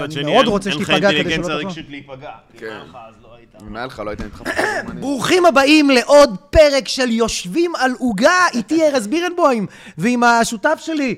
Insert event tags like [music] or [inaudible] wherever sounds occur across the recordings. אני מאוד רוצה שתיפגע כדי אין לך אינטליגנציה שלא תחזור. רגשית להיפגע. אם כן. היה לך, אז לא היית. אם היה לך, לא היית נדחף לגרמנים. ברוכים הבאים לעוד פרק של יושבים על עוגה, איתי ארז בירנבוים, ועם השותף שלי,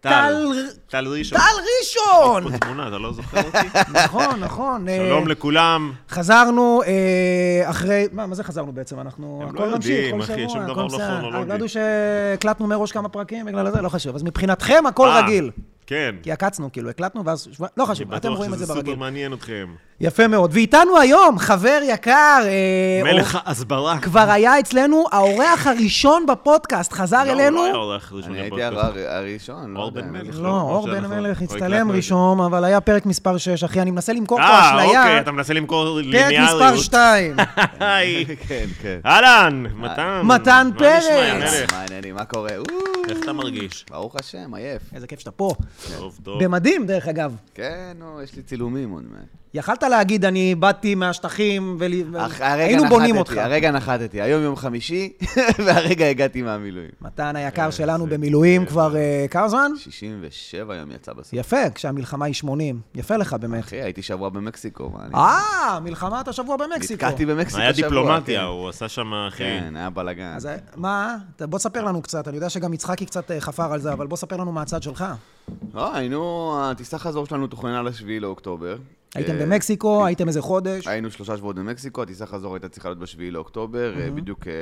טל... טל ראשון. טל [laughs] ראשון! יש פה תמונה, אתה לא [laughs] זוכר אותי? נכון, נכון. אה, שלום לכולם. חזרנו אה, אחרי... מה, מה זה חזרנו בעצם? אנחנו... הם הכל לא ממשיך, יודעים, כל אחי, שבוע, שום דבר הכל לא בסדר. כרונולוגי. אה, לא ידעו שהקלטנו מראש כמה פרקים בגלל זה, לא חשוב. אז מבחינתכם הכל אה, רגיל. כן. כי עקצנו, כאילו, הקלטנו, ואז... שבוע- לא חשוב, אתם רואים את זה בטוח שזה ברגיל. סופר מעניין אתכם. יפה מאוד. ואיתנו היום, חבר יקר... אה, מלך ההסברה. כבר היה אצלנו האורח הראשון בפודקאסט, חזר לא, אלינו. הוא לא היה אורח ראשון אני אוקיי. הייתי בפודקאסט. הר- הראשון, לא אור יודע. בן מלך. לא, אור או בן שאנחנו- מלך או הצטלם הקלטנו את ראשון, אבל היה פרק מספר 6, אחי, אני מנסה למכור זה. פה אה, אשליה. אוקיי, אתה מנסה למכור פרק ליניאריות. [laughs] מספר 2. [laughs] היי. [laughs] כן, כן. אהלן, מתן. מתן מה נשמע, פרץ. המלך? מה העניינים, מה [laughs] קורה? אוו, איך אתה מרגיש? ברוך השם, עייף. איזה כיף שאתה פה. טוב, טוב. במדים, דרך אגב. כן, נו, יש לי צילומים עוד מעט. יכלת להגיד, אני באתי מהשטחים, אך- הרגע והיינו בונים נחתתי, אותך. הרגע נחתתי, היום יום חמישי, [laughs] והרגע הגעתי מהמילואים. מתן היקר שלנו במילואים כבר אה, כמה זמן? 67 יום יצא בסוף. יפה, כשהמלחמה היא 80. יפה לך באמת. אחי, הייתי שבוע במקסיקו, מה אני... אה, מלחמת השבוע במקסיקו. נתקעתי במקסיקו שבוע. היה דיפלומטיה, כן. הוא עשה שם, אחי. כן, היה בלאגן. אז אה, מה, ת- בוא תספר לנו קצת, אני יודע שגם יצחקי קצת אה, חפר על זה, אבל בוא ספר לנו מהצד שלך. לא, היינו, הטיסה חזור שלנו תוכננה לשביעי לאוקטובר. הייתם אה, במקסיקו, הייתם איזה חודש. היינו שלושה שבועות במקסיקו, הטיסה חזור הייתה צריכה להיות בשביעי לאוקטובר, אה, בדיוק אה,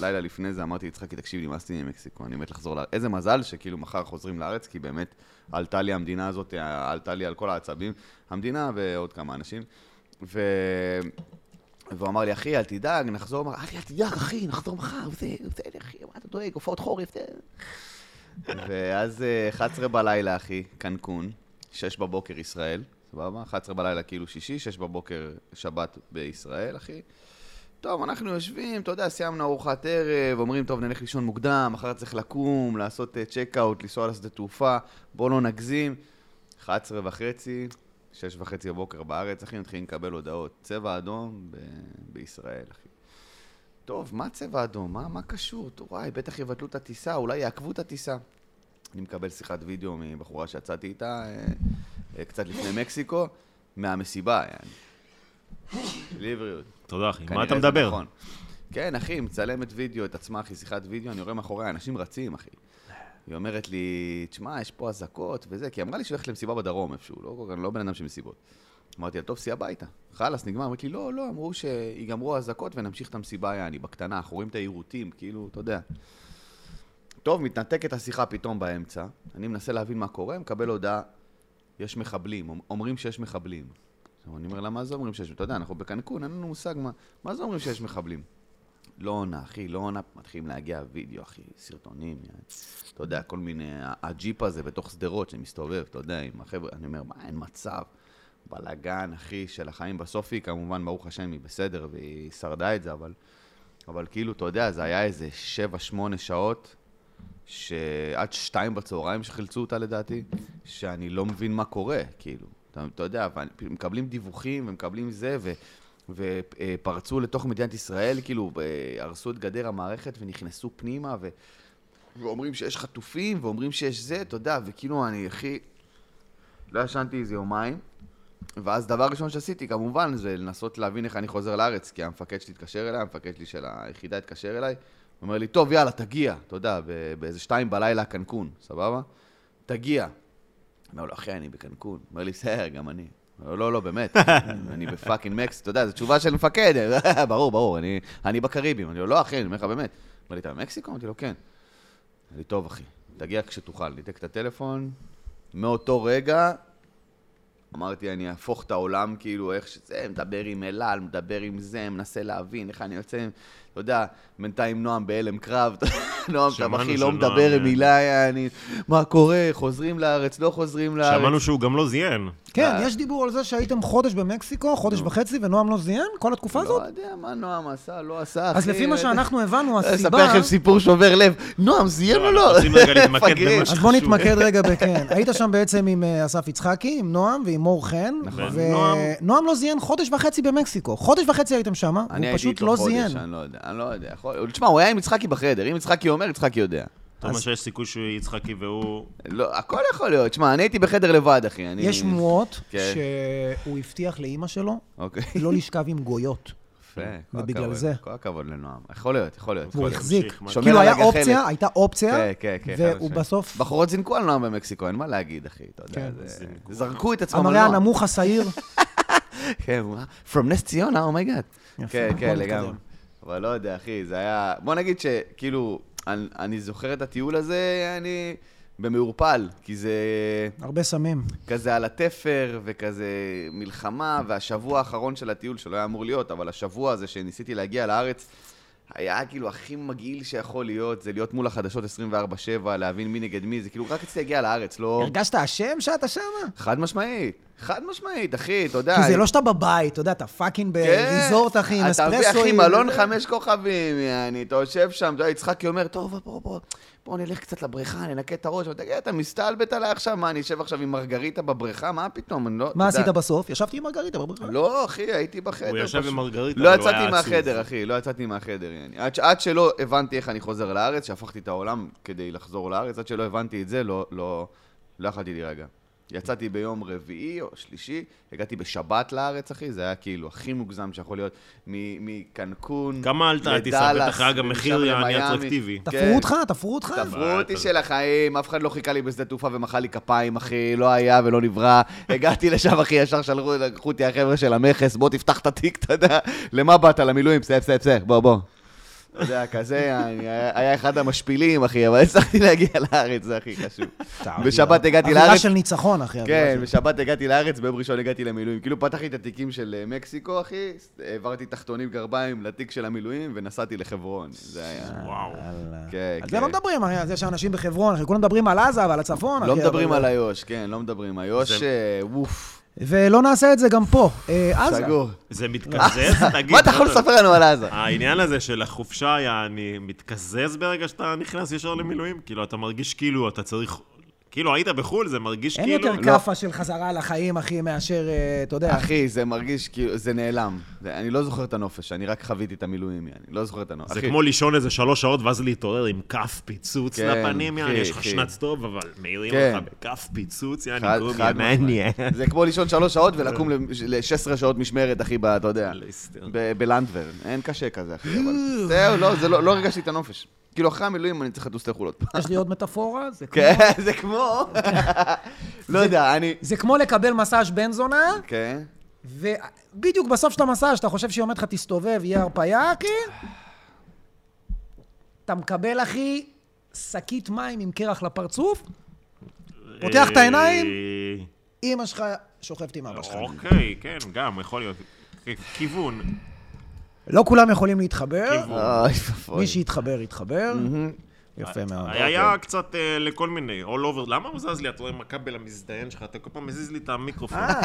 לילה לפני זה אמרתי ליצחקי, תקשיב, נמאס לי ממקסיקו, אני מת לחזור לארץ. איזה מזל שכאילו מחר חוזרים לארץ, כי באמת עלתה לי המדינה הזאת, אה, עלתה לי על כל העצבים, המדינה ועוד כמה אנשים. ו... והוא אמר לי, אחי, אל תדאג, נחזור מחר. אל תדאג, אחי, נחזור מחר, זה, זה, אחי, מה אתה דואג, הופעות חורף, זה... ואז אה, 11 בלילה, אחי, קנקון, 6 בבוקר ישראל, סבבה? 11 בלילה כאילו שישי, 6 בבוקר שבת בישראל, אחי. טוב, אנחנו יושבים, אתה יודע, סיימנו ארוחת ערב, אומרים, טוב, נלך לישון מוקדם, מחר צריך לקום, לעשות צ'קאוט, לנסוע לשדה תעופה, בואו לא נגזים. 11 וחצי, 6 וחצי בבוקר בארץ, אחי, מתחילים לקבל הודעות. צבע אדום ב- בישראל, אחי. טוב, מה צבע אדום? מה, מה קשור? טוב, וואי, בטח יבטלו את הטיסה, אולי יעכבו את הטיסה. אני מקבל שיחת וידאו מבחורה שיצאתי איתה אה, אה, קצת לפני מקסיקו, מהמסיבה, יעני. ליבריות. תודה, אחי. מה כנראה אתה זה מדבר? נכון. כן, אחי, מצלמת וידאו, את עצמה, אחי, שיחת וידאו, אני רואה מאחוריה, אנשים רצים, אחי. היא אומרת לי, תשמע, יש פה אזעקות וזה, כי היא אמרה לי שהיא הולכת למסיבה בדרום איפשהו, לא, אני לא בן אדם של מסיבות. אמרתי לה, טוב, סי הביתה. חלאס, נגמר. אמרתי לי, לא, לא, אמרו שיגמרו האזעקות ונמשיך את המסיבה, יעני, בקטנה, אנחנו רואים את העירותים, כאילו, אתה יודע. טוב, מתנתקת השיחה פתאום באמצע, אני מנסה להבין מה קורה, מקבל הודעה, יש מחבלים, אומ- אומרים שיש מחבלים. עכשיו, אני אומר לה, מה זה אומרים שיש? אתה יודע, אנחנו בקנקון, אין לנו מושג מה, מה זה אומרים שיש מחבלים? לא עונה, אחי, לא עונה, מתחילים להגיע וידאו, אחי, סרטונים, יעני. אתה יודע, כל מיני, ה- הג'יפ הזה בתוך שדרות שמסתובב, אתה יודע, עם החבר'ה, אני אומר, מה, אין מצב. בלאגן, אחי, של החיים בסוף היא, כמובן, ברוך השם, היא בסדר, והיא שרדה את זה, אבל... אבל כאילו, אתה יודע, זה היה איזה 7-8 שעות, שעד 2 בצהריים שחילצו אותה לדעתי, שאני לא מבין מה קורה, כאילו. אתה, אתה יודע, ואני- מקבלים דיווחים ומקבלים זה, ו... ופרצו לתוך מדינת ישראל, כאילו, אה, הרסו את גדר המערכת ונכנסו פנימה, ו... ואומרים שיש חטופים, ואומרים שיש זה, אתה יודע, וכאילו, אני הכי... לא ישנתי איזה יומיים, ואז דבר ראשון שעשיתי, כמובן, זה לנסות להבין איך אני חוזר לארץ, כי המפקד שלי התקשר אליי, המפקד שלי של היחידה התקשר אליי, הוא אומר לי, טוב, יאללה, תגיע, אתה יודע, ב- באיזה שתיים בלילה קנקון, סבבה? תגיע. אומר לו, אחי, אני בקנקון. אומר לי, בסדר, גם אני. אומר לו, לא, לא, [laughs] באמת, אני בפאקינג מקס, אתה יודע, זו תשובה של מפקד, [laughs] ברור, ברור, אני- אני בקריבים. אני אומר לו, לא, אחי, אני אומר לך, באמת. אומר לי, אתה במקסיקו? אמרתי לו, כן. אמר לי, טוב, אחי, תגיע כשתוכל, ניתק את הטלפון. מאותו רגע, אמרתי, אני אהפוך את העולם, כאילו, איך שזה, מדבר עם אלעל, מדבר עם זה, מנסה להבין איך אני יוצא, אתה יודע, בינתיים נועם בהלם קרב, [laughs] נועם שמענו טבחי לא שנועם, מדבר אה, מילה, אני, מה קורה, חוזרים לארץ, לא חוזרים לארץ. שמענו שהוא גם לא זיין. כן, אה, יש דיבור על זה שהייתם חודש במקסיקו, חודש וחצי, ונועם לא זיין כל התקופה הזאת? לא יודע מה נועם עשה, לא עשה, אחי. אז לפי מה שאנחנו הבנו, אני הסיבה... אספר לכם סיפור שובר לב. נועם, זיין או לא? רוצים רגע להתמקד מפגרים. במה אז בוא שחשוב. נתמקד [laughs] רגע בכן. היית שם בעצם עם אה, אסף יצחקי, עם נועם ועם מור חן. נכון. ונועם- ונועם לא זיין חודש וחצי במקסיקו. חודש וחצי הייתם שם, הוא אני הייתי פשוט איתו לא חודש, זיין. אני לא יודע, אני לא יודע. יכול- תשמע, הוא היה עם יצחקי בחדר, אם יצחקי אומר, יצחקי יודע. אתה אומר שיש סיכוי שהוא יצחקי והוא... לא, הכל יכול להיות. שמע, אני הייתי בחדר לבד, אחי. אני... יש שמועות כן. שהוא הבטיח לאימא שלו אוקיי. לא לשכב עם גויות. יפה, כל ובגלל הכבוד. זה. כל הכבוד לנועם. יכול להיות, יכול להיות. והוא יכול להיות. החזיק. להמשיך, מה- שומר כאילו על היה הגחלת. אופציה, הייתה אופציה, כן, כן, כן. חד והוא משמעית. בסוף... בחורות זינקו על נועם במקסיקו, אין מה להגיד, אחי, אתה יודע. כן. זה- זינקו. זרקו את עצמם על המראה נועם. הנמוך השעיר. כן, מה? From נס ציונה, אומייגאד. יפה, נכון, כן, בוא כן, נתקדם. לגמרי. אבל לא יודע, אחי, זה היה... בוא נגיד שכאילו, אני- אני זוכר את הטיול הזה, אני במעורפל, כי זה הרבה סמים. כזה על התפר, וכזה מלחמה, והשבוע האחרון של הטיול, שלא היה אמור להיות, אבל השבוע הזה שניסיתי להגיע לארץ, היה כאילו הכי מגעיל שיכול להיות, זה להיות מול החדשות 24-7, להבין מי נגד מי, זה כאילו רק רציתי להגיע לארץ, לא... הרגשת אשם שאתה שמה? חד משמעית, חד משמעית, אחי, אתה יודע. כי זה לא שאתה בבית, אתה יודע, אתה פאקינג בריזורט, אחי, עם כן. אתה מביא, אספרסו. אחי, עם- מלון חמש כוכבים, יעני, אתה יושב שם, אתה יודע, יצחקי אומר, טוב, בוא, בוא, בוא נלך קצת לבריכה, ננקה את הראש, אבל תגיד, אתה מסתלבט עליי עכשיו, מה, אני אשב עכשיו עם מרגריטה בבריכה, מה פתאום, אני לא... מה אתה יודע. עשית בסוף? ישבתי עם מרגריטה בבריכה. לא, אחי, הייתי בחדר. הוא ישב פשוט. עם מרגריטה, לא אבל הוא יצאתי היה עצוב. מהחדר, אחי, לא יצאתי מהחדר, יעני. עד ש- עד שלא הבנתי איך אני חוזר לארץ, שהפכתי את העולם כדי לחזור לארץ, עד שלא הבנתי את זה, לא- לא לא יכולתי להירגע. יצאתי ביום רביעי או שלישי, הגעתי בשבת לארץ, אחי, זה היה כאילו הכי מוגזם שיכול להיות, מ- מקנקון, כמה עלתה הטיסה? לדאלאס, בטח היה גם ומשם מחיר יעני למיאמי. אטרקטיבי. תפרו כן. אותך, תפרו אותך. תפרו אותי של החיים, אף אחד לא חיכה לי בשדה תעופה ומחא לי כפיים, אחי, לא היה ולא [laughs] נברא. הגעתי לשם, אחי, ישר שלחו לקחו אותי החבר'ה של המכס, בוא תפתח את התיק, אתה יודע, למה באת? למילואים, בסדר, בסדר, בסדר, בוא, בוא. אתה יודע, כזה, אני- היה אחד המשפילים, אחי, אבל הצלחתי להגיע לארץ, זה הכי חשוב. בשבת הגעתי אווירה לארץ. של ניצחון, אחי. אווירה כן, של- בשבת הגעתי לארץ, ביום ראשון הגעתי למילואים. כאילו פתחתי את התיקים של אה, מקסיקו, אחי, העברתי תחתונים גרביים לתיק של המילואים, ונסעתי לחברון. זה היה... וואו. יאללה. כן, על כן. אה. זה לא מדברים, אחי, על זה שאנשים בחברון, אחי, כולם מדברים על עזה ועל הצפון, נכון, אחי. לא מדברים אבל- על איו"ש, כן, לא מדברים. איו"ש, אה, ווף, ולא נעשה את זה גם פה. אה, עזה. אה. סגור. זה [laughs] מתקזז? [laughs] תגיד. לא. מה אתה יכול לא לספר לנו על עזה? העניין הזה של החופשה, יעני, מתקזז ברגע שאתה נכנס ישר למילואים? כאילו, אתה מרגיש כאילו אתה צריך... כאילו, היית בחו"ל, זה מרגיש אין כאילו... יותר לא, כאפה של חזרה לחיים, אחי, מאשר, אה, אתה יודע. אחי, זה מרגיש כאילו, זה נעלם. זה- אני לא זוכר את הנופש, אני רק חוויתי את המילואים, אני לא זוכר את הנופש. זה אחי, כמו לישון איזה שלוש שעות ואז להתעורר עם כף פיצוץ כן, לפנים, יעני, אחי, יש לך אחי. שנץ טוב, אבל מעירים כן. לך בכף פיצוץ, יעני, חד- גוגי, חד מעניין. משמעית. זה כמו לישון שלוש שעות [laughs] ולקום ל-16 שעות משמרת, אחי, ב- אתה יודע, ליסטר. ב- בלנדבר. אין קשה כזה, אחי. אבל- [laughs] זהו, לא, זה לא לא הרגשתי את הנופש. כאילו, אחרי המילואים אני צריך לטוס לחו"ל עוד [laughs] פעם. יש לי עוד מטאפורה, זה כמו- כן, זה כמו... לא יודע, אני... זה כמו לקבל מסאז' בן זונה, כן. ובדיוק בסוף של המסאז' אתה חושב שהיא אומרת לך תסתובב, יהיה הרפאיה, אחי? אתה מקבל, אחי, שקית מים עם קרח לפרצוף, פותח את העיניים, אה, אימא שלך שוכבת עם אבא שלך. אוקיי, כן, גם, יכול להיות. כ- כיוון. לא כולם יכולים להתחבר, כיוון. Mm-hmm. אוי, ואבוי. מי שיתחבר, יתחבר. יפה מאוד. אה, היה אוקיי. היה קצת אה, לכל מיני, all over. למה הוא זז לי? אתה רואה עם הכבל המזדיין שלך, אתה כל פעם מזיז לי את המיקרופון. אה,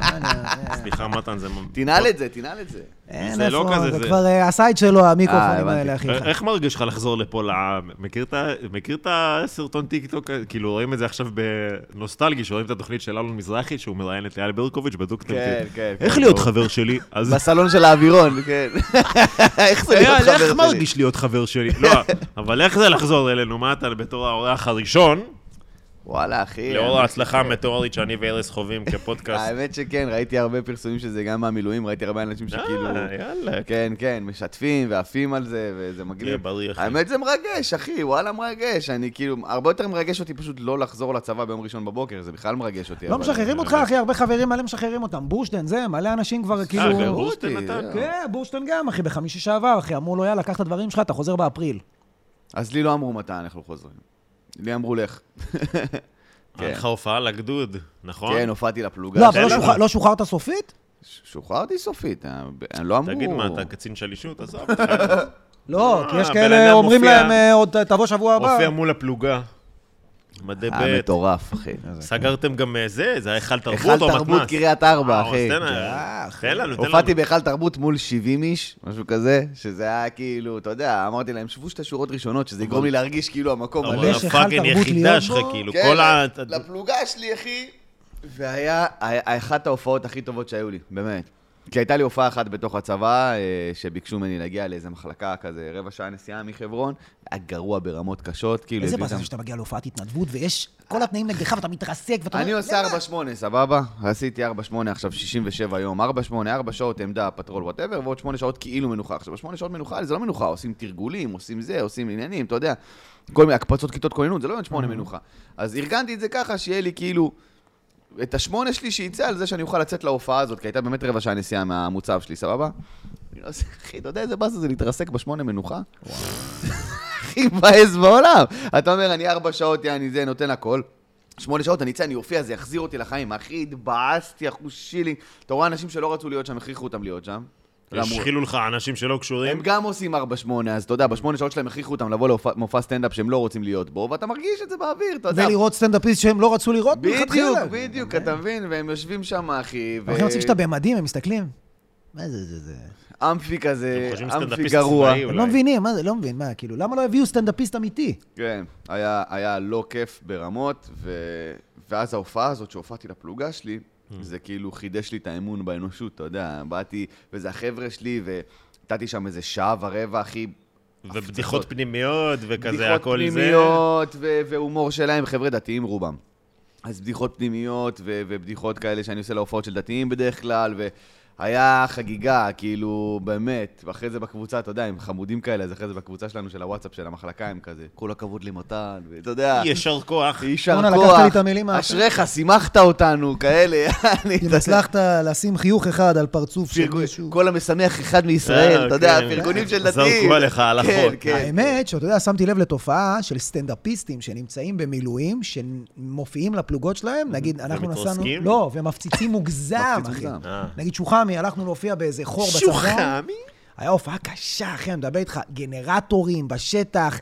מה אני- סליחה, מתן, זה... ממ- תנעל את זה, תנעל את זה. אין [laughs] זה לא איפה, כזה, זה זה- כבר אה, הסייד שלו, המיקרופונים הבנתי. האלה, אחי. אה, איך מרגיש לך לחזור לפה לעם? מכיר את ה- מכיר את הסרטון טיקטוק? כאילו, רואים את זה עכשיו בנוסטלגי, שרואים את התוכנית של אלון מזרחי, שהוא מראיין את אייל ברקוביץ' בדוקטנטי. כן, כן, כן, איך להיות ברור. חבר שלי? אז... בסלון של האווירון, כן. [laughs] איך אה, זה להיות אייל, חבר שלי? איך מרגיש להיות חבר שלי? לא, אבל איך זה לחזור אלינו? מה אתה בתור האורח הראשון, וואלה, אחי. לאור ההצלחה המטאורית שאני וארז חווים כפודקאסט? כן. האמת שכן, ראיתי הרבה פרסומים של זה גם מהמילואים, ראיתי הרבה אנשים שכאילו... אה, יאללה. כן, כן, משתפים ועפים על זה, וזה מגניב. תהיה בריא, אחי. האמת זה מרגש, אחי, וואלה מרגש. אני כאילו, הרבה יותר מרגש אותי פשוט לא לחזור לצבא ביום ראשון בבוקר, זה בכלל מרגש אותי. לא אבל- משחררים אה, אותך, אחי, הרבה חברים מלא משחררים אותם. בורשטיין, זה, מלא אנשים כבר אה, גם כאילו... בוסטר אותי, נתן? אה. כן, בורשטיין גם, אחי, בחמישי שעבר, אחי, אמרו לו, יאללה, קח את הדברים שלך, אתה חוזר באפריל. אז לי לא אמרו מתי אנחנו חוזרים. לי אמרו לך. היה לך הופעה לגדוד, נכון? כן, הופעתי לפלוגה. לא, אבל לא שאלה. שוחר- לא שוחררת סופית? ש- שוחררתי סופית, אה, ב- לא אמרו... תגיד מה, אתה קצין שלישות? [laughs] עזוב אותך. לא, אה, כי יש הבן כאלה אדם אומרים מופיע- להם, אה, עוד תבוא שבוע הבא. הופיע מול הפלוגה. מדי היה ב'. אה, מטורף, אחי. סגרתם גם אה, זה? זה היה היכל היכל תרבות או מתנ"ס? תרבות קריית ארבע, אה, אחי. אז תן לנו, אה, אחי. תן לנו, תן לנו. הופעתי בהיכל תרבות מול 70 איש, משהו כזה, שזה היה כאילו, אתה יודע, אמרתי להם, שבו שתי שורות ראשונות, שזה יגרום לי להרגיש כאילו המקום אבל מלא. יש היכל הפאקינג תרבות יחידה להיות שלך, בו? כאילו, כן, כל ה... לפלוגה שלי, אחי. והיה היה- אחת ההופעות הכי טובות שהיו לי, באמת. כי הייתה לי הופעה אחת בתוך הצבא, אה, שביקשו ממני להגיע לאיזה מחלקה כזה רבע שעה נסיעה מחברון, היה גרוע ברמות קשות, כאילו... איזה הביאו באסה שם- זה שאתה מגיע להופעת התנדבות, ויש כל התנאים נגדך, ואתה מתרסק, ואתה אני אומר, עושה "למה?" 4-8, סבבה? עשיתי 4-8 עכשיו 67 יום, 4-8, 4 שעות עמדה, פטרול, וואטאבר, ועוד 8 שעות כאילו מנוחה. עכשיו, 8 שעות מנוחה זה לא מנוחה, עושים תרגולים, עושים זה, עושים עניינים, אתה יודע, כל מיני הקפצות כיתות כוננות, זה לא יום 8 Mm-hmm. מנוחה. אז ארגנתי את זה ככה, שיהיה לי כאילו... את השמונה שלי שיצא על זה שאני אוכל לצאת להופעה הזאת, כי הייתה באמת רבע שעה נסיעה מהמוצב שלי, סבבה? אני לא עושה, אחי, אתה יודע איזה באסה זה להתרסק בשמונה מנוחה? הכי מבאס בעולם. אתה אומר, אני ארבע שעות, אני זה, נותן הכל. שמונה שעות, אני אצא, אני אופיע, זה יחזיר אותי לחיים. אחי, התבאסתי, אחוז שילינג. אתה רואה אנשים שלא רצו להיות שם, הכריחו אותם להיות שם. אתה יודע, אמרו, השחילו לך אנשים שלא קשורים. הם גם עושים 4-8, אז אתה יודע, בשמונה שעות שלהם הכריחו אותם לבוא למופע סטנדאפ שהם לא רוצים להיות בו, ואתה מרגיש את זה באוויר, אתה יודע. ולראות סטנדאפיסט שהם לא רצו לראות בדיוק, בדיוק, אתה מבין, והם יושבים שם, אחי, ו... הם רוצים שאתה במדים, הם מסתכלים. מה זה, זה, זה? אמפי כזה, הם חושבים אמפי סטנדאפיסט גרוע. צבאי, הם אולי. לא מבינים, מה זה, לא מבין, מה, כאילו, למה לא הביאו סטנדאפיסט אמיתי? כן, היה, היה לא כיף ברמות, ו... ואז ההופעה הזאת שהופעתי לפלוגה שלי, זה כאילו חידש לי את האמון באנושות, אתה יודע, באתי, וזה החבר'ה שלי, ונתתי שם איזה שעה ורבע, אחי, ובדיחות פנימיות, וכזה בדיחות הכל זה. פנימיות ו- והומור שלהם, חבר'ה דתיים רובם. אז בדיחות פנימיות ו- ובדיחות כאלה שאני עושה להופעות של דתיים בדרך כלל, והיה חגיגה, כאילו, באמת, ואחרי זה בקבוצה, אתה יודע, הם חמודים כאלה, אז אחרי זה בקבוצה שלנו של הוואטסאפ של המחלקה הם כזה, כל הכבוד למתן, ואתה יודע, יישר כוח. יישר אורנה, לקחת לי את כוח, המילים מהפה. אשריך, שימחת אותנו, כאלה, אני, אם כאילו, הצלחת לשים חיוך אחד על פרצוף של פרגון- מישהו. כל המשמח אחד מישראל, אה, אתה יודע, כן. פרגונים של זרקו דתיים. עליך הלכות. כן, כן. האמת שאתה יודע, שמתי לב לתופעה של סטנדאפיסטים שנמצאים במילואים, שמופיעים לפלוגות שלהם, נגיד, אנחנו נסענו... ומתרסקים? לא, ומפציצים מוגזם, מפציץ אחי. מוגזם. אה. נגיד שוחמי, הלכנו להופיע באיזה חור בצפון. שוחמי? היה הופעה קשה, אחי, אני מדבר איתך, גנרטורים בשטח.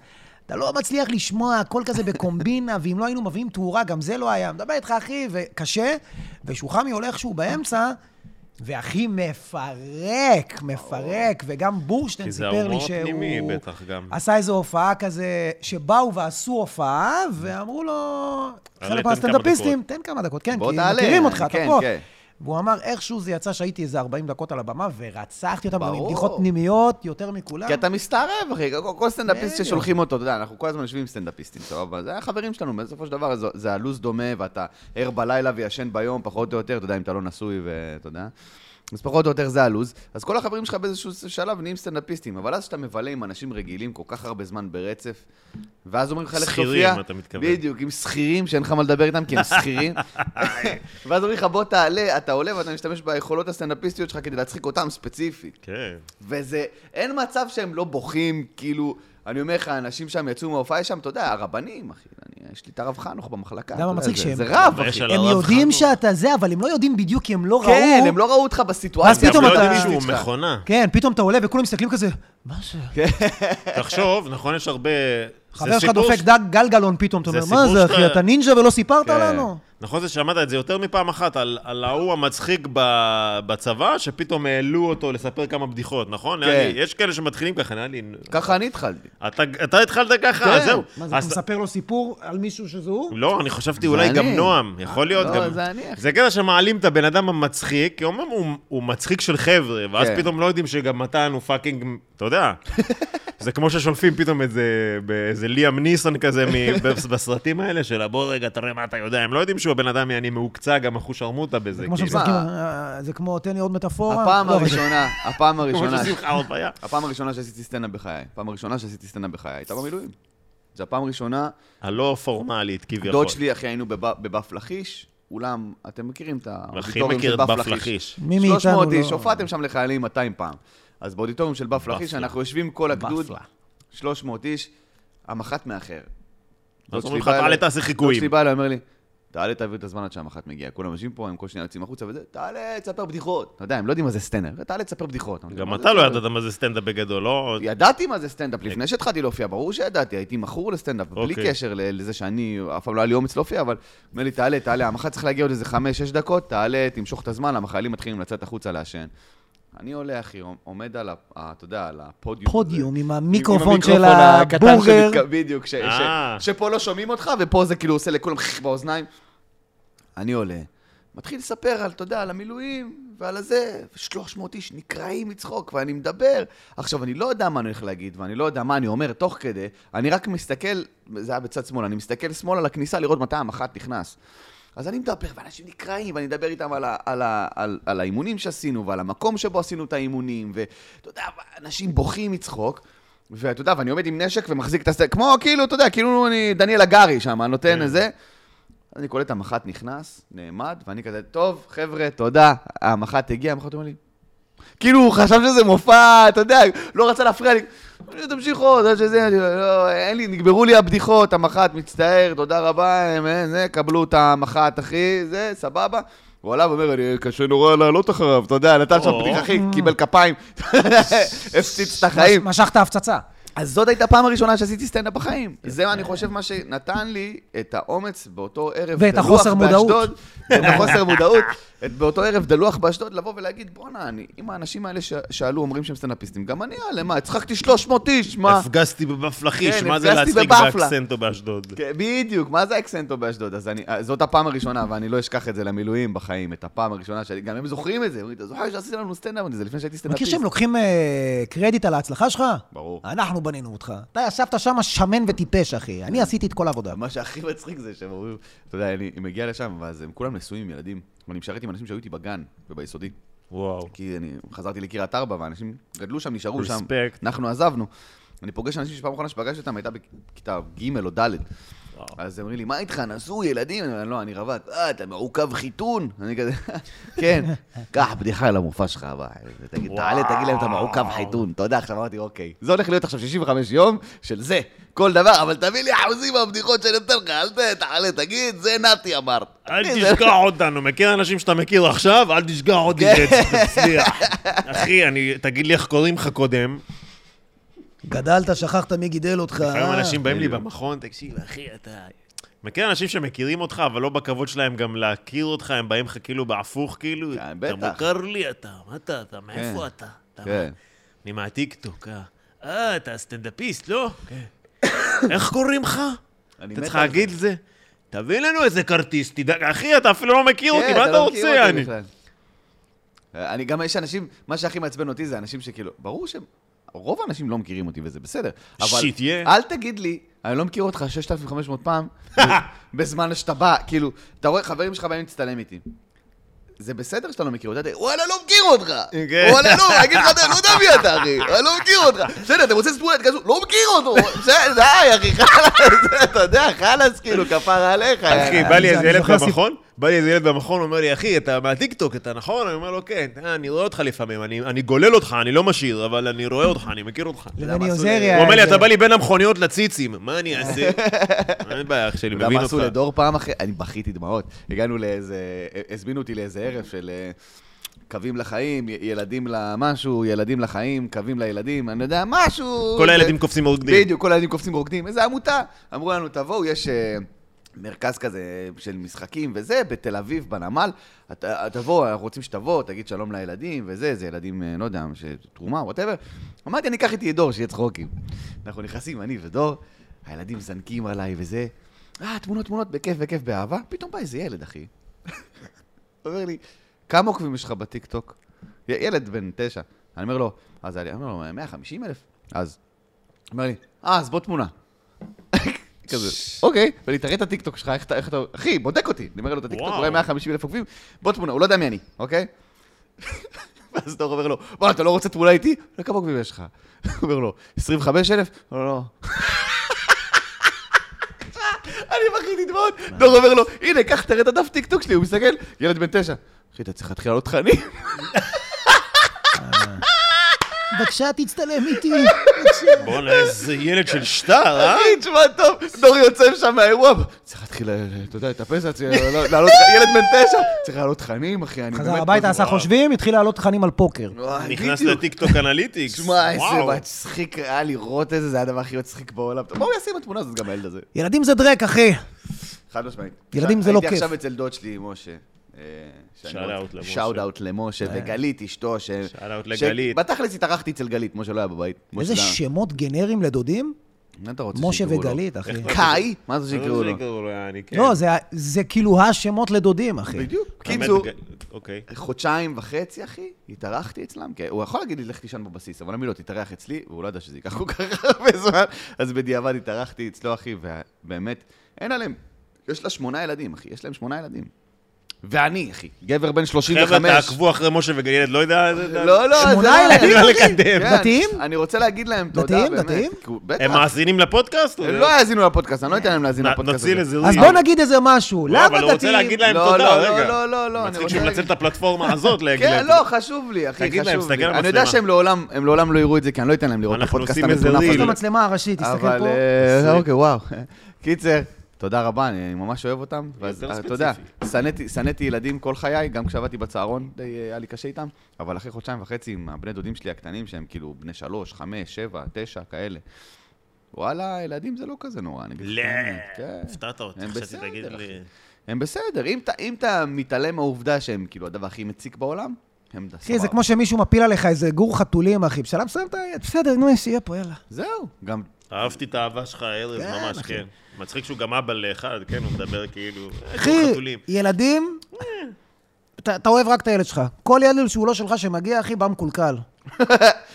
אתה לא מצליח לשמוע, הכל כזה בקומבינה, [laughs] ואם לא היינו מביאים תאורה, גם זה לא היה. מדבר איתך, אחי, וקשה, ושוחמי הולך שהוא באמצע, והכי מפרק, מפרק, וגם בורשטיין כי זה סיפר לי ההומור שהוא... הפנימי, בטח, גם. עשה איזו הופעה כזה, שבאו ועשו הופעה, ואמרו לו, תן חלק כמה מהסטנדאפיסטים, תן כמה דקות, כן, בוא כי תעלה, מכירים אותך, אתה כן, פה. כן. והוא אמר, איכשהו זה יצא שהייתי איזה 40 דקות על הבמה, ורצחתי אותם גם עם ברור. בדיחות פנימיות יותר מכולם. כי אתה מסתערב, אחי, כל- כל סטנדאפיסט בדיוק. ששולחים אותו, אתה יודע, אנחנו כל הזמן יושבים עם סטנדאפיסטים, סבבה? זה החברים שלנו, בסופו של דבר זה- זה הלו"ז דומה, ואתה ער בלילה וישן ביום, פחות או יותר, אתה יודע, אם אתה לא נשוי ואתה יודע. אז פחות או יותר זה הלו"ז. אז כל החברים שלך באיזשהו שלב נהיים סטנדאפיסטים, אבל אז כשאתה מבלה עם אנשים רגילים כל כך הרבה זמן ברצף, ואז אומרים לך לך שכירים, סופיה, אתה מתכוון. בדיוק, עם שכירים שאין לך מה לדבר איתם, כי הם [laughs] שכירים. ואז אומרים לך, בוא תעלה, אתה עולה ואתה משתמש ביכולות הסטנדאפיסטיות שלך כדי להצחיק אותם ספציפית. כן. וזה, אין מצב שהם לא בוכים, כאילו, אני אומר לך, אנשים שם יצאו מההופעה, יש שם, אתה יודע, הרבנים, אחי, אני, יש לי את הרב חנוך במחלקה. למה אתה יודע, מצחיק זה- שהם- זה רב, אבל אחי. יש על הם הרב יודעים חנוך. שאתה זה, אבל הם לא יודעים בדיוק, כי הם לא ראו. כן, הם לא ראו אותך ואז בסיטואציה. הם פתאום לא אתה- יודעים שהוא שלך. מכונה. כן, פתאום אתה עולה וכולם מסתכלים כזה, מה זה? כן. תחשוב, נכון, יש הרבה... זה חבר שלך סיפור דופק ש- דג גלגלון פתאום, אתה זה אומר, מה סיפור זה, שאתה- אחי, אתה נינג'ה ולא סיפרת כן. לנו? נכון זה שמעת את זה יותר מפעם אחת, על, על ההוא המצחיק ב, בצבא, שפתאום העלו אותו לספר כמה בדיחות, נכון? כן. נראה לי, יש כאלה שמתחילים ככה, נראה לי... ככה אני התחלתי. אתה, אתה התחלת ככה, כן. אז זהו. מה זה, אתה אז- מספר לו סיפור על מישהו שזה הוא? לא, אני חשבתי אולי אני. גם נועם, יכול להיות לא, גם... זה אני, אחי. זה קטע שמעלים את הבן אדם המצחיק, כי אומרים, הוא, הוא מצחיק של חבר'ה, ואז כן. פתאום לא יודעים שגם מתן הוא פאקינג, אתה [laughs] יודע. זה כמו ששולפים פתאום איזה, באיזה ליאם ניסון כזה [laughs] מ- בסרטים האלה של בוא רגע, תראה מה אתה יודע. הם לא יודעים שהוא הבן אדם, יעני מהוקצע, גם אחו שרמוטה בזה. זה כמו כאילו. שמשחקים, מה? אה, זה כמו, תן לי עוד מטאפורה. הפעם לא, אבל זה- הראשונה, [laughs] הפעם כמו "אה, הראשונה, ששמחה הופעה. הפעם הראשונה שעשיתי סצנה בחיי, הפעם הראשונה שעשיתי סצנה בחיי, הייתה במילואים. זו הפעם הראשונה, הלא פורמלית, כביכול. דוד שלי, אחי, היינו בב- בבף לכיש, אולם, אתם מכירים את הכי האודיטוריום מכיר של את בף בף לכיש. לכיש. מי מאיתנו 300 איש, לא- הופעתם שם לחיילים 200 פעם. אז באודיטוריום של בפלה חיש, בפלה. אנחנו יושבים כל הגדוד, בפלה. 300 איש, המח"ט מאחר. דוד אומרים לך, שלי בא "תעלה, אליי- תעשה דוד חיקויים". שלי בא אליי, אומר לי, תעלה, תעביר את הזמן עד שהמח"ט מגיע. כולם יושבים פה, הם כל שניה יוצאים החוצה וזה, תעלה, תספר בדיחות. אתה יודע, הם לא יודעים מה זה סטנר, תעלה, תספר בדיחות. אני אומר, גם "מה זה אתה לא סטנדאפ?" ידעת מה זה סטנדאפ בגדול, לא? ידעתי מה זה סטנדאפ לפני שהתחלתי להופיע, ברור שידעתי, הייתי מכור לסטנדאפ, בלי אוקיי. קשר ל- לזה שאני, אף פעם לא היה לי אומץ להופיע, אבל אומר לי, תעלה, תעלה, המח"ט צריך להגיע עוד איזה חמש-שש דקות, תעלה, תמשוך את הזמן, החיילים מתחילים לצאת החוצה לעשן. אני עולה, אחי, עומד על, ה- ה- אתה יודע, על הפודיום. פודיום הזה. עם עם- עם המיקרופון של המיקרופון הקטן הבורגר. שמתק- בדיוק, ש- ש- אה. [laughs] שפה לא שומעים אותך, ופה זה כאילו עושה לכולם באוזניים. אני עולה, מתחיל לספר על, אתה יודע, על המילואים ועל הזה, ו-300 איש נקרעים מצחוק, ואני מדבר. עכשיו, אני לא יודע מה אני הולך להגיד, ואני לא יודע מה אני אומר תוך כדי, אני רק מסתכל, זה היה בצד שמאל, אני מסתכל שמאלה לכניסה לראות מתי המח"ט נכנס. אז אני מדבר, ואנשים נקרעים, ואני אדבר איתם על, ה, על, ה, על, על האימונים שעשינו, ועל המקום שבו עשינו את האימונים, ואתה יודע, אנשים בוכים מצחוק. ואתה יודע, ואני עומד עם נשק ומחזיק את הסטייק, כמו כאילו, אתה יודע, כאילו אני דניאל הגרי שם, אני נותן כן. איזה. אני קולט המח"ט נכנס, נעמד, ואני כזה, טוב, חבר'ה, תודה. המח"ט הגיע, המח"ט אומר לי, כאילו, הוא חשב שזה מופע, אתה יודע, לא רצה להפריע לי. תמשיכו, עוד, עד שזה, אני, לא, אין לי, נגמרו לי הבדיחות, המח"ט, מצטער, תודה רבה, הם, אה, זה, קבלו את המח"ט, אחי, זה, סבבה. הוא עלה ואומר, אני קשה נורא לעלות אחריו, אתה יודע, נתן שם או. פתיחי, קיבל כפיים, [laughs] הפציץ את החיים. משך את ההפצצה. אז זאת הייתה הפעם הראשונה שעשיתי סטנדאפ בחיים. כן. זה, אני חושב, מה שנתן לי את האומץ באותו ערב ואת החוסר מודעות. באשדוד, את החוסר מודעות, את- באותו ערב דלוח באשדוד, לבוא ולהגיד, בואנה, אני- אם האנשים האלה ש- שעלו אומרים שהם סטנדאפיסטים, גם אני אעלה, מה, הצחקתי 300 איש, מה? הפגזתי בבפלחיש, כן, מה זה הפגזתי להצחיק בבפלה. באקסנטו באשדוד? כן, בדיוק, מה זה אקסנטו באשדוד? אז אני, אה, זאת הפעם הראשונה, ואני לא אשכח את זה למילואים בחיים, את הפעם הראשונה, שאני- גם הם זוכרים את זה, אומרים, אתה זוכר שעשית לנו סטנדאפ, זה לפני שהייתי מכיר סטנדאפיסט. שהם לוקחים אה, קרדיט על ההצלחה שלך? ברור. אנחנו בנינו אותך. אתה ישבת שם שמן וטיפש, אחי. אני עשיתי את כל העבודה. מה שהכי מצחיק זה שהם אומרים, אתה יודע, אני מגיע לשם, ואז הם כולם נשואים עם ילדים. ואני משרת עם אנשים שהיו איתי בגן וביסודי. וואו. כי אני חזרתי לקריית ארבע, ואנשים גדלו שם, נשארו שם. Respect. אנחנו עזבנו. אני פוגש אנשים שפעם אחרונה שפגשתי אותם הייתה בכיתה ג' או ד'. אז הם אומרים לי, מה איתך, נשוי, ילדים? אני אומר, לא, אני רווק. אה, אתה מעוכב חיתון? אני כזה, [laughs] כן. קח בדיחה למופע שלך, אבל. תגיד, תעלה, תגיד להם, אתה מעוכב חיתון. אתה יודע, עכשיו אמרתי, אוקיי. זה הולך להיות עכשיו 65 יום של זה, כל דבר, אבל תביא לי אחוזים מהבדיחות שאני נותן לך, אל ת- תעלה, תגיד, זה נתי אמרת. אל תשגע אותנו, מכיר אנשים שאתה מכיר עכשיו? אל תשגע אותי, כן. תצליח. אחי, אני- תגיד לי איך קוראים לך קודם. גדלת, שכחת מי גידל אותך. לפעמים אה? אנשים באים לי במכון, תקשיב, אחי, אתה... מכיר אנשים שמכירים אותך, אבל לא בכבוד שלהם גם להכיר אותך, הם באים לך כאילו בהפוך, כאילו, כן, אתה בטח. מוכר לי, אתה, מה אתה, אתה, מאיפה אתה? אתה- כן. אני מהטיקטוק, אה? אה, אתה סטנדאפיסט, לא? איך קוראים לך? כן. אני אתה מת צריך על להגיד את זה. תביא לנו איזה כרטיס, תדאג, אחי, אתה אפילו לא מכיר אותי, כן, מה אתה לא מכיר רוצה, אותי אני? בכלל. אה, אני גם, יש אנשים, מה שהכי מעצבן אותי זה אנשים שכאילו, ברור שהם, רוב האנשים לא מכירים אותי וזה בסדר. אבל שיט, יא. אל תגיד לי, אני לא מכיר אותך 6,500 פעם, [laughs] בזמן שאתה בא, כאילו, אתה רואה, חברים שלך באים להצטלם איתי. זה בסדר שאתה לא מכיר אותי, אתה- וואלה, לא מכיר אותך. כן. וואלה, לא, אני אגיד לך, אתה לא יודע מי אתה, אחי. אני לא מכיר אותך. בסדר, אתם רוצים ספורט כזו, לא מכיר אותו. [laughs] בסדר, די, אחי, [laughs] חלאס, אתה יודע, חלאס, כאילו, כפרה עליך. אחי, יאללה. בא לי אני- איזה אני ילד זוכר סיפ- במכון, בא לי איזה ילד במכון, אומר לי, אחי, אתה מהטיקטוק, אתה נכון? אני אומר לו, כן, אה, אני רואה אותך לפעמים, אני אני גולל אותך, אני לא משאיר, אבל אני רואה אותך, אני מכיר אותך. למה לבני עשו עוזריה. לי- הוא אומר לי, איזה- אתה בא לי בין המכוניות לציצים, מה אני [laughs] אעשה? אין בעיה, אח שלי, אתה יודע מבין מה עשו אותך. לדור פעם אחרי? אני בכיתי דמעות. הגענו לאיזה... הזמינו אותי לאיזה ערב של אה, קווים לחיים, י- ילדים למשהו, ילדים לחיים, קווים לילדים, אני יודע, משהו... כל זה- הילדים קופצים ורוקדים. בדיוק, כל הילדים קופצים ורוקדים. איזה עמותה. אמרו לנו, תבואו, יש... אה, מרכז כזה של משחקים וזה, בתל אביב, בנמל. ת- תבוא, אנחנו רוצים שתבוא, תגיד שלום לילדים וזה, זה ילדים, אה, לא יודע, ש- תרומה, וואטאבר. אמרתי, אני אקח איתי את דור, שיהיה צחוקים. אנחנו נכנסים, אני ודור, הילדים מזנקים עליי וזה. אה, תמונות, תמונות, בכיף, בכיף, באהבה. פתאום בא איזה ילד, אחי. אומר לי, כמה עוקבים יש לך בטיקטוק? י- ילד בן תשע. אני אומר לו, אז אני אומר לו, 150 אלף? אז. אומר לי, אה, אז בוא תמונה. [laughs] כזה, אוקיי, ואני תראה את הטיקטוק שלך, איך אתה, איך אתה, אחי, בודק אותי. אני אומר לו את הטיקטוק, וואו. הוא רואה 150 אלף עוקבים, בוא תמונה, הוא לא יודע מי אני, אוקיי? [laughs] ואז דור אומר לו, בוא, אתה לא רוצה תמונה איתי? "לא, כמה עוקבים יש לך? [laughs] הוא אומר לו, 25 אלף? לא, לא. [laughs] אני מכין דמעות, דור אומר לו, הנה, קח, תראה את הדף טיקטוק שלי, הוא מסתכל, ילד בן תשע. אחי, אתה צריך להתחיל לעלות תכנים. בבקשה, תצטלם [laughs] איתי. בואנה, איזה ילד של שטר, אה? אחי, תשמע טוב, דור יוצא משם מהאירוע, צריך להתחיל, אה, אתה יודע, לטפס, עד שלא- לעלות, ילד בן תשע, צריך לעלות תכנים, אחי, אני באמת... חזר הביתה, עשה חושבים, התחיל לעלות תכנים על פוקר. וואי, נכנס אה, בדיוק. לטיקטוק אנליטיקס. תשמע, איזה וואו. מצחיק היה לראות את זה, זה היה הדבר הכי מצחיק בעולם. מה הוא יעשה עם התמונה הזאת, גם הילד הזה? ילדים זה דרק, אחי. חד משמעית. ילדים זה לא כיף. הייתי עכשיו אצל דוד שלי, משה. אה, Shout out למשה. שאוד אאוט למשה, אה. וגלית אשתו, ש... Shout out ש- לגלית. בתכלס התארחתי אצל גלית, משה לא היה בבית. משה איזה זה היה- שמות גנריים לדודים? מה אתה רוצה משה שיקראו לו? וגלית, אחי. קאי? מה זה שיקראו לו? שיקראו אה, לו, יעני, לא? כן. לא, זה- זה כאילו השמות לדודים, אחי. בדיוק. באמת, קיצור, ג- אוקיי. חודשיים וחצי, אחי, התארחתי אצלם. כי הוא יכול להגיד לי, לך תישן בבסיס, אבל אמרתי לו, תתארח אצלי, והוא לא ידע שזה ייקח כל כך הרבה זמן, אז בדיעבד התארחתי אצלו, אחי, ובאמת, אין עליהם. יש לה שמונה ילדים, אחי, יש להם שמונה ילדים. ואני, אחי, גבר בן 35. חבר'ה, תעקבו אחרי משה וגלילד, לא יודע... זה- זה- לא, לא, שמונה זה לא- ילדים, לא אחי? לקדם. כן, דתיים? אני רוצה להגיד להם תודה, דתיים, באמת. דתיים? כי הוא- בטח. הם מאזינים לפודקאסט? אה, הם לא יאזינו לפודקאסט, אני לא אתן להם להאזין נ- לפודקאסט הזה. נוציא לזה אז ריב. בוא נגיד איזה משהו. לא, אבל למה הוא רוצה דתיים? להגיד להם לא, תודה, לא, רגע. לא, לא, לא, אני מצחיק רוצה שהוא מנצל להגיד- את [laughs] הפלטפורמה הזאת להגיד כן, להם לא, תודה. חשוב לי, אחי, תגיד חשוב להם, תסתכל לי. על אני יודע המצלמה. שהם לעולם, הם לעולם לא יראו את זה, כי אני לא אתן להם לראות את אנחנו הפודקאסט עושים איזה המטונף ריל. יש הזה. לו מצלמה הראשית, תסתכל אבל, פה. אה, עשרים. אוקיי, וואו. קיצר, תודה רבה, אני אני ממש אוהב אותם. ואז, יותר אה, ספציפי. אתה יודע, שנאתי- שנאתי ילדים כל חיי, גם כשעבדתי בצהרון, די אה, היה לי קשה איתם, אבל אחרי חודשיים וחצי עם הבני דודים שלי הקטנים, שהם כאילו בני שלוש, חמש, שבע, תשע, כאלה. וואלה, ילדים זה לא כזה נורא, אני אגיד לך. לא, את האמת, כן. הפתעת אותי, הם חשבתי תגיד בסדר, לי... הם בסדר, אם אתה- אם אתה מתעלם מהעובדה שהם כאילו הדבר הכי מציק בעולם, הם סבבה. אחי, זה כמו שמישהו מפיל עליך איזה גור חתולים, אחי. בשלב מסוים אתה... בסדר, נו, שיהיה פה, יאללה. זהו, גם אהבתי את האהבה שלך, ארז, כן, ממש, אחי. כן. מצחיק שהוא גם אבא לאחד, כן, הוא מדבר כאילו... אחי, חתולים. ילדים, אתה אתה אוהב רק את הילד שלך. כל ילד שהוא לא שלך שמגיע, אחי, בא מקולקל. [laughs]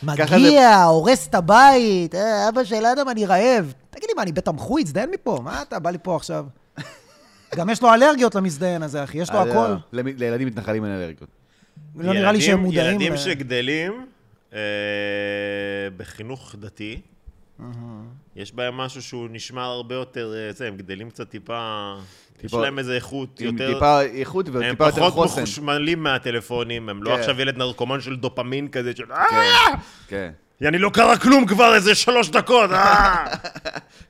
מגיע, הורס את הבית, אה, אבא של אדם, אני רעב. תגיד לי, מה, אני בתמחוי? הזדיין מפה? מה אתה בא לי פה [laughs] עכשיו? גם יש לו אלרגיות למזדיין הזה, אחי, יש לו אה, הכל. למ- לילדים מתנחלים אין אלרגיות. לא נראה לי שהם ילדים- מודעים. ילדים ל- שגדלים אה, בחינוך דתי, יש בהם משהו שהוא נשמע הרבה יותר, אה, זה, הם גדלים קצת טיפה, יש טיפה- להם איזה איכות עם יותר... טיפה איכות הם וטיפה יותר פחות חוסן. מחושמלים מהטלפונים, הם לא כן. עכשיו ילד נרקומן של דופמין כזה, של כן, "אה, כן. יעני, לא קרה כלום כבר איזה שלוש דקות, [laughs] אה!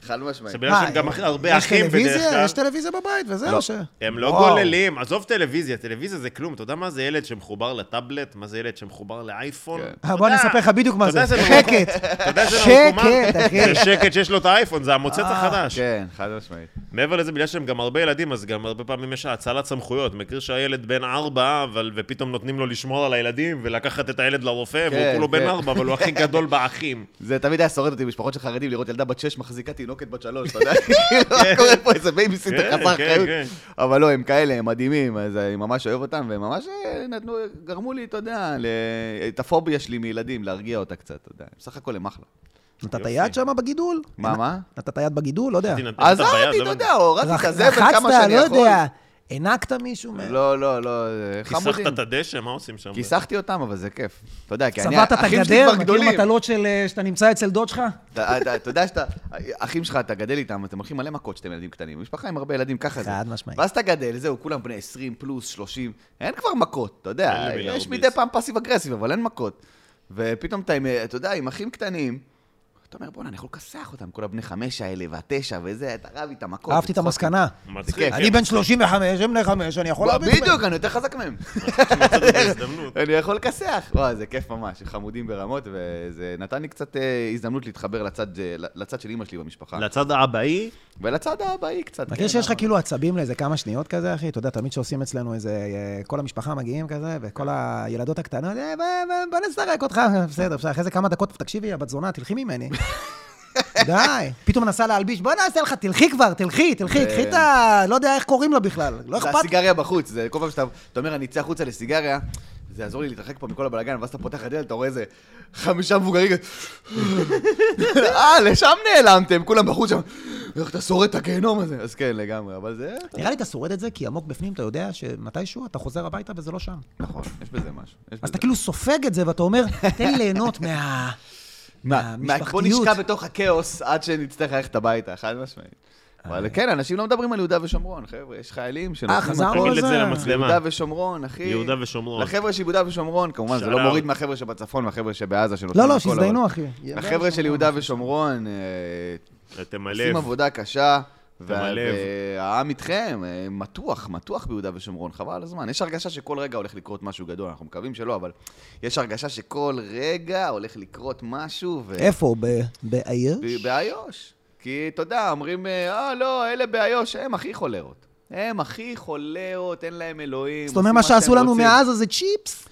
חד משמעית. זה בגלל שהם מה, אה, גם הכי- הרבה אחים יש בדרך טלוויזיה? כלל. יש טלוויזיה בבית, וזהו לא. ש... הם לא וואו. גוללים, עזוב טלוויזיה, טלוויזיה זה כלום, אתה יודע מה זה ילד שמחובר לטאבלט? מה זה ילד שמחובר לאייפון? כן. אתה אה, בוא אני יודע- אספר לך בדיוק מה אתה זה. יודע [laughs] איזה שקט. אתה יודע שזה שקט, נרקומן? אחי. זה שקט שיש לו את האייפון, זה המוצץ החדש. כן, חד משמעית. מעבר לזה, בגלל שהם גם הרבה ילדים, אז גם הרבה פעמים יש האצלת סמכויות. מכיר שהילד בן ארבע, אבל ופתאום נותנים לו לשמור על הילדים ולקחת את הילד לרופא, והוא כן, כולו בן כן. ארבע, אבל הוא הכי גדול [laughs] באחים. זה תמיד היה שורט אותי במשפחות של חרדים לראות ילדה בת שש מחזיקה תינוקת בת שלוש, [laughs] אתה יודע? כאילו, מה קורה פה איזה בייביסיטר כן, חסר כן, אחריות. כן. אבל לא, הם כאלה, הם מדהימים, אז אני ממש אוהב אותם, והם ממש אה, נתנו, גרמו לי, אתה יודע, ל- את הפוביה שלי מילדים, להרגיע אותה קצת, אתה יודע. בסך הכל הם אחלה. נתת יד שם בגידול? מה, מה? נתת יד בגידול? לא יודע. נתת אז את הבעיה, אהבתי, לא אתה הבנתי. יודע, הורדתי את רח- הזבל כמה שאני לא יכול. יודע. הענקת מישהו? מה- לא, לא, לא, זה חמודים. כיסחת את הדשא, מה עושים שם? כיסחתי אותם, אבל זה כיף. אתה יודע, כי אני, צבעת את האחים שלי הגדר, כבר מכיר גדולים. מטלות של... אה, שאתה נמצא אצל דוד שלך? אתה אתה- אתה יודע שאתה, אחים שלך, אתה גדל איתם, אתם הולכים מלא מכות שאתם ילדים קטנים. משפחה עם הרבה ילדים, ככה זה. חד משמעית. ואז אתה גדל, זהו, כולם בני 20 פלוס, 30, אין כבר מכות, אתה יודע, אין למי יש להרביץ. מדי פעם פאסיב אגרסיב, אבל אין מכות. ופתאום אתה, עם, אתה יודע, עם אחים קטנים, אתה אומר, בואנה, אני יכול לכסח אותם, כל הבני חמש האלה והתשע וזה, אתה רב איתם, מכות. אהבתי את וצחוקים. המסקנה. מצחיק, כן, זה כיף. אני בן 35, הם בני 5, אני יכול להבין. לא, בדיוק, אני יותר חזק מהם. מצאתי [laughs] הזדמנות. אני יכול לכסח. וואי, זה כיף ממש, הם חמודים ברמות, וזה נתן לי קצת אה, הזדמנות להתחבר לצד, אה, לצד של אימא שלי במשפחה. לצד האבאי, ולצד האבאי קצת. מכיר כן, שיש לך אבל- כאילו עצבים לאיזה כמה שניות כזה, אחי? אתה יודע, תמיד שעושים אצלנו איזה... אה, כל המשפחה מגיעים כזה, וכל הילדות הקטנות, "אה, בוא- בוא- בוא נזרק אותך, בסדר, בסדר. אחרי זה כמה דקות, תקשיבי, הבת זונה, תלכי [laughs] ממני. די. פתאום מנסה להלביש, בוא נעשה לך, תלכי כבר, תלכי, תלכי, זה- קחי את ה... לא יודע איך קוראים לה בכלל, לא כן. זה אכפת. הסיגריה בחוץ, זה כל פעם שאתה אתה אומר, אני אצא החוצה לסיגריה, זה יעזור לי להתרחק פה מכל הבלאגן, ואז אתה פותח את הדלת, אתה רואה איזה חמישה מבוגרים, כזה, אה, לשם נעלמתם, כולם בחוץ שם, איך אתה שורד את הגיהנום הזה? אז כן, לגמרי, אבל זה... נראה לי אתה שורד את זה, כי עמוק בפנים אתה יודע שמתישהו אתה חוזר הביתה וזה לא שם. נכון, יש בזה משהו. יש אז בזה. אתה כאילו סופג את זה, ואתה אומר, תן לי ליהנות מה... מה- מה- בוא מהמשפחתיות. נשקע בתוך הכאוס עד שנצטרך ללכת הביתה, חד משמעית. אבל כן, אנשים לא מדברים על יהודה ושומרון, חבר'ה, יש חיילים שנותנים אה, חזרנו הכל. תגיד את זה זה- למצלמה. יהודה ושומרון, אחי. יהודה ושומרון. לחבר'ה של יהודה ושומרון, כמובן, זה לא שלום. מוריד מהחבר'ה שבצפון והחבר'ה שבעזה שנותנים לא, לא, הכל, שיזדיינו, אבל- אחי. החבר'ה של יהודה ושומרון אה, עושים תמלא. עבודה קשה, וה- הלב. והעם איתכם, אה, מתוח, מתוח ביהודה ושומרון, חבל על הזמן. יש הרגשה שכל רגע הולך לקרות משהו גדול, אנחנו מקווים שלא, אבל יש הרגשה שכל רגע הולך לקרות משהו, ו... איפה? ב- באיו"ש? ב- באיו"ש. כי אתה יודע, אומרים, אה, לא, אלה באיו"ש, הם הכי חולרות. הם הכי חולרות, אין להם אלוהים. זאת אומרת, עושים מה שעשו שהם לנו רוצים. מעזה זה צ'יפס?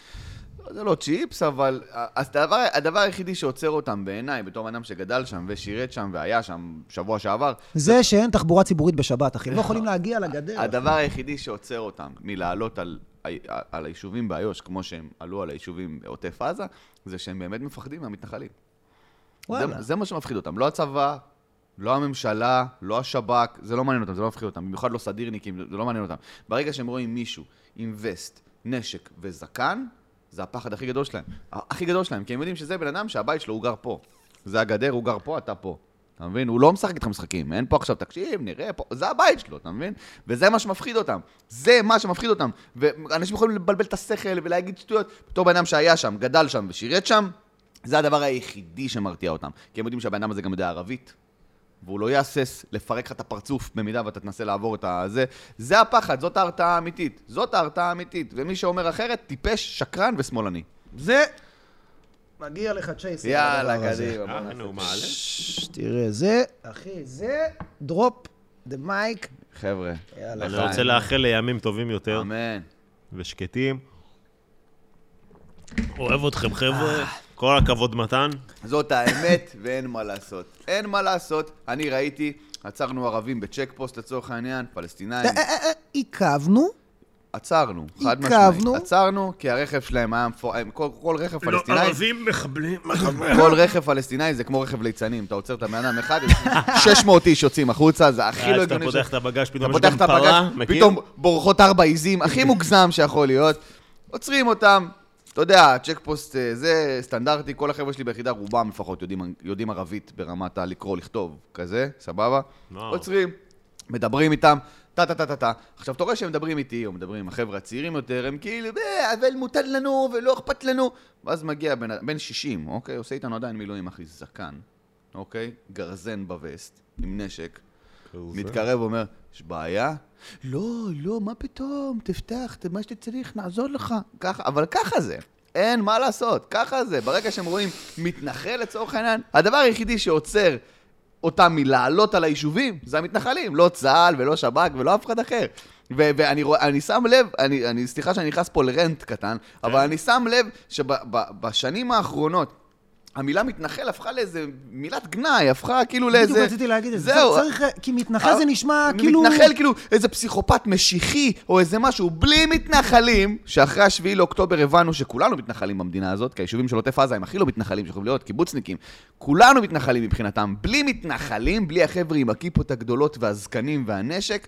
זה לא צ'יפס, אבל אז הדבר, הדבר היחידי שעוצר אותם בעיניי, בתור אדם שגדל שם ושירת שם והיה שם שבוע שעבר, זה שאין תחבורה ציבורית בשבת, אחי. הם לא יכולים להגיע לגדר. הדבר היחידי שעוצר אותם מלעלות על, אה, על היישובים באיו"ש, כמו שהם עלו על היישובים בעוטף עזה, זה שהם באמת מפחדים מהמתנחלים. זה, וואלה. זה מה שמפחיד אותם. לא הצבא, לא הממשלה, לא השב"כ, זה לא מעניין אותם, זה לא מפחיד אותם. במיוחד לא סדירניקים, זה לא מעניין אותם. ברגע שהם רואים מישהו עם וסט, נשק וזקן, זה הפחד הכי גדול שלהם. ה- הכי גדול שלהם, כי הם יודעים שזה בן אדם שהבית שלו הוא גר פה. זה הגדר, הוא גר פה, אתה פה. אתה מבין? הוא לא משחק איתך משחקים, אין פה עכשיו, תקשיב, נראה פה, זה הבית שלו, אתה מבין? וזה מה שמפחיד אותם, זה מה שמפחיד אותם. ואנשים יכולים לבלבל את השכל ולהגיד שטויות. בתור בן אדם שהיה שם, גדל שם ושירת שם, זה הדבר היחידי שמרתיע אותם. כי הם יודעים שהבן אדם הזה גם יודע ערבית, והוא לא יהסס לפרק לך את הפרצוף במידה ואתה תנסה לעבור את הזה. זה הפחד, זאת ההרתעה האמיתית. זאת ההרתעה האמיתית. ומי שאומר אחרת, טיפש, שקרן ושמאלני. זה... מגיע לך צ'ייס. יאללה, הדבר הזה. קדימה. בוא אה, נעשה נו, את מה, זה. עלה? ש- תראה, זה, אחי, זה דרופ דה מייק. חבר'ה, יאללה, אני חיים. רוצה לאחל לימים טובים יותר אמן. ושקטים. אוהב אתכם, חבר'ה. אה. כל הכבוד, מתן. זאת האמת, ואין מה לעשות. אין מה לעשות. אני ראיתי, עצרנו ערבים בצ'ק פוסט לצורך העניין, פלסטינאים. אה, אה, אה, עיכבנו, עצרנו, חד משמעית. עיכבנו. עצרנו, כי הרכב שלהם היה מפואר, כל כל רכב פלסטיני... לא, ערבים מחבלים. אה, [laughs] כל רכב פלסטיני זה כמו רכב ליצנים, אתה עוצר את הבן אדם אחד, [laughs] 600 איש יוצאים החוצה, זה הכי לא אז אה, אתה הגיוני. ש- פותח את הבגש, אתה פתאום יש פותח גם את הפגש, פרה, מכיר? פתאום בורחות ארבע עיזים, הכי מוגזם שיכול להיות. עוצרים אותם, אתה יודע, צ'ק פוסט אה, זה סטנדרטי, כל החבר'ה שלי ביחידה, רובם לפחות יודעים- יודעים ערבית ברמת הלקרוא, לכתוב, כזה, סבבה? וואו. עוצרים, מדברים איתם. טה טה טה טה טה. עכשיו, אתה רואה שהם מדברים איתי, או מדברים עם החבר'ה הצעירים יותר, הם כאילו, "אה, אבל מותר לנו, ולא אכפת לנו. ואז מגיע בן, בן 60, אוקיי? עושה איתנו עדיין מילואים, אחי, זקן, אוקיי? גרזן בווסט, עם נשק. אוקיי. מתקרב, אומר, יש בעיה? לא, לא, מה פתאום, תפתח, ת- מה שצריך, נעזור לך. ככה, אבל ככה זה. אין מה לעשות, ככה זה. ברגע שהם רואים מתנחל לצורך העניין, הדבר היחידי שעוצר אותם מלעלות על היישובים זה המתנחלים, לא צה"ל ולא שב"כ ולא אף אחד אחר. ו- ואני רוא- אני שם לב, אני, אני, סליחה שאני נכנס פה לרנט קטן, כן. אבל אני שם לב שבשנים האחרונות, המילה מתנחל הפכה לאיזה מילת גנאי, הפכה כאילו לאיזה... בדיוק רציתי להגיד את זה. זהו, אה, צריך, אה, כי מתנחל זה נשמע כאילו... מתנחל כאילו איזה פסיכופת משיחי, או איזה משהו, בלי מתנחלים, שאחרי השביעי לאוקטובר הבנו שכולנו מתנחלים במדינה הזאת, כי היישובים של עוטף עזה הם הכי לא מתנחלים שיכולים להיות, קיבוצניקים. כולנו מתנחלים מבחינתם. בלי מתנחלים, בלי החבר'ה עם הכיפות הגדולות והזקנים והנשק,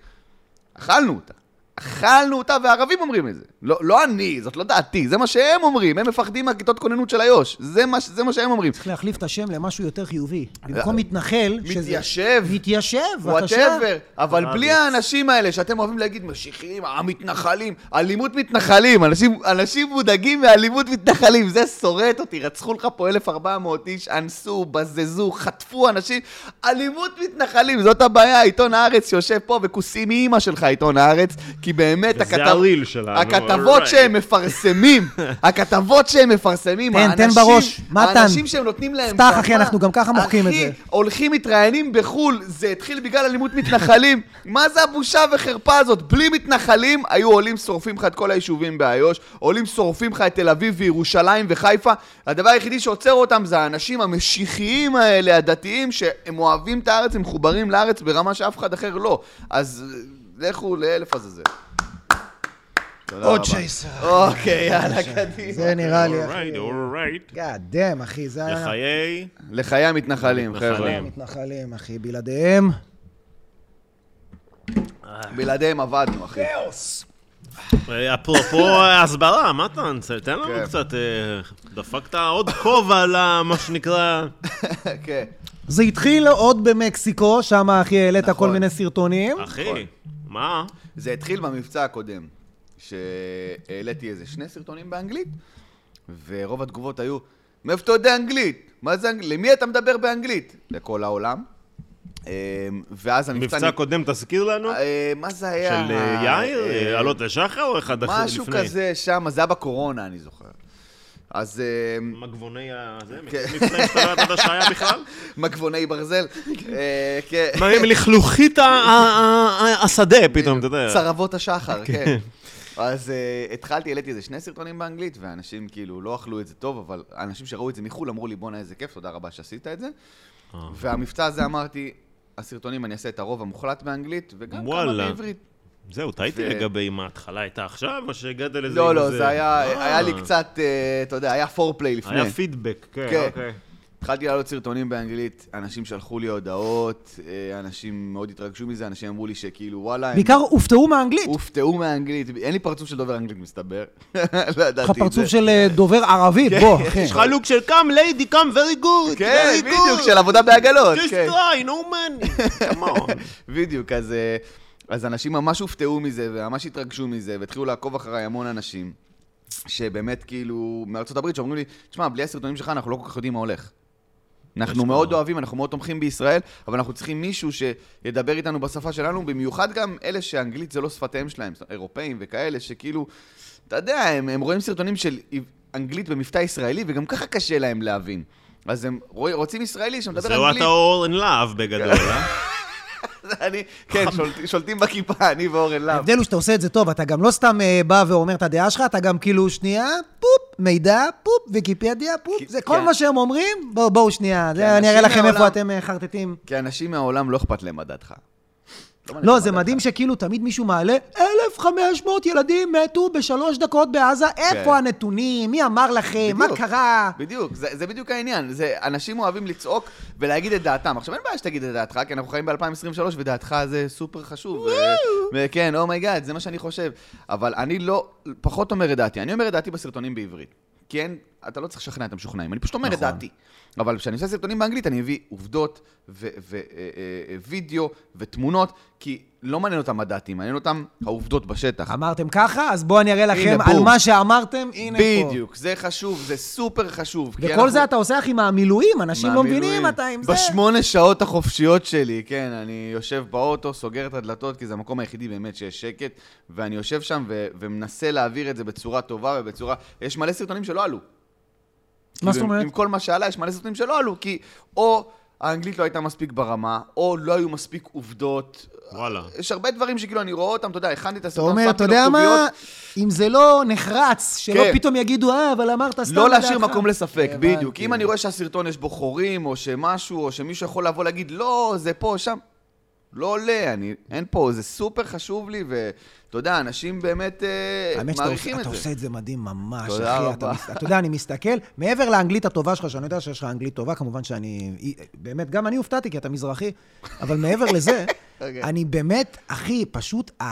אכלנו אותה. אכלנו אותה, והערבים אומרים את זה. לא, לא אני, זאת לא דעתי, זה מה שהם אומרים. הם מפחדים מהכיתות כוננות של איו"ש. זה מה, ש- זה מה שהם אומרים. צריך להחליף את השם למשהו יותר חיובי. במקום מתנחל, שזה... אה, מתיישב. מתיישב, בבקשה. וואטאבר, אבל רביץ. בלי האנשים האלה שאתם אוהבים להגיד משיחיים, המתנחלים, אלימות מתנחלים, אנשים, אנשים מודאגים מאלימות מתנחלים, זה שורט אותי, רצחו לך פה 1,400 איש, אנסו, בזזו, חטפו אנשים, אלימות מתנחלים, זאת הבעיה, עיתון הארץ שיושב פה וכוסים מאימא שלך עיתון הארץ, כי באמת וזה הריל שלנו, הכתבות alright. שהם מפרסמים, הכתבות שהם מפרסמים, תן, תן האנשים- בראש, מתן. האנשים שהם נותנים להם פתח, אחי, במה, אנחנו גם ככה מוחקים את אחי, זה. הולכים, מתראיינים בחו"ל, זה התחיל בגלל אלימות מתנחלים. [laughs] מה זה הבושה וחרפה הזאת? בלי מתנחלים, היו עולים, שורפים לך את כל היישובים באיו"ש, עולים, שורפים לך את תל אביב וירושלים וחיפה. הדבר היחידי שעוצר אותם זה האנשים המשיחיים האלה, הדתיים, שהם אוהבים את הארץ, הם מחוברים לארץ ברמה שאף אחד אחר לא. אז אה, לכו לאלף עזאזל. תודה עוד רבה. צ'ייסר. אוקיי, יאללה, קדימה. זה נראה לי, אחי. אורייט, אורייט. God damn, אחי, זה היה... לחיי. לחיי המתנחלים, חבר'ה. מתנחלים. המתנחלים, אחי, בלעדיהם. בלעדיהם עבדנו, אחי. כאוס. אה, אפרופו [laughs] הסברה, מתן, תן כן. לנו קצת, אה, דפקת עוד כובע למה שנקרא... כן. זה התחיל עוד במקסיקו, שם, אחי, העלית נכון. כל מיני סרטונים. אחי, מה? זה התחיל במבצע הקודם, שהעליתי איזה שני סרטונים באנגלית, ורוב התגובות היו, מאיפה אתה יודע אנגלית? מה זה אנגלית? למי אתה מדבר באנגלית? לכל העולם. אמ, ואז המבצע... מבצע נ- קודם תזכיר לנו? אה, מה זה היה? של אה, יאיר? אה, אה, עלות לשחר או אחד אחר לפני? משהו כזה שם, זה היה בקורונה, אני זוכר. [laughs] אז... אמ, מגבוני הזה? כן. מבצעים שאתה לא ידעת שהיה בכלל? [laughs] מגבוני ברזל. אה, כן. מראים לכלוכית ה- ה- ה- השדה פתאום, אתה יודע. צרבות השחר, כן. אז uh, התחלתי, העליתי איזה שני סרטונים באנגלית, ואנשים כאילו לא אכלו את זה טוב, אבל אנשים שראו את זה מחו"ל אמרו לי, בואנה, איזה כיף, תודה רבה שעשית את זה. והמבצע הזה אמרתי, הסרטונים, אני אעשה את הרוב המוחלט באנגלית, וגם כמה וואלה. בעברית. זהו, טעיתי ו- לגבי אם ההתחלה הייתה עכשיו, או שהגעת לזה... לא, עם לא, זה היה, אה, היה לי קצת, אה, אתה יודע, היה פורפליי לפני. היה פידבק, כן, כן. אוקיי. התחלתי לעלות סרטונים באנגלית, אנשים שלחו לי הודעות, אה, אנשים מאוד התרגשו מזה, אנשים אמרו לי שכאילו, וואלה, הם בעיקר הופתעו מהאנגלית. הופתעו מהאנגלית, אין לי פרצוף של דובר אנגלית, מסתבר. [laughs] לא ידעתי את זה. יש לך פרצוף של אה, כן. דובר ערבית, בוא, אחי. יש לך לוק של קאם, ליידי, קאם, very good, כן, very בדיוק, good. של עבודה בעגלות. Just כן. try, no [laughs] money. Come on. בדיוק, אז, אה, אז אנשים ממש הופתעו מזה, וממש התרגשו מזה, והתחילו לעקוב אחריי המון אנשים, שבאמת כאילו, מארצות הברית, שאומרים לי, תשמע, בלי הסרטונים שלך אנחנו לא כל כך יודעים מה הולך. אנחנו יש מאוד כבר. אוהבים, אנחנו מאוד תומכים בישראל, אבל אנחנו צריכים מישהו שידבר איתנו בשפה שלנו, במיוחד גם אלה שאנגלית זה לא שפתיהם שלהם, זאת- אירופאים וכאלה, שכאילו, אתה יודע, הם, הם רואים סרטונים של אנגלית במבטא ישראלי, וגם ככה קשה להם להבין. אז הם רוא- רוצים ישראלי שמדבר זהו, אנגלית. אתה all in love בגדול, אה? [laughs] [laughs] אני, כן, שולט- שולטים בכיפה, אני ואורן להב. ההבדל הוא שאתה עושה את זה טוב, אתה גם לא סתם אה, בא ואומר את הדעה שלך, אתה גם כאילו שנייה, פופ, מידע, פופ, ויקיפדיה, פופ, כי- זה כי כל ה- מה שהם אומרים, בואו, בואו שנייה, זה- אני אראה אנשים לכם איפה מהעולם- אתם אה, חרטטים. כי אנשים מהעולם לא אכפת להם מדעתך. נכון, לא, זה מדהים שכאילו תמיד מישהו מעלה, 1,500 ילדים מתו בשלוש דקות בעזה, איפה הנתונים, מי אמר לכם, מה כן. בדיוק. קרה? בדיוק, זה, זה בדיוק העניין. זה, אנשים אוהבים לצעוק ולהגיד את דעתם. עכשיו, אין בעיה שתגיד את דעתך, כי אנחנו חיים ב-2023, ודעתך זה סופר חשוב. ו- כן, וכן, אומייגאד, זה מה שאני חושב. אבל אני לא, פחות אומר את דעתי. אני אומר את דעתי בסרטונים בעברית. כי אין, אתה לא צריך לשכנע את המשוכנעים, אני פשוט אומר את נכון. דעתי. אבל כשאני עושה סרטונים באנגלית, אני מביא עובדות ווידאו אה, ותמונות, כי לא מעניין אותם הדעתי, מעניין אותם העובדות בשטח. אמרתם ככה, אז בואו אני אראה לכם הנה, על בום. מה שאמרתם, הנה פה. בדיוק, זה חשוב, זה סופר חשוב. כי וכל אנחנו- זה אתה עושה, אחי, מהמילואים, אנשים לא מהמילואים. מבינים, אתה עם זה. בשמונה שעות החופשיות שלי, כן, אני יושב באוטו, סוגר את הדלתות, כי זה המקום היחידי באמת שיש שקט, ואני יושב שם ו- ומנסה להעביר את זה בצורה טובה ובצורה... יש מלא סרטונים שלא עלו. מה כאילו, זאת עם- אומרת? עם כל מה שעלה, יש מלא סרטונים שלא עלו, כי או האנגלית לא הייתה מספיק ברמה, או לא היו מספיק עובדות. וואלה. יש הרבה דברים שכאילו אני רואה אותם, אתה יודע, הכנתי את אתה הסרטון, אומר, שמתי אתה לו יודע מה, כתוביות, אם זה לא נחרץ, שלא כן. פתאום יגידו, אה, אבל אמרת סתם לא להשאיר לדעתך." מקום לספק, הבנתי. בדיוק. אם אני רואה שהסרטון יש בו חורים, או שמשהו, או שמישהו יכול לבוא להגיד, לא, זה פה, שם. לא עולה, אני, אין פה, זה סופר חשוב לי, ואתה יודע, אנשים באמת אה, האמת שאתה עושה- מעריכים אתה את עושה זה. את זה מדהים ממש, תודה אחי. אתה רבה. מס- אתה יודע, אני מסתכל, מעבר לאנגלית הטובה שלך, שאני יודע שיש לך אנגלית טובה, כמובן שאני... באמת, גם אני הופתעתי, כי אתה מזרחי, אבל מעבר לזה, [laughs] אוקיי. אני באמת, אחי, פשוט ה...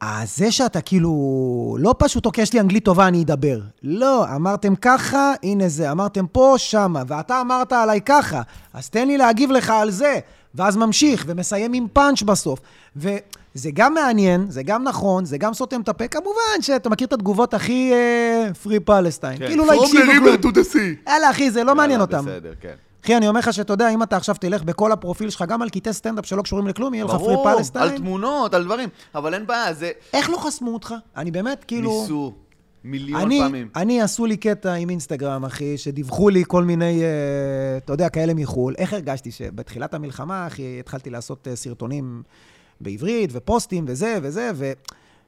ה- אה, זה שאתה כאילו, לא פשוט, אוקיי, יש לי אנגלית טובה, אני אדבר. לא, אמרתם ככה, הנה זה, אמרתם פה, שמה, ואתה אמרת עליי ככה, אז תן לי להגיב לך על זה. ואז ממשיך, ומסיים עם פאנץ' בסוף. וזה גם מעניין, זה גם נכון, זה גם סותם את הפה. כמובן שאתה מכיר את התגובות הכי פרי פלסטיין. כן. כאילו לא הקשיבו כלום. יאללה, אחי, זה לא מעניין יאללה, אותם. בסדר, כן. אחי, אני אומר לך שאתה יודע, אם אתה עכשיו תלך בכל הפרופיל שלך, גם על קטעי סטנדאפ שלא קשורים לכלום, יהיה לך פרי ברור, על פלסטיין. תמונות, על דברים, אבל אין בעיה, זה איך לא חסמו אותך? אני באמת, כאילו... ניסו מיליון אני, פעמים. אני, עשו לי קטע עם אינסטגרם, אחי, שדיווחו לי כל מיני, אה, אתה יודע, כאלה מחו"ל. איך הרגשתי שבתחילת המלחמה, אחי, התחלתי לעשות אה, סרטונים בעברית, ופוסטים, וזה וזה, ו...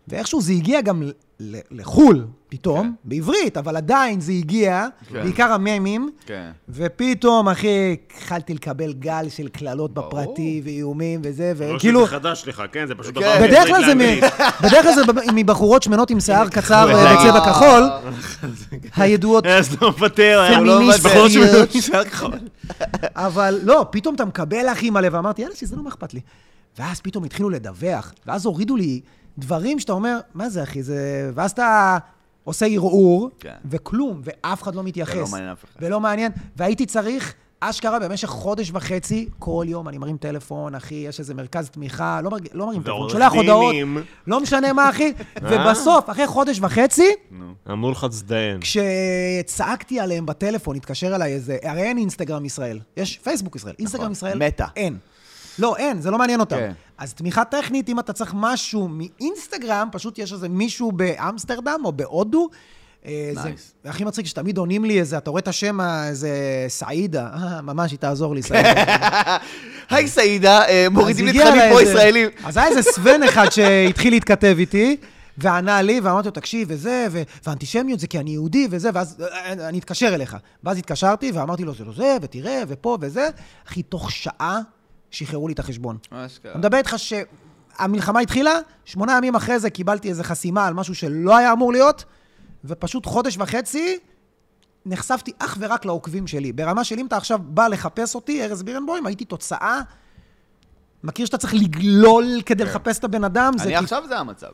ואיכשהו זה הגיע גם ל- ל- לחו"ל, פתאום, כן. בעברית, אבל עדיין זה הגיע, כן. בעיקר הממים. כן. ופתאום, אחי, התחלתי לקבל גל של קללות ברור. בפרטי, ואיומים, וזה, לא וכאילו... שזה חדש לך, כן? זה פשוט אה, כאילו- כן. עבר בדרך כלל זה מ- לאנגלית. בדרך כלל זה ב- מבחורות שמנות עם שיער קצר וואו. אה, בצבע כחול, הידועות, אז לא מוותר, היה פמיניסטיות. לא עובד בחור שמדבר נשאר כחול. אבל לא, פתאום אתה מקבל אחי מלא, ואמרתי, יאללה, שזה לא מה אכפת לי. ואז פתאום התחילו לדווח, ואז הורידו לי דברים שאתה אומר, מה זה אחי, זה... ואז אתה עושה ערעור, כן. וכלום, ואף אחד לא מתייחס. ולא מעניין אף אחד. ולא מעניין, והייתי צריך... אשכרה במשך חודש וחצי, כל יום אני מרים טלפון, אחי, יש איזה מרכז תמיכה, לא, מרג... לא מרים טלפון, ועורך שולח הודעות, דינים. לא משנה מה, [laughs] אחי. ובסוף, אחרי חודש וחצי, אמרו לך תזדיין. כן. כשצעקתי עליהם בטלפון, התקשר אליי איזה, הרי אין אינסטגרם ישראל, יש פייסבוק ישראל, אינסטגרם ישראל, נכון. מטא. אין. לא, אין, זה לא מעניין אותם. כן. אז תמיכה טכנית, אם אתה צריך משהו מאינסטגרם, פשוט יש איזה מישהו באמסטרדם או בהודו, אה, זה- Nice. והכי מצחיק שתמיד עונים לי איזה, אתה רואה את השם, אה, איזה סעידה, אה, ממש, היא תעזור לי, [laughs] סעידה. היי סעידה, אה, מורידים אז לי הגיע תכנים אליי פה איזה- ישראלים. אז היה איזה סוון אחד שהתחיל להתכתב איתי, וענה לי, ואמרתי לו, תקשיב, וזה, ו- ואנטישמיות זה כי אני יהודי, וזה, ואז "אה, אה, אני אתקשר אליך. ואז התקשרתי, ואמרתי לו, זה לא זה, ותראה, ופה, וזה. אחי, תוך שעה שחררו לי את החשבון. אני מדבר איתך שהמלחמה התחילה, שמונה ימים אחרי זה קיבלתי איזו חסימה על משהו שלא היה אמור להיות, ופשוט חודש וחצי נחשפתי אך ורק לעוקבים שלי. ברמה של אם אתה עכשיו בא לחפש אותי, ארז בירנבוים, הייתי תוצאה... מכיר שאתה צריך לגלול כדי לחפש את הבן אדם? זה כן. אני כי- עכשיו זה המצב.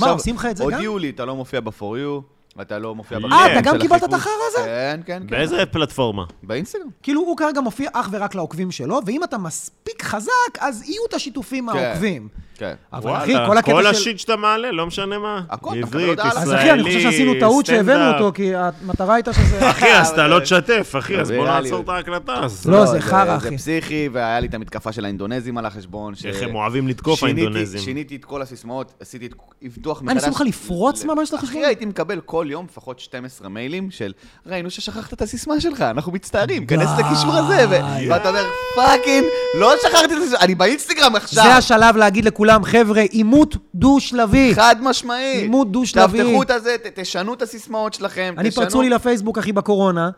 עושים לך את זה גם? הודיעו לי, אתה לא מופיע ב-for you, אתה לא מופיע אה, בקטעים אתה גם של קיבלת את החיפוש. החרא הזה? כן, כן, כן. באיזה פלטפורמה? באינסטגרם. כאילו, הוא כרגע מופיע אך ורק לעוקבים שלו, ואם אתה מספיק חזק, אז יהיו את השיתופים כן. מהעוקבים. כן. אבל אחי, וואלה, כל הקטע של... כל השיט שאתה מעלה, לא משנה מה. הכל, אתה מקבל עברית, הודעה על- אז אחי, אני חושב שעשינו ישראלי, טעות שהבאנו סטנדאפ. אותו, כי המטרה הייתה שזה... אחי, אז אתה לא תשתף, אחי, אז בוא ויראליות. נעצור את ההקלטה. אז. לא, זה חרא, אחי. זה פסיכי, והיה לי את המתקפה של האינדונזים על החשבון. ש- איך הם אוהבים לתקוף, שיניתי- האינדונזים. שיניתי את כל הסיסמאות, עשיתי את... הבטוח מה, מחדש. ניסו לך לפרוץ ל- ממש לחשבון? אחי, הייתי מקבל כל יום לפחות 12 מיילים של, ראינו ששכחת את הסיסמה שלך, אנחנו מצטערים, כנס די. לקישור הזה, ו- ואתה אומר, פאקינג, לא שכחתי את הסיסמה, אני באינסטגרם עכשיו. זה השלב להגיד לכולם, חבר'ה, עימות דו-שלבי. חד משמעי. עימות דו-שלבי. תאבטחו את הזה, ת- תשנו את הסיסמאות שלכם, אני תשנו- פרצו לי לפייסבוק, אחי, בקורונה.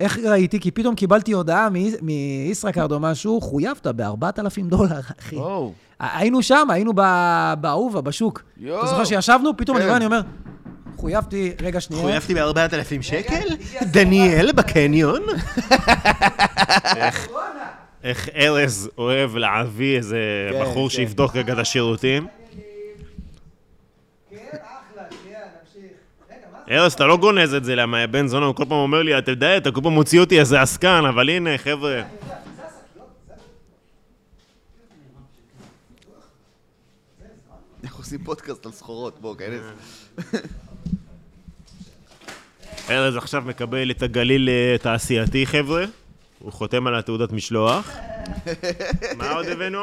איך ראיתי? כי פתאום קיבלתי הודעה מ- מישראכרד או משהו, חויבת ב-4,000 דולר, אחי. וואו. היינו שם, היינו ב- באהובה, בשוק. יואו. אתה זוכר שישבנו? פתאום אני כן. רואה, אני אומר, חויבתי, רגע שנייה. ב-4,000 שקל? דניאל בקניון? איך ארז אוהב להביא איזה כן, בחור כן. שיבדוק רגע את השירותים. ארז, אתה לא גונז את זה, למה בן זונה, הוא כל פעם אומר לי, אתה יודע, אתה כל פעם מוציא אותי איזה עסקן, אבל הנה, חבר'ה. [laughs] איך עושים פודקאסט על סחורות, בוא, כנס. ארז עכשיו מקבל את הגליל אה, תעשייתי, חבר'ה. הוא חותם על התעודת משלוח. מה עוד הבאנו?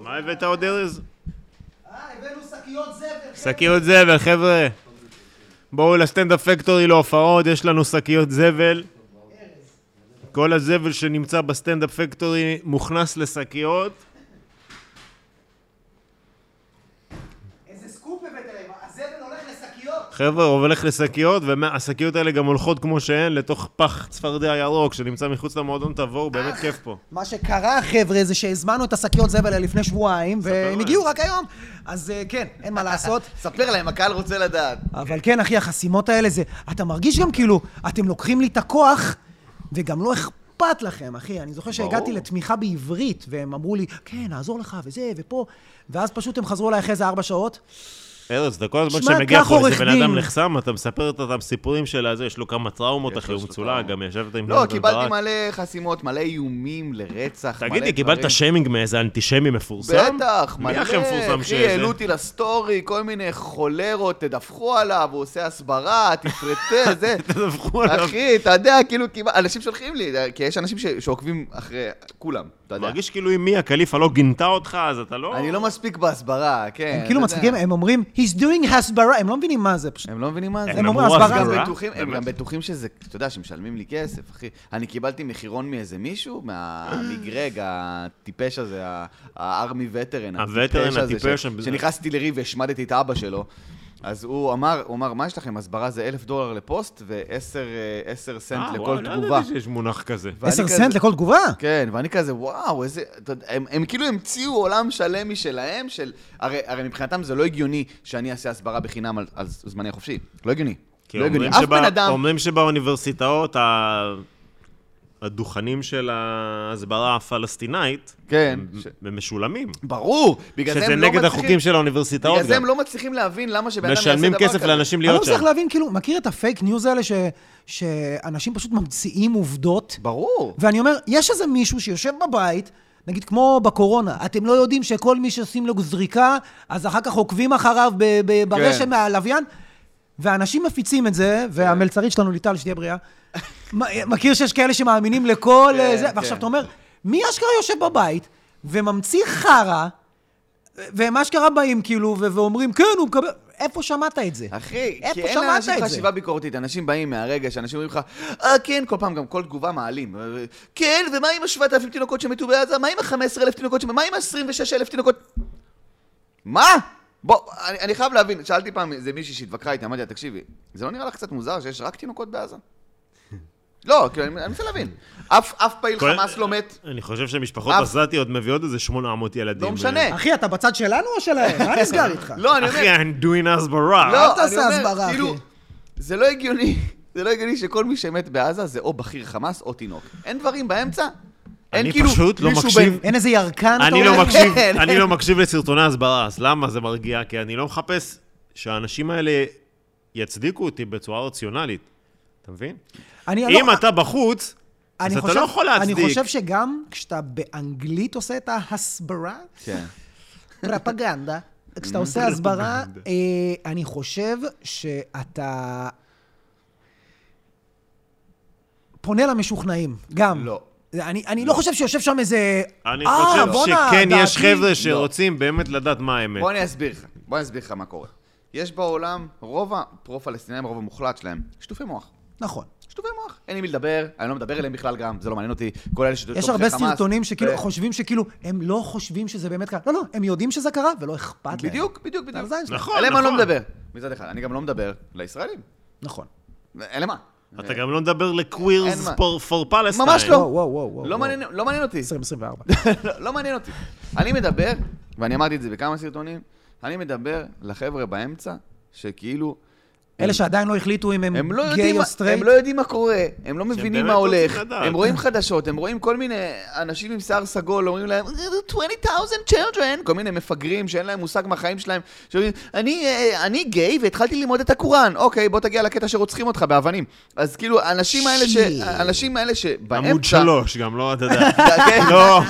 מה הבאת עוד, ארז? הבאנו שקיות זבל. שקיות זבל, חבר'ה. בואו לסטנדאפ פקטורי להופעות, יש לנו שקיות זבל. כל הזבל שנמצא בסטנדאפ פקטורי מוכנס לשקיות. איזה סקופ הבאת להם, הזבל הולך לשקיות. חבר'ה, הוא הולך לשקיות, והשקיות האלה גם הולכות כמו שהן לתוך פח צפרדע ירוק שנמצא מחוץ למועדון תבור, באמת כיף פה. מה שקרה, חבר'ה, זה שהזמנו את השקיות זבל האלה לפני שבועיים, להם. והם הגיעו רק היום. אז אה, כן, אין מה לעשות. ספר להם, הקהל רוצה לדעת. אבל כן, אחי, החסימות האלה זה... אתה מרגיש גם כאילו, אתם לוקחים לי את הכוח, וגם לא אכפת לכם, אחי. אני זוכר שהגעתי ברור. לתמיכה בעברית, והם אמרו לי, כן, נעזור לך, וזה, ופה. ואז פשוט הם חזרו אליי אחרי זה ארבע כן, שעות. ארז, אתה כל הזמן שמע, שמגיע קח פה עורך איזה בן דין. אדם נחסם, אתה מספר את אותם סיפורים של הזה, יש לו כמה טראומות, יש אחי, לו הוא מצולע, טראומות. גם ישבת עם לא, נתן קיבלתי ברק. מלא חסימות, מלא איומים לרצח, מלא תגידי, קיבלת דברים. שיימינג מאיזה אנטישמי מפורסם? בטח, מי הכי מלא, מפורסם אחי, שזה? העלו אותי לסטורי, כל מיני חולרות, תדווחו עליו, הוא עושה הסברה, [laughs] תפרטה, זה. תדווחו עליו. אחי, אתה יודע, כאילו, כמעט- אנשים שולחים לי, כי יש אנשים ש- שעוקבים אחרי כולם, אתה יודע. מרגיש כאילו אם מי הקליפה לא גינתה אותך, אז אתה לא... אני לא מספיק בהסברה, כן. הם כאילו אתה יודע. מצחיקים, הם אומרים, he's doing הסברה, הם לא מבינים מה זה, פשוט. הם לא מבינים מה זה. הם הם אומרים אמרו הסברה. הם הסברה? גם בטוחים, הם באמת? גם בטוחים שזה, אתה יודע, שמשלמים לי כסף, אחי. אני קיבלתי מחירון מאיזה מישהו, מה- [gasps] מגרג, הטיפש הזה, הארמי וטרן, הווטרן הטיפש, ש- הם- שנכנסתי לריב והשמדתי את אבא שלו. אז הוא אמר, הוא אמר, מה יש לכם? הסברה זה אלף דולר לפוסט ועשר סנט אה, לכל וואו, לא תגובה. ידעתי שיש מונח כזה. ואני עשר כזה- סנט לכל תגובה? כן, ואני כזה, וואו, איזה... אתה יודע, הם, הם כאילו המציאו עולם שלם משלהם, של... הרי, הרי מבחינתם זה לא הגיוני שאני אעשה הסברה בחינם על, על זמני החופשי. לא הגיוני. כי לא הגיוני. אומרים אף שבא- בן אדם... אומרים שבאוניברסיטאות ה- הדוכנים של ההסברה הפלסטינאית, כן. הם- ש- הם משולמים. ברור! בגלל זה שזה הם לא נגד מצליחים- החוקים של האוניברסיטאות בגלל זה גם. הם לא מצליחים להבין למה שבן אדם יעשה דבר כזה. משלמים כסף לאנשים אני לא להיות שם. מצליח להבין, כאילו, מכיר את הפייק ניוז האלה ש- שאנשים פשוט ממציאים עובדות? ברור. ואני אומר, יש איזה מישהו שיושב בבית, נגיד כמו בקורונה, אתם לא יודעים שכל מי שעושים לו זריקה, אז אחר כך עוקבים אחריו ב- ב- ברשת כן. מהלוויין, ואנשים מפיצים את זה, והמלצרית שלנו ליטל, שתהיה בריאה, מ- מכיר שיש כאלה שמאמינים לכל כן, אה, זה, כן. ועכשיו אתה אומר, מי אשכרה יושב בבית וממציא חרא, והם אשכרה באים כאילו, ו- ואומרים, כן, הוא מקבל... איפה שמעת את זה? אחי, כי איפה אין שמעת לאנשים את זה? חשיבה ביקורתית. אנשים באים מהרגע שאנשים אומרים לך, אה, כן, כל פעם, גם כל תגובה מעלים. כן, ומה עם ה-7,000 תינוקות שמתו בעזה? מה עם ה-15,000 תינוקות שמתו? מה עם ה-26,000 תינוקות? מה? בוא, אני, אני חייב להבין, שאלתי פעם איזה מישהי שהתווכחה איתי, אמרתי לה, תקשיבי, זה לא נראה לך קצת מוזר שיש רק [laughs] תינוקות בעזה? לא, כאילו, אני אני מנסה להבין. אף, אף פעיל כל- חמאס לא מת, אני חושב שמשפחות אף- עזתיות מביאות איזה 800 ילדים. אה, לא משנה. אחי, אתה בצד שלנו או שלהם? [laughs] מה נסגר איתך? לא, אני אומר... אחי, I'm doing הסברה. אל לא, תעשה אני אומר, הסברה, כאילו, אחי. זה לא הגיוני, [laughs] זה לא הגיוני שכל מי שמת בעזה זה או בכיר חמאס או תינוק. אין דברים באמצע. אין אני כאילו פשוט לא מישהו מקשיב. אין איזה ירקן? אתה אני לא אומר? מקשיב, כן. אני לא מקשיב לסרטוני הסברה, אז למה זה מרגיע? כי אני לא מחפש שהאנשים האלה יצדיקו אותי בצורה רציונלית. אתה מבין? אני לא- אם אתה בחוץ, אני אז אתה חושב- לא יכול להצדיק. אני חושב שגם כשאתה באנגלית עושה את [laughs] ההסברה, כן. פרפגנדה, כשאתה עושה הסברה, Mm, פרפגנדה. אה, אני חושב שאתה פונה למשוכנעים, גם. לא. אני, אני לא חושב שיושב שם איזה... אני "אה, חושב בואנה, שכן דעתי." יש חבר'ה שרוצים באמת לדעת מה האמת. לא. בוא אני אסביר לך, בוא אני אסביר לך מה קורה. יש בעולם, רוב הפרו-פלסטינאים, הרוב המוחלט שלהם, שטופי מוח. נכון. שטופי מוח. אין עם מי לדבר, אני לא מדבר אליהם בכלל גם, זה לא מעניין אותי. כל אלה שטופי יש הרבה סרטונים אה. שכאילו חושבים שכאילו, הם לא חושבים שזה באמת קרה. לא, לא, הם יודעים שזה קרה ולא אכפת להם. בדיוק, בדיוק, בדיוק. הזין שלהם. נכון, אליהם אני לא נכון. מדבר, מצד אחד. אני גם לא מדבר לישראלים. נכון. אין למה. אתה גם לא מדבר לקווירס אין מה. פור פלסטיין. ממש לא. וואו, וואו, וואו. וואו. לא מעניין- לא מעניין אותי. 2024. לא- לא מעניין אותי. אני מדבר, ואני אמרתי את זה בכמה סרטונים, אני מדבר לחבר'ה באמצע, שכאילו, אלה שעדיין לא החליטו אם הם הם לא יודעים, גיי או מה- סטרייט. הם לא יודעים מה קורה, הם לא מבינים באמת מה רוצים הולך, לדעת. הם רואים חדשות, הם רואים כל מיני אנשים עם שיער סגול, אומרים להם, "אה, 20,000 children, כל מיני מפגרים שאין להם מושג מהחיים שלהם, שאומרים, אני, אה, אני גיי והתחלתי ללמוד את הקוראן, אוקיי, בוא תגיע לקטע שרוצחים אותך באבנים. אז כאילו, האנשים האלה ש... שיט. האנשים האלה שבאמצע... עמוד שלוש, גם לא, אתה יודע. [laughs] כן. לא.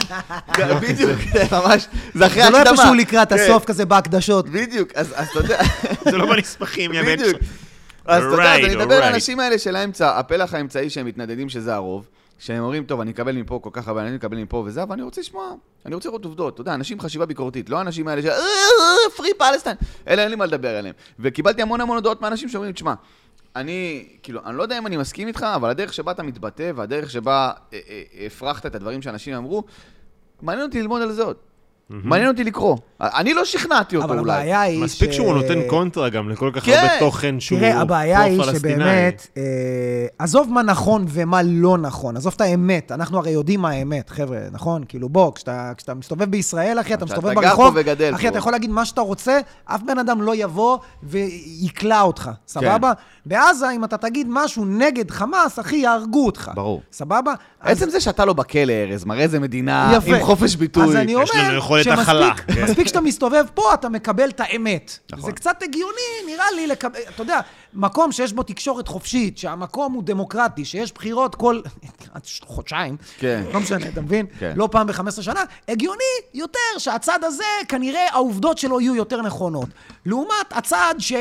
בדיוק, זה ממש, זה אחרי זה לא הקדמה. איפשהו לקראת כן. הסוף כזה בהקדשות. בדיוק, אז אז אתה יודע, זה לא בנספחים, יא בן. בדיוק. אז אתה יודע, אז Alright, אני מדבר על alright. האנשים האלה של האמצע, הפלח האמצעי שהם מתנדדים שזה הרוב, שהם אומרים, טוב, אני אקבל מפה כל כך הרבה, אני אקבל מפה וזה, אבל אני רוצה לשמוע, אני רוצה לראות עובדות, אתה יודע, אנשים עם חשיבה ביקורתית, לא האנשים האלה ש... אה, פרי פלסטיין, אלה אין לי מה לדבר עליהם. וקיבלתי המון המון הודעות מאנשים שאומרים, תשמע, אני, כאילו, אני לא יודע אם אני מסכים איתך, אבל הדרך שבה אתה מתבטא והדרך שבה אה, אה, הפרחת את הדברים שאנשים אמרו, מעניין אותי ללמוד על זה עוד. מעניין אותי לקרוא. אני לא שכנעתי אותו אבל אולי. הבעיה היא ש... מספיק שהוא נותן קונטרה גם לכל כך כן. הרבה תוכן שהוא תראה, הבעיה היא פרו-פלסטיני. שבאמת, אה, עזוב מה נכון ומה לא נכון, עזוב את האמת, אנחנו הרי יודעים מה האמת, חבר'ה, נכון? כאילו בוא, כשאתה, כשאתה מסתובב בישראל, אחי, אתה כשאתה מסתובב גר פה ברחוב, וגדל אחי, פה. אתה יכול להגיד מה שאתה רוצה, אף בן אדם לא יבוא ויקלע כן. אותך, סבבה? בעזה, אם אתה תגיד משהו נגד חמאס, אחי, יהרגו אותך. ברור. סבבה? אז- עצם זה שאתה לא בכלא, ארז, מראה איזה מדינה יפה. עם חופש ביטוי. אז אני יש לנו אומר יכולת הכלה. שמספיק מספיק שאתה מסתובב פה, אתה מקבל את האמת. נכון. זה קצת הגיוני, נראה לי, לקבל, אתה יודע, מקום שיש בו תקשורת חופשית, שהמקום הוא דמוקרטי, שיש בחירות כל [laughs] עד ש- חודשיים, כן. לא משנה, אתה מבין? כן. לא פעם ב-15 שנה, הגיוני יותר שהצד הזה, כנראה העובדות שלו יהיו יותר נכונות. לעומת הצד ש...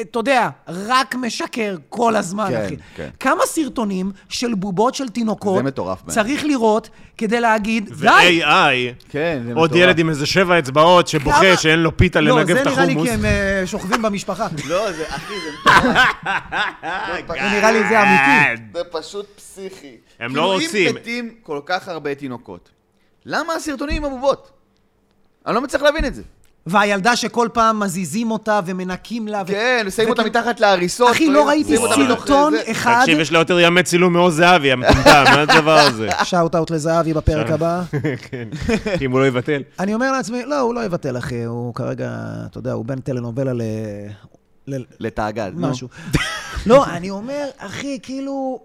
אתה יודע, רק משקר כל הזמן, כן, אחי. כן. כמה סרטונים של בובות של תינוקות זה מטורף, באמת. צריך לראות כדי להגיד, די. ו-AI, כן, זה עוד מטורף. ילד עם איזה שבע אצבעות כמה- שבוכה שאין לו פיתה לנגב את לא, זה נראה לי החומוס. כי הם אה, שוכבים במשפחה. לא, זה, אחי, [laughs] זה מטורף. נראה לי זה [laughs] אמיתי. זה פשוט פסיכי. אה, הם כאילו, לא אם רוצים. מתים כל כך הרבה תינוקות, למה הסרטונים עם הבובות? אני לא מצליח להבין את זה. והילדה שכל פעם מזיזים אותה ומנקים לה. ו- כן, שמים אותה וכאילו- מתחת להריסות. אחי, לא ראיתי שמים אותה וואי. מתחת סרטון לזה. אחד, תקשיב, יש לה יותר ימי צילום מעוז זהבי, המטומטם, מה הדבר [laughs] הזה? שאוט אאוט לזהבי [laughs] בפרק הבא. כן, אם הוא לא יבטל. אני אומר לעצמי, לא, הוא לא יבטל, אחי, הוא כרגע, אתה יודע, הוא בין טלנובלה ל... אה, ל- לתאגד, נו. משהו. לא, אני אומר, אחי, כאילו,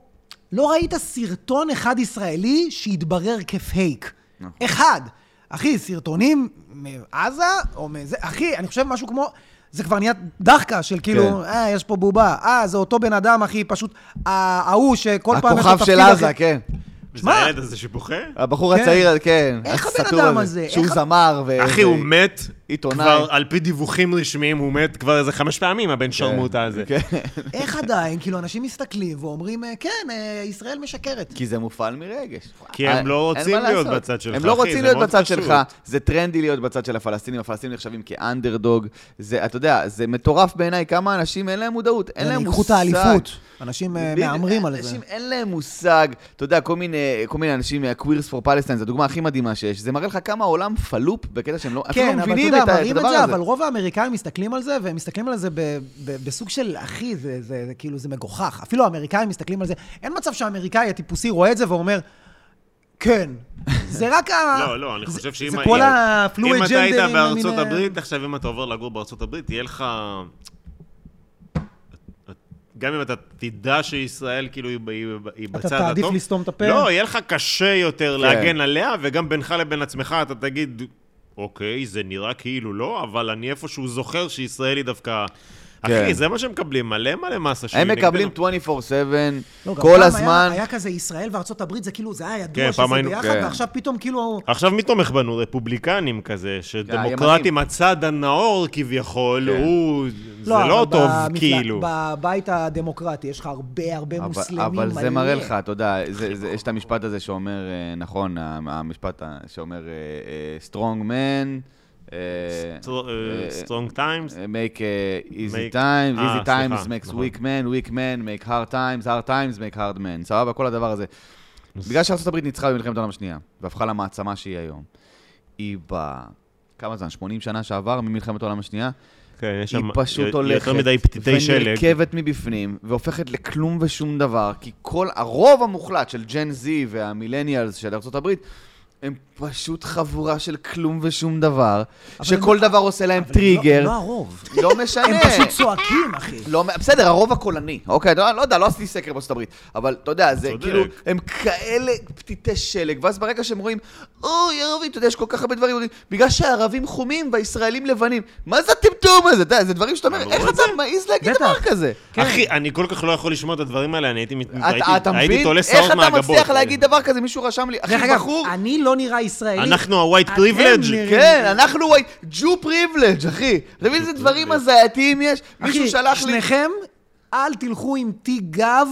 לא ראית סרטון אחד ישראלי שהתברר כפייק. נכון. אחד. אחי, סרטונים מעזה, או מזה, אחי, אני חושב משהו כמו... זה כבר נהיה דחקה של כאילו, כן. אה, יש פה בובה, אה, זה אותו בן אדם, אחי, פשוט, ההוא שכל פעם יש לו הכוכב תפקיד של אחר. עזה, כן. זה הילד הזה שבוכה? הבחור כן. הצעיר, כן. איך הבן הסתום אדם הזה, הזה? שהוא איך- זמר ו... אחי, ו- הוא מת אה, עיתונאי. כבר, על פי דיווחים רשמיים, הוא מת כבר איזה חמש פעמים, הבן שרמוטה הזה. כן. איך עדיין, כאילו, אנשים מסתכלים ואומרים, אה, כן, אה, ישראל משקרת. כי זה מופעל מרגש. אה, כי הם לא אין רוצים מה להיות לעשות. בצד שלך, הם לא אחי, רוצים זה להיות מאוד בצד פשוט. שלך. זה טרנדי להיות בצד של הפלסטינים, הפלסטינים נחשבים כאנדרדוג. זה, אתה יודע, זה מטורף בעיניי כמה אנשים אין להם מודעות, אין להם יאללה, מושג. ייקחו את האליפות. אנשים אה, בדיוק, מהמרים על זה. אנשים אין להם מושג. אתה יודע, כל מיני, כל מיני אנשים מה-Queers for Palestine, זו הדוגמה הכי מדהימה שיש. זה מראה לך כמה העולם פלופ בקטע שהם לא, אפילו כן, אבל לא אתה מבינים יודע, את ה- את מראים את הדבר זה, הזה. אבל רוב האמריקאים מסתכלים על זה, והם מסתכלים על זה ב- ב- בסוג של, אחי, זה- זה זה כאילו, זה מגוחך. אפילו האמריקאים מסתכלים על זה. אין מצב שהאמריקאי הטיפוסי רואה את זה ואומר, [laughs] כן. זה רק ה... לא, לא, אני זה- חושב שאם... זה ה- כל אם- הפלואי אם אתה היית ג'נדרים בארצות למיניהם. הברית, עכשיו אם אתה עובר לגור בארצות הברית, תהיה לך... גם אם אתה תדע שישראל כאילו היא ב- היא ב- היא אתה בצד הטוב... תעדיף לסתום את הפה? לא, יהיה לך קשה יותר כן. להגן עליה, וגם בינך לבין עצמך אתה תגיד, אוקיי, זה נראה כאילו לא, אבל אני איפשהו זוכר שישראל היא דווקא... כן. אחי, זה מה שהם מקבלים, מלא מלא מסה שהיא הם נגדנו. מקבלים 24/7 לא, גם פעם כל היה- הזמן. היה כזה ישראל וארצות הברית, זה כאילו, זה היה כן, ידוע שזה פעם היינו- ביחד, כן. ועכשיו פתאום כאילו... עכשיו מי תומך בנו? רפובליקנים כזה, הימנים. שדמוקרטים, הצד הנאור כביכול, אה, כן. הוא... זה אבל לא טוב, במפלג- כאילו. בבית הדמוקרטי יש לך הרבה הרבה אבל- מוסלמים. אבל זה מלא. מראה לך, אתה יודע, זה- זה- יש את המשפט הזה שאומר, אה, נכון, ה- המשפט ה- שאומר, אה, strong man, אה, אה, סטרונג טיימס? אה, make אה, easy Make- times, אה, easy times סליחה, makes נכון. weak man, weak man make hard times, hard times make hard man, סבבה? כל הדבר הזה. בגלל שארה"ב ניצחה במלחמת העולם השנייה, והפכה למעצמה שהיא היום, היא ב... כמה זמן? 80 שנה שעבר ממלחמת העולם השנייה, כן, יש היא שם פשוט יותר הולכת מדי פתיתי שלג. ונרקבת מבפנים, והופכת לכלום ושום דבר, כי כל הרוב המוחלט של ג'ן זי והמילניאלס של ארה"ב, הם פשוט חבורה של כלום ושום דבר, אבל שכל הם- לא- דבר עושה להם אבל טריגר. לא- לא [laughs] הרוב. לא משנה. הם פשוט צועקים, אחי. לא, בסדר, הרוב הקולני. אוקיי, אתה יודע, לא יודע, לא עשיתי סקר בארצות הברית, אבל אתה יודע, זה צודק. כאילו, הם כאלה פתיתי שלג, ואז ברגע שהם רואים, אוי, ערבים, אתה יודע, יש כל כך הרבה דברים, אומרים, בגלל שהערבים חומים והישראלים לבנים. מה זה הטמטום הזה? אתה יודע, זה דברים שאתה אומר, אמרו איך את אתה זה? מעז להגיד דבר בטח. כזה? אחי, אני כל כך לא יכול לשמוע את הדברים האלה, אני הייתי מת- כן. אתה- הייתי- אתה הייתי מבין? תולה איך שערות אתה מהגבות. מצליח להגיד דבר כזה? מישהו רשם לי, דרך אחי, אגב, בחור, אני לא נראה ישראלי. אנחנו ה-white אתם privilege. נראים- כן, אנחנו וואי, ג'ו פריבלג', אחי. אתה מבין איזה דברים הזייתיים יש? מישהו שלח אחי, לי... שניכם, אל תלכו עם תיק גב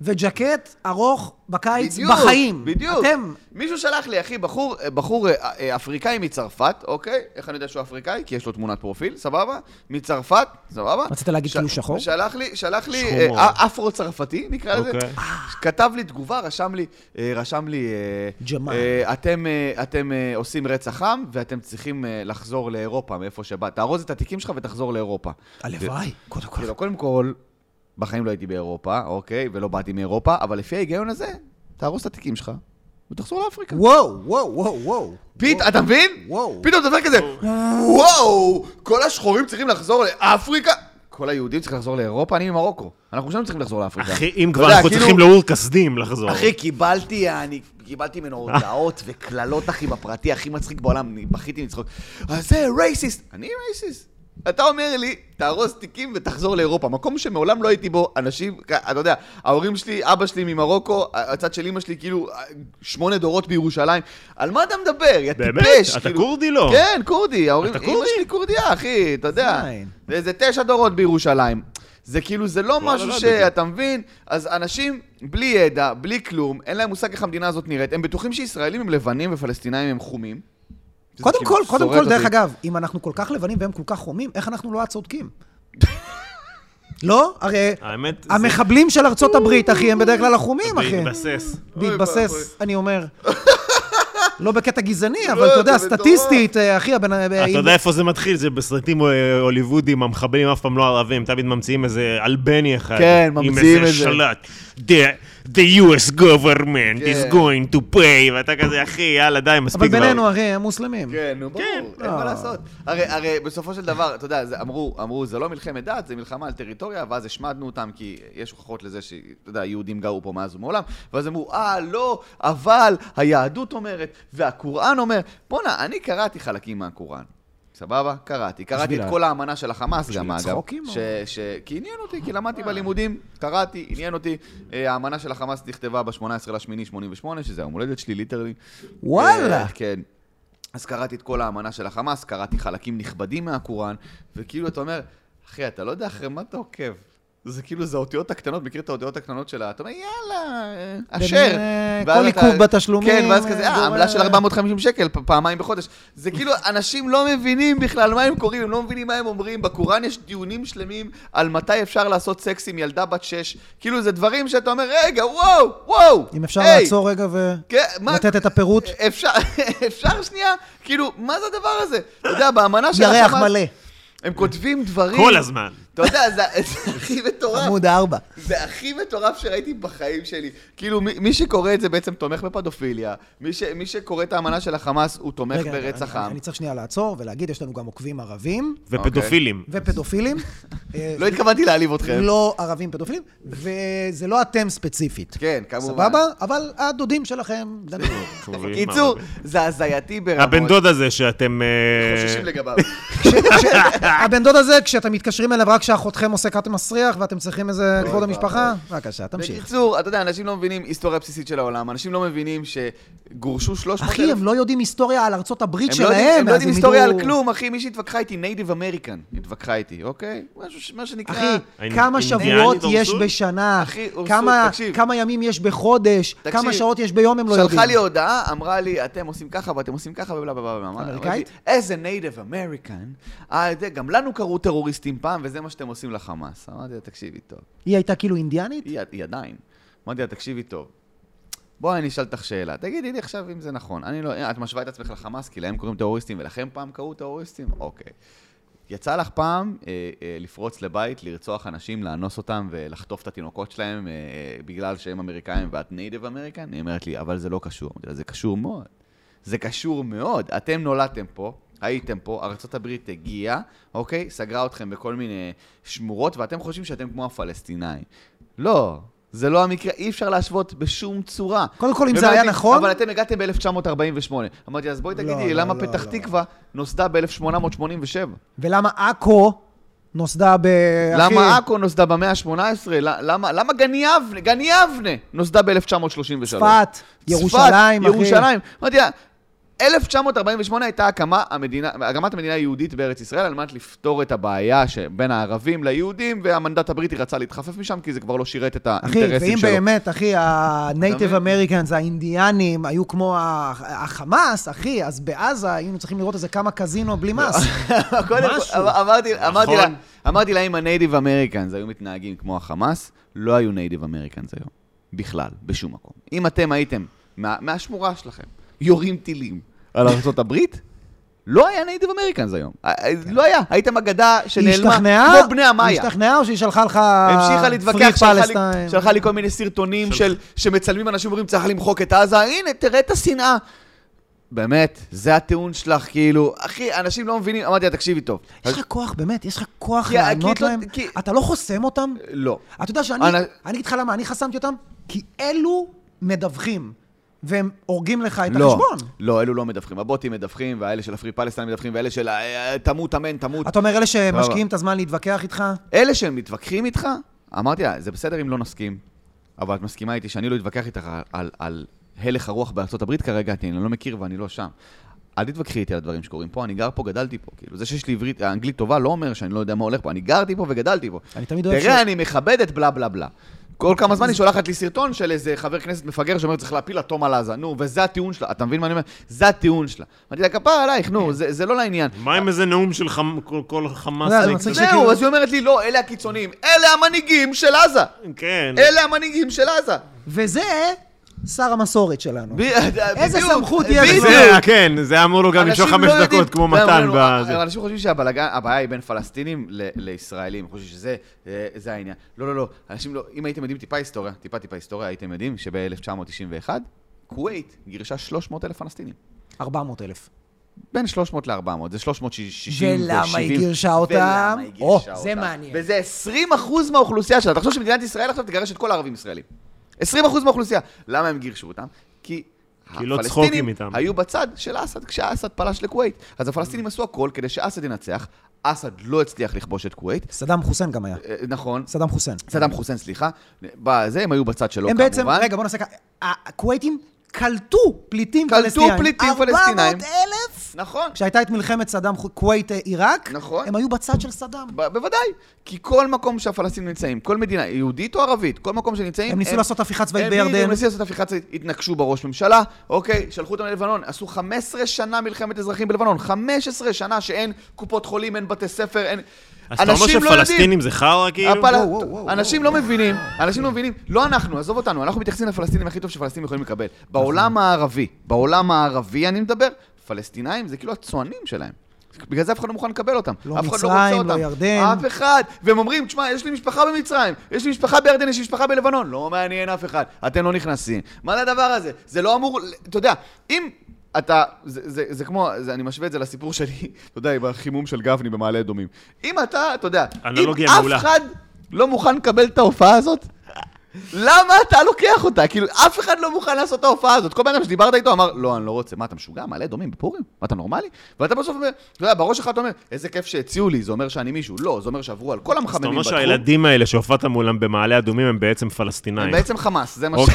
וג'קט ארוך בקיץ בדיוק, בחיים. בדיוק. אתם... מישהו שלח לי, אחי, בחור, בחור אה, אה, אפריקאי מצרפת, אוקיי? איך אני יודע שהוא אפריקאי? כי יש לו תמונת פרופיל, סבבה? מצרפת, סבבה? רצית להגיד כאילו שחור? שלח לי, שלח לי שחור אה, מאוד. אה, אפרו-צרפתי, נקרא לזה. אוקיי. אה. כתב לי תגובה, רשם לי, אה, רשם לי... אה, ג'מאל. אה, אתם, אה, אתם אה, עושים רצח עם, ואתם צריכים אה, לחזור לאירופה, מאיפה שבאת. תארוז את התיקים שלך ותחזור לאירופה. הלוואי, קודם כל. כאילו, קודם כל, בחיים לא הייתי באירופה, אוקיי? ולא באתי מאירופה, אבל לפי ההיגיון הזה, תהרוס את התיקים שלך ותחזור לאפריקה. וואו, וואו, וואו, וואו. פית, אתה מבין? וואו. פתאום אתה אומר כזה, וואו, כל השחורים צריכים לחזור לאפריקה? כל היהודים צריכים לחזור לאירופה? אני ממרוקו. אנחנו שם צריכים לחזור לאפריקה. אחי, אם אתה כבר יודע, אנחנו כאילו- צריכים לאור כסדים לחזור. אחי, קיבלתי, אני קיבלתי ממנו הודעות וקללות, אחי, בפרטי הכי מצחיק בעולם, אני בכיתי מצחוק. אז זה רייסיסט. אני רייסיסט. אתה אומר לי, תארוז תיקים ותחזור לאירופה, מקום שמעולם לא הייתי בו, אנשים, אתה יודע, ההורים שלי, אבא שלי ממרוקו, הצד של אמא שלי, כאילו, שמונה דורות בירושלים, על מה אתה מדבר, יא באמת? טיפש? אתה כאילו- כורדי לא? כן, כורדי, ההורים, אתה אמא כורדי? שלי כורדיה, אחי, אתה יודע. זין. זה איזה תשע דורות בירושלים. זה כאילו, זה לא וואלה, משהו לא ש... ידעתי. אתה מבין? אז אנשים בלי ידע, בלי כלום, אין להם מושג איך המדינה הזאת נראית, הם בטוחים שישראלים הם לבנים ופלסטינאים הם חומים. שזה קודם כאילו כל, קודם שורט כל, דרך אותי. אגב, אם אנחנו כל כך לבנים והם כל כך חומים, איך אנחנו לא הצודקים? לא? הרי אה, האמת, זה- המחבלים של ארצות הברית, אחי, הם בדרך כלל החומים, אחי. בהתבסס. אוי, בהתבסס, אני [laughs] אומר. לא בקטע גזעני, אבל לא, אתה יודע, זה מטורף. סטטיסטית, אה, אחי, הבן... אה, אתה יודע איפה זה מתחיל? זה בסרטים אה, הוליוודים, המחבלים אף פעם לא ערבים, תמיד ממציאים איזה אלבני אחד. כן, ממציאים עם איזה. איזה שלט. The, the US government כן. is going to pay, ואתה כזה, אחי, יאללה, די, מספיק אבל כבר. בינינו, אחי, הם מוסלמים. כן, נו, ברור, כן. אין אה. מה לעשות. הרי, הרי בסופו של דבר, אתה יודע, זה, אמרו, אמרו, זה לא מלחמת דת, זה מלחמה על טריטוריה, ואז השמדנו אותם, כי יש הוכחות לזה ש- אתה יודע, יהודים גרו פה מאז ומעולם, ואז אמרו, אה, לא, אבל היהדות אומרת, והקוראן אומר, בואנה, אני קראתי חלקים מהקוראן. סבבה? קראתי. קראתי בשביל את ה- כל האמנה של החמאס גם, אגב. צחוקים, או? אה. ש... ש... כי עניין אותי, כי למדתי בלימודים, קראתי, עניין אותי. אה, האמנה של החמאס נכתבה ב-18 לשמיני 88, שזה היום הולדת שלי, ליטרלי. וואלה. אה, כן. אז קראתי את כל האמנה של החמאס, קראתי חלקים נכבדים מהקוראן, וכאילו אתה אומר, אחי, אתה לא יודע אחרי מה אתה עוקב. זה כאילו, זה האותיות הקטנות, מכיר את האותיות הקטנות שלה, אתה אומר, יאללה, אה, אשר. אה, ואז כל אתה- עיכוב בתשלומים, כן, ואז אה, כזה, אה, גורם- עמלה של 450 שקל, פ- פעמיים בחודש. זה [laughs] כאילו, אנשים לא מבינים בכלל מה הם קוראים, הם לא מבינים מה הם אומרים. בקוראן יש דיונים שלמים על מתי אפשר לעשות סקס עם ילדה בת שש. כאילו, זה דברים שאתה אומר, רגע, וואו, וואו. אם אפשר היי, לעצור רגע כן, מה- אה, ולתת את הפירוט. אפשר, [laughs] אפשר שנייה? כאילו, מה זה הדבר הזה? אתה יודע, באמנה של ירח מלא, הם כותבים דברים... כל הזמן. אתה יודע, זה, זה [laughs] הכי מטורף. עמוד ארבע. זה הכי מטורף שראיתי בחיים שלי. כאילו, מי, מי שקורא את זה בעצם תומך בפדופיליה. מי, ש, מי שקורא את האמנה של החמאס, הוא תומך רגע, ברצח אני- עם. אני צריך שנייה לעצור ולהגיד, יש לנו גם עוקבים ערבים ופדופילים. אוקיי. [laughs] ופדופילים. אה, לא התכוונתי להעליב אתכם. לא ערבים פדופילים, וזה לא אתם ספציפית. כן, כמובן. סבבה? אבל הדודים שלכם, [laughs] דניאל. קיצור, זה הזייתי ברמות. לא הבן דוד הזה שאתם... אה, [laughs] חוששים לגביו. כש- כש- הבן דוד הזה, כשאתם מתקשרים אליו רק כשאחותכם עושה כת מסריח ואתם צריכים איזה כבוד אוי, המשפחה, בבקשה, תמשיך. לא, בקיצור, אתה יודע, אנשים לא מבינים היסטוריה בסיסית של העולם. אנשים לא מבינים שגורשו 300 אחי, הם לא יודעים היסטוריה על ארצות הברית שלהם, הם לא יודעים, הם לא אז יודעים הם היסטוריה ידעו- על כלום, אחי, מי שהתווכחה איתי, נייטיב אמריקן, התווכחה איתי, אוקיי? משהו, ש- מה שנקרא... אחי, האינ- כמה אינדיאני שבועות דורסות? יש בשנה, אה, אחי, דורסות, כמה- תקשיב. כמה ימים יש בחודש, תקשיב, כמה שעות יש ביום, הם לא שלחה לי יודעים. הודעה, אמרה לי, אתם עושים ככה ואתם עושים ככה ובלה בלה בלה. אמרתי, אמריקאית? איזה נייטיב אמריקן. אה, זה, גם לנו קראו טרוריסטים פעם, וזה מה שאתם עושים לחמאס. אמרתי לה, תקשיבי טוב. היא הייתה כאילו אינדיאנית? היא היא עדיין. אמרתי לה, תקשיבי טוב. בואי אני אשאל אותך שאלה, תגידי לי עכשיו אם זה נכון. אני לא, את משווה את עצמך לחמאס, כי להם קוראים טרוריסטים, ולכם פעם קראו טרוריסטים? אוקיי. יצא לך פעם אה, אה, לפרוץ לבית, לרצוח אנשים, לאנוס אותם ולחטוף את התינוקות שלהם אה, אה, בגלל שהם אמריקאים ואת נייטיב אמריקן? היא אומרת לי, אבל זה לא קשור. אמרתי לה, זה קשור מאוד. זה קשור מאוד. אתם נולדתם פה, הייתם פה, ארה"ב הגיעה, אוקיי? סגרה אתכם בכל מיני שמורות, ואתם חושבים שאתם כמו הפלסטינאים. לא, זה לא המקרה, אי אפשר להשוות בשום צורה. קודם כל, אם זה ואמרתי, היה נכון- אבל אתם הגעתם ב-1948. אמרתי, אז בואי לא, תגידי לי, לא, למה לא, פתח לא. תקווה נוסדה ב-1887? ולמה עכו נוסדה ב... למה אחי, עכו נוסדה במאה ה-18? למה, למה גן יבנה? גן יבנה נוסדה ב-1933. צפת, ירושלים, אחי. ירושלים. אמרתי לה, 1948 הייתה הקמה המדינה, הקמת המדינה היהודית בארץ ישראל על מנת לפתור את הבעיה שבין הערבים ליהודים, והמנדט הבריטי רצה להתחפף משם כי זה כבר לא שירת את אחי, האינטרסים שלו. ואם באמת, אחי, ה-Native אתה מבין? Americans, האינדיאנים, היו כמו ה- החמאס, אחי, אז בעזה היינו צריכים לראות איזה כמה קזינו בלי לא, מס. קודם כל, משהו. אמ- אמרתי- אמרתי לה, נכון. אמרתי לה, אם הנייטיב אמריקאנס היו מתנהגים כמו החמאס, לא היו נייטיב אמריקאנס היום. בכלל, בשום מקום. אם אתם הייתם מה- מהשמורה שלכם, יורים טילים על ארה"ב, לא היה נייטיב אמריקאנס היום. א- א- לא היה. הייתם אגדה היא שנעלמה, השתכנעה? כמו בני היא המאיה. השתכנעה או שהיא שלחה לך... המשיכה להתווכח, אה, פרי שלחה לי- פלסטיין? שלחה לי כל מיני סרטונים של, שמצלמים אנשים אומרים, צריך למחוק את עזה, הנה, תראה את השנאה. באמת, זה הטיעון שלך, כאילו, אחי, אנשים לא מבינים, אמרתי לה, תקשיבי טוב. יש לך כוח, באמת, יש לך כוח כי- כי לענות לא- להם? כי- אתה לא חוסם אותם? לא. אתה יודע שאני, אני- אני אגיד לך למה, אני חסמתי אותם, כי אלו מדווחים, והם הורגים לך את לא, החשבון. לא, אלו לא מדווחים. הבוטים מדווחים, והאלה של הפרי פלסטיין מדווחים, ואלה של ה- אה, תמות, אמן, תמות. אתה אומר, אלה שמשקיעים את הזמן להתווכח איתך? אלה שהם מתווכחים איתך, אמרתי לה, זה בסדר אם לא נסכים, אבל את מסכימה איתי שאני לא אתווכח איתך על- על- על הלך הרוח בארצות הברית כרגע, כי אני לא מכיר ואני לא שם. אל תתווכחי איתי על הדברים שקורים פה, אני גר פה, גדלתי פה. כאילו, זה שיש לי עברית, אנגלית טובה לא אומר שאני לא יודע מה הולך פה, אני גרתי פה וגדלתי פה. אני תמיד אוהב תראה, אני מכבד את בלה בלה בלה. כל כמה זמן היא שולחת לי סרטון של איזה חבר כנסת מפגר שאומר, צריך להפיל אטום על עזה. נו, וזה הטיעון שלה. אתה מבין מה אני אומר? זה הטיעון שלה. אמרתי לה, כפר עלייך, כן. נו, זה זה לא לעניין. מה עם איזה נאום של חמ- כל- כל חמאס? אתה יודע, מצחיק שכאילו- זהו, אז היא אומרת לי, לא, אלה הקיצוניים. אלה המנהיגים של עזה. כן. אלה המנהיגים של עזה. וזה שר המסורת שלנו. ב- איזה בדיוק, סמכות יש לו? בדיוק. זה, כן, זה היה אמור לו גם אנשים למשוך חמש לא יודעים- דקות, כמו אתה יודע, מתן. אומרים, בזה. אבל אנשים חושבים שהבלגן, הבעיה היא בין פלסטינים ל- לישראלים, הם חושבים שזה אה, זה העניין. לא, לא, לא, אנשים לא, אם הייתם יודעים טיפה היסטוריה, טיפה טיפה היסטוריה, הייתם יודעים שב-1991, כווית גירשה 300 אלף פלסטינים. 400 אלף. בין 300 ל-400, זה 360 ו-70. ולמה היא גירשה אותם? ולמה היא גירשה או, אותם? זה מעניין. וזה 20 אחוז מהאוכלוסייה שלה. תחשוב שמדינת ישראל עכשיו תגרש את כל הערבים ישראלים. 20 אחוז מהאוכלוסייה. למה הם גירשו אותם? כי כי לא צחוקים הפלסטינים איתם. היו בצד של אסד כשאסד פלש לכווית. אז הפלסטינים עשו הכל כדי שאסד ינצח. אסד לא הצליח לכבוש את כווית. סדאם חוסיין גם היה. אה, נכון, סדאם חוסיין. סדאם חוסיין, לא אה? סליחה. בזה הם היו בצד שלו, הם כמובן. בעצם, רגע, בוא נעשה ככה. הכווייתים קלטו פליטים קלטו פלסטינאים. פליטים פלסטינאים. 400 אלף? נכון. כשהייתה את מלחמת סדאם, כווית-עיראק, נכון. הם היו בצד של סדאם. ב- בוודאי, כי כל מקום שהפלסטינים נמצאים, כל מדינה, יהודית או ערבית, כל מקום שנמצאים... הם ניסו לעשות הפיכה צבאית הם בירדן. בדיוק ניסו לעשות הפיכה צבאית, התנקשו בראש ממשלה, אוקיי, שלחו אותם ללבנון, עשו 15 שנה מלחמת אזרחים בלבנון, 15 שנה שאין קופות חולים, אין בתי ספר, אין... אז אתה אומר אנשים לא יודעים. שפלסטינים זה חרא, כאילו? הפל- וואו, וואו, וואו, אנשים לא מבינים, אנשים לא מבינים, לא אנחנו, עזוב אותנו, אנחנו מתייחסים לפלסטינים הכי טוב שפלסטינים יכולים לקבל. נכון. בעולם הערבי, בעולם הערבי אני מדבר, פלסטינאים זה כאילו הצוענים שלהם. בגלל זה אף אחד לא מוכן לקבל אותם. לא אף אחד מצרים, רוצה לא אותם. ירדן. אף אחד. והם אומרים, תשמע, יש לי משפחה במצרים, יש לי משפחה בירדן, יש לי משפחה בלבנון. לא מעניין אף אחד, אתם לא נכנסים. מה זה הדבר הזה? זה לא אמור, אתה יודע, אם אתה, זה, זה, זה כמו, זה, אני משווה את זה לסיפור שלי, [laughs] אתה יודע, עם החימום של גפני במעלה אדומים. אם אתה, אתה יודע, אנלוגיה אם מעולה. אף אחד לא מוכן לקבל את ההופעה הזאת, למה אתה לוקח אותה? כאילו, אף אחד לא מוכן לעשות את ההופעה הזאת. כל בן אדם שדיברת איתו אמר, לא, אני לא רוצה. מה, אתה משוגע? מעלה אדומים בפורים? מה, אתה נורמלי? ואתה בסוף אומר, אתה יודע, בראש שלך אתה אומר, איזה כיף שהציעו לי, זה אומר שאני מישהו. לא, זה אומר שעברו על כל אז אתה המחממים אומר בתחום. שהילדים האלה שהופעת מולם במעלה אדומים הם בעצם פלסטינאים. הם [laughs] בעצם חמאס, זה מה ש...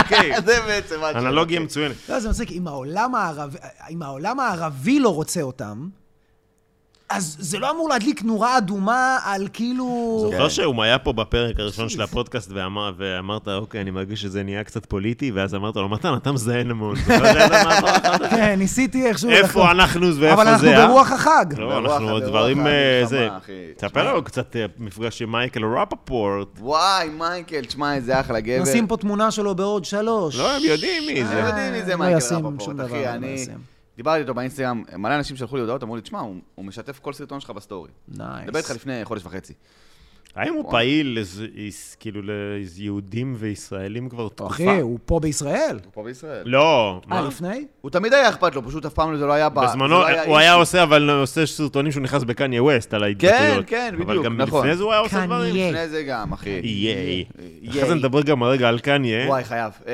אוקיי. זה בעצם מה ש... אנלוגיה מצוינת. כן. לא, זה מצחיק, אם העולם הערבי- אם העולם הערבי לא רוצה אותם, אז זה לא אמור להדליק נורה אדומה על כאילו... זוכר שהוא היה פה בפרק הראשון אוקיי. של הפודקאסט ואמר- ואמרת, אוקיי, אני מרגיש שזה נהיה קצת פוליטי, ואז אמרת לו, מתן, אתה מזיין המון. אתה [laughs] לא יודע למה אמרת? כן, ניסיתי איכשהו... איפה אנחנו אבל ואיפה אנחנו זה, אה? ברוח החג. לא, ברוח- אנחנו ברוח דברים... אה, המלחמה, זה... אחי. תספר לנו קצת אה, מפגש עם מייקל רפפורט. וואי, מייקל, תשמע, איזה אחלה גבר. נשים פה תמונה שלו בעוד שלוש. לא, הם יודעים מי אתם זה. יודעים מי זה לא מייקל ישים שום רפפורט, דבר, אחי, לא אני... ישים. דיברתי איתו באינסטגרם, מלא אנשים שלחו לי הודעות, אמרו לי, תשמע, הוא- הוא משתף כל סרטון שלך בסטורי. נייס. מדבר איתך לפני חודש וחצי. האם הוא פעיל לז- איס- כאילו ליהודים וישראלים כבר תקופה? אחי, הוא פה בישראל. הוא פה בישראל. לא. אה, מה? לפני? הוא תמיד היה אכפת לו, פשוט אף פעם זה לא היה... ב- זה בזמנו לא הוא היה אישו. עושה, אבל עושה סרטונים שהוא נכנס בקניה ווסט על ההתבטאויות. כן, אבל בדיוק, גם נכון. לפני זה הוא היה עושה קניה. דברים. לפני זה גם, אחי. ייי. אחרי זה ייי. נדבר גם רגע על קניה. וואי, חייב. אמ,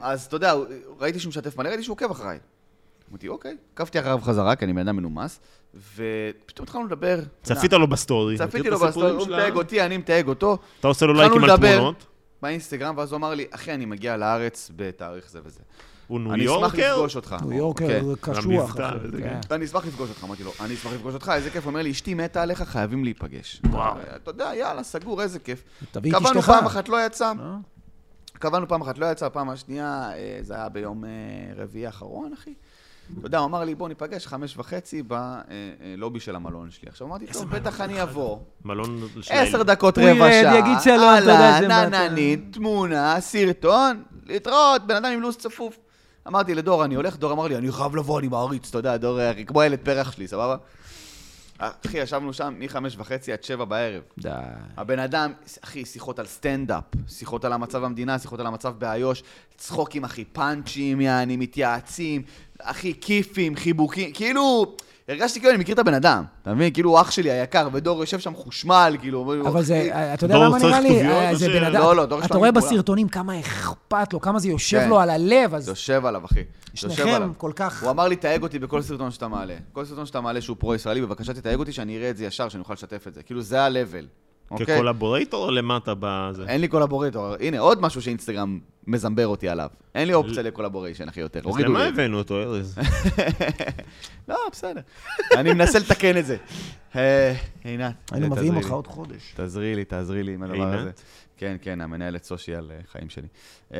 אז אתה יודע, הוא- ראיתי שהוא משתף מלא, ראיתי שהוא עוקב אחריי. אמרתי, אוקיי. עקבתי אחריו חזרה, כי אני בן אדם מנומס, ופתאום התחלנו לדבר. צפית לו בסטורי. צפיתי מכיר את לו הסיפורים בסטורי, הוא שלה? מתייג אותי, אני מתייג אותו. אתה עושה לו התחלנו לייקים על לדבר תמונות. באינסטגרם, ואז הוא אמר לי, אחי, אני מגיע לארץ בתאריך זה וזה. הוא ניו אני אשמח יורקר. לפגוש אותך. ניו יורקר אוקיי. כן. זה קשוח. המבטא אחי, וזה, כן. כן. אני אשמח לפגוש אותך, אמרתי לו, אני אשמח לפגוש אותך, איזה כיף, הוא אומר לי, אשתי מתה עליך, חייבים להיפגש. וואו. אתה יודע, יאללה, סגור, איזה כיף. תביא את קבענו אשתך. פעם אחת, לא יצא. אה? קבענו פעם אחת, לא יצא, פעם השנייה, אה, זה היה ביום אה, רביעי האחרון, אחי. אתה יודע, הוא אמר לי, בוא ניפגש חמש וחצי בלובי של המלון שלי. עכשיו אמרתי, טוב, בטח אני אבוא. מלון של עשר הילד. דקות, הוא רבע ירד, שעה. יגיד שלום, אתה יודע, זה מה אהלן, אתה- עננית, תמונה, סרטון, להתראות, בן אדם עם לו"ז צפוף. אמרתי לדור, אני הולך, דור אמר לי, אני חייב לבוא, אני מעריץ, אתה יודע, דור, אחי, כמו הילד פרח שלי, סבבה? אה, אחי, ישבנו שם מחמש וחצי עד שבע בערב. די. הבן אדם, אחי, שיחות על סטנדאפ, שיחות על המצב במדינה, שיחות על המצב באיו"ש, צחוקים, אחי, פאנצ'ים, יעני, מתייעצים, אחי, כיפים, חיבוקים, כאילו, הרגשתי כאילו אני מכיר את הבן אדם, אתה מבין? כאילו, הוא אח שלי היקר, ודור יושב שם חושמל, כאילו, אומר לי, אבל "אחי, זה, אתה יודע אה, דור למה צריך נראה לי? כתוביות אה, או זה ש- בן אדם, לא, לא, דור אתה שלנו רואה מכולם. בסרטונים כמה אכפת לו, כמה זה יושב כן. לו על הלב, אז יושב עליו, אחי. יושב שניכם עליו. כל כך- הוא אמר לי, תייג אותי בכל סרטון שאתה מעלה. כל סרטון שאתה מעלה שהוא פרו-ישראלי, בבקשה תתייג אותי, שאני אראה את זה ישר, שאני אוכל לשתף את זה. כאילו, זה ה-level, אוקיי? כקולבורטור למטה בזה. אין לי קולבורטור. הנה, עוד משהו שאינסטגרם מזמבר אותי עליו. אין לי אופציה לקולבוריישן, אחי, יותר. אז הורידו למה לי. את זה. הבאנו אותו, [laughs] ארז? לא, בסדר. אני מנסה לתקן את זה. אה, עינת. היינו תעזרי מביאים לי. אותך עוד חודש. תעזרי לי, תעזרי לי עם הדבר עינת? הזה. כן, כן, המנהלת סושיאל אה, חיים שלי. אה,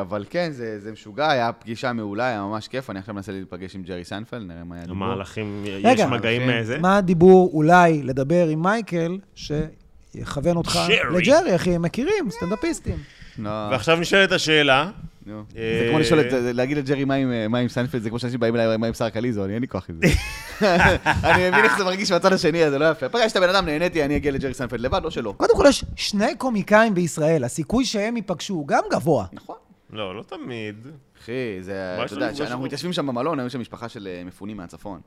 אבל כן, זה זה משוגע, היה פגישה מעולה, היה ממש כיף. אני עכשיו מנסה להיפגש עם ג'רי סיינפלד, נראה מה היה דיבור. המהלכים, יש רגע. מגעים מהלכים. מזה? מה הדיבור אולי לדבר עם מייקל, שיכוון אותך שרי. לג'רי, אחי, הם מכירים, סטנדאפיסטים. לא, ועכשיו נשאלת השאלה, נו. אה, זה כמו לשאול, את- זה- להגיד לג'רי מה עם- אה, מה עם סיינפלד, זה כמו שאנשים באים אליי, מה עם שרה קליזו, אני אין לי כוח עם זה. אני מבין איך זה מרגיש מהצד השני, אז זה לא יפה. פגשת בן אדם, נהניתי, אני אגיע לג'רי סיינפלד לבד, לא שלא. קודם כל, יש שני קומיקאים בישראל, הסיכוי שהם ייפגשו הוא גם גבוה. נכון. לא, לא תמיד. אחי, זה, מה יש אתה לו יודע, לפגוש כשאנחנו אותו? מתיישבים שם במלון, היו שם משפחה של אה, מפונים מהצפון.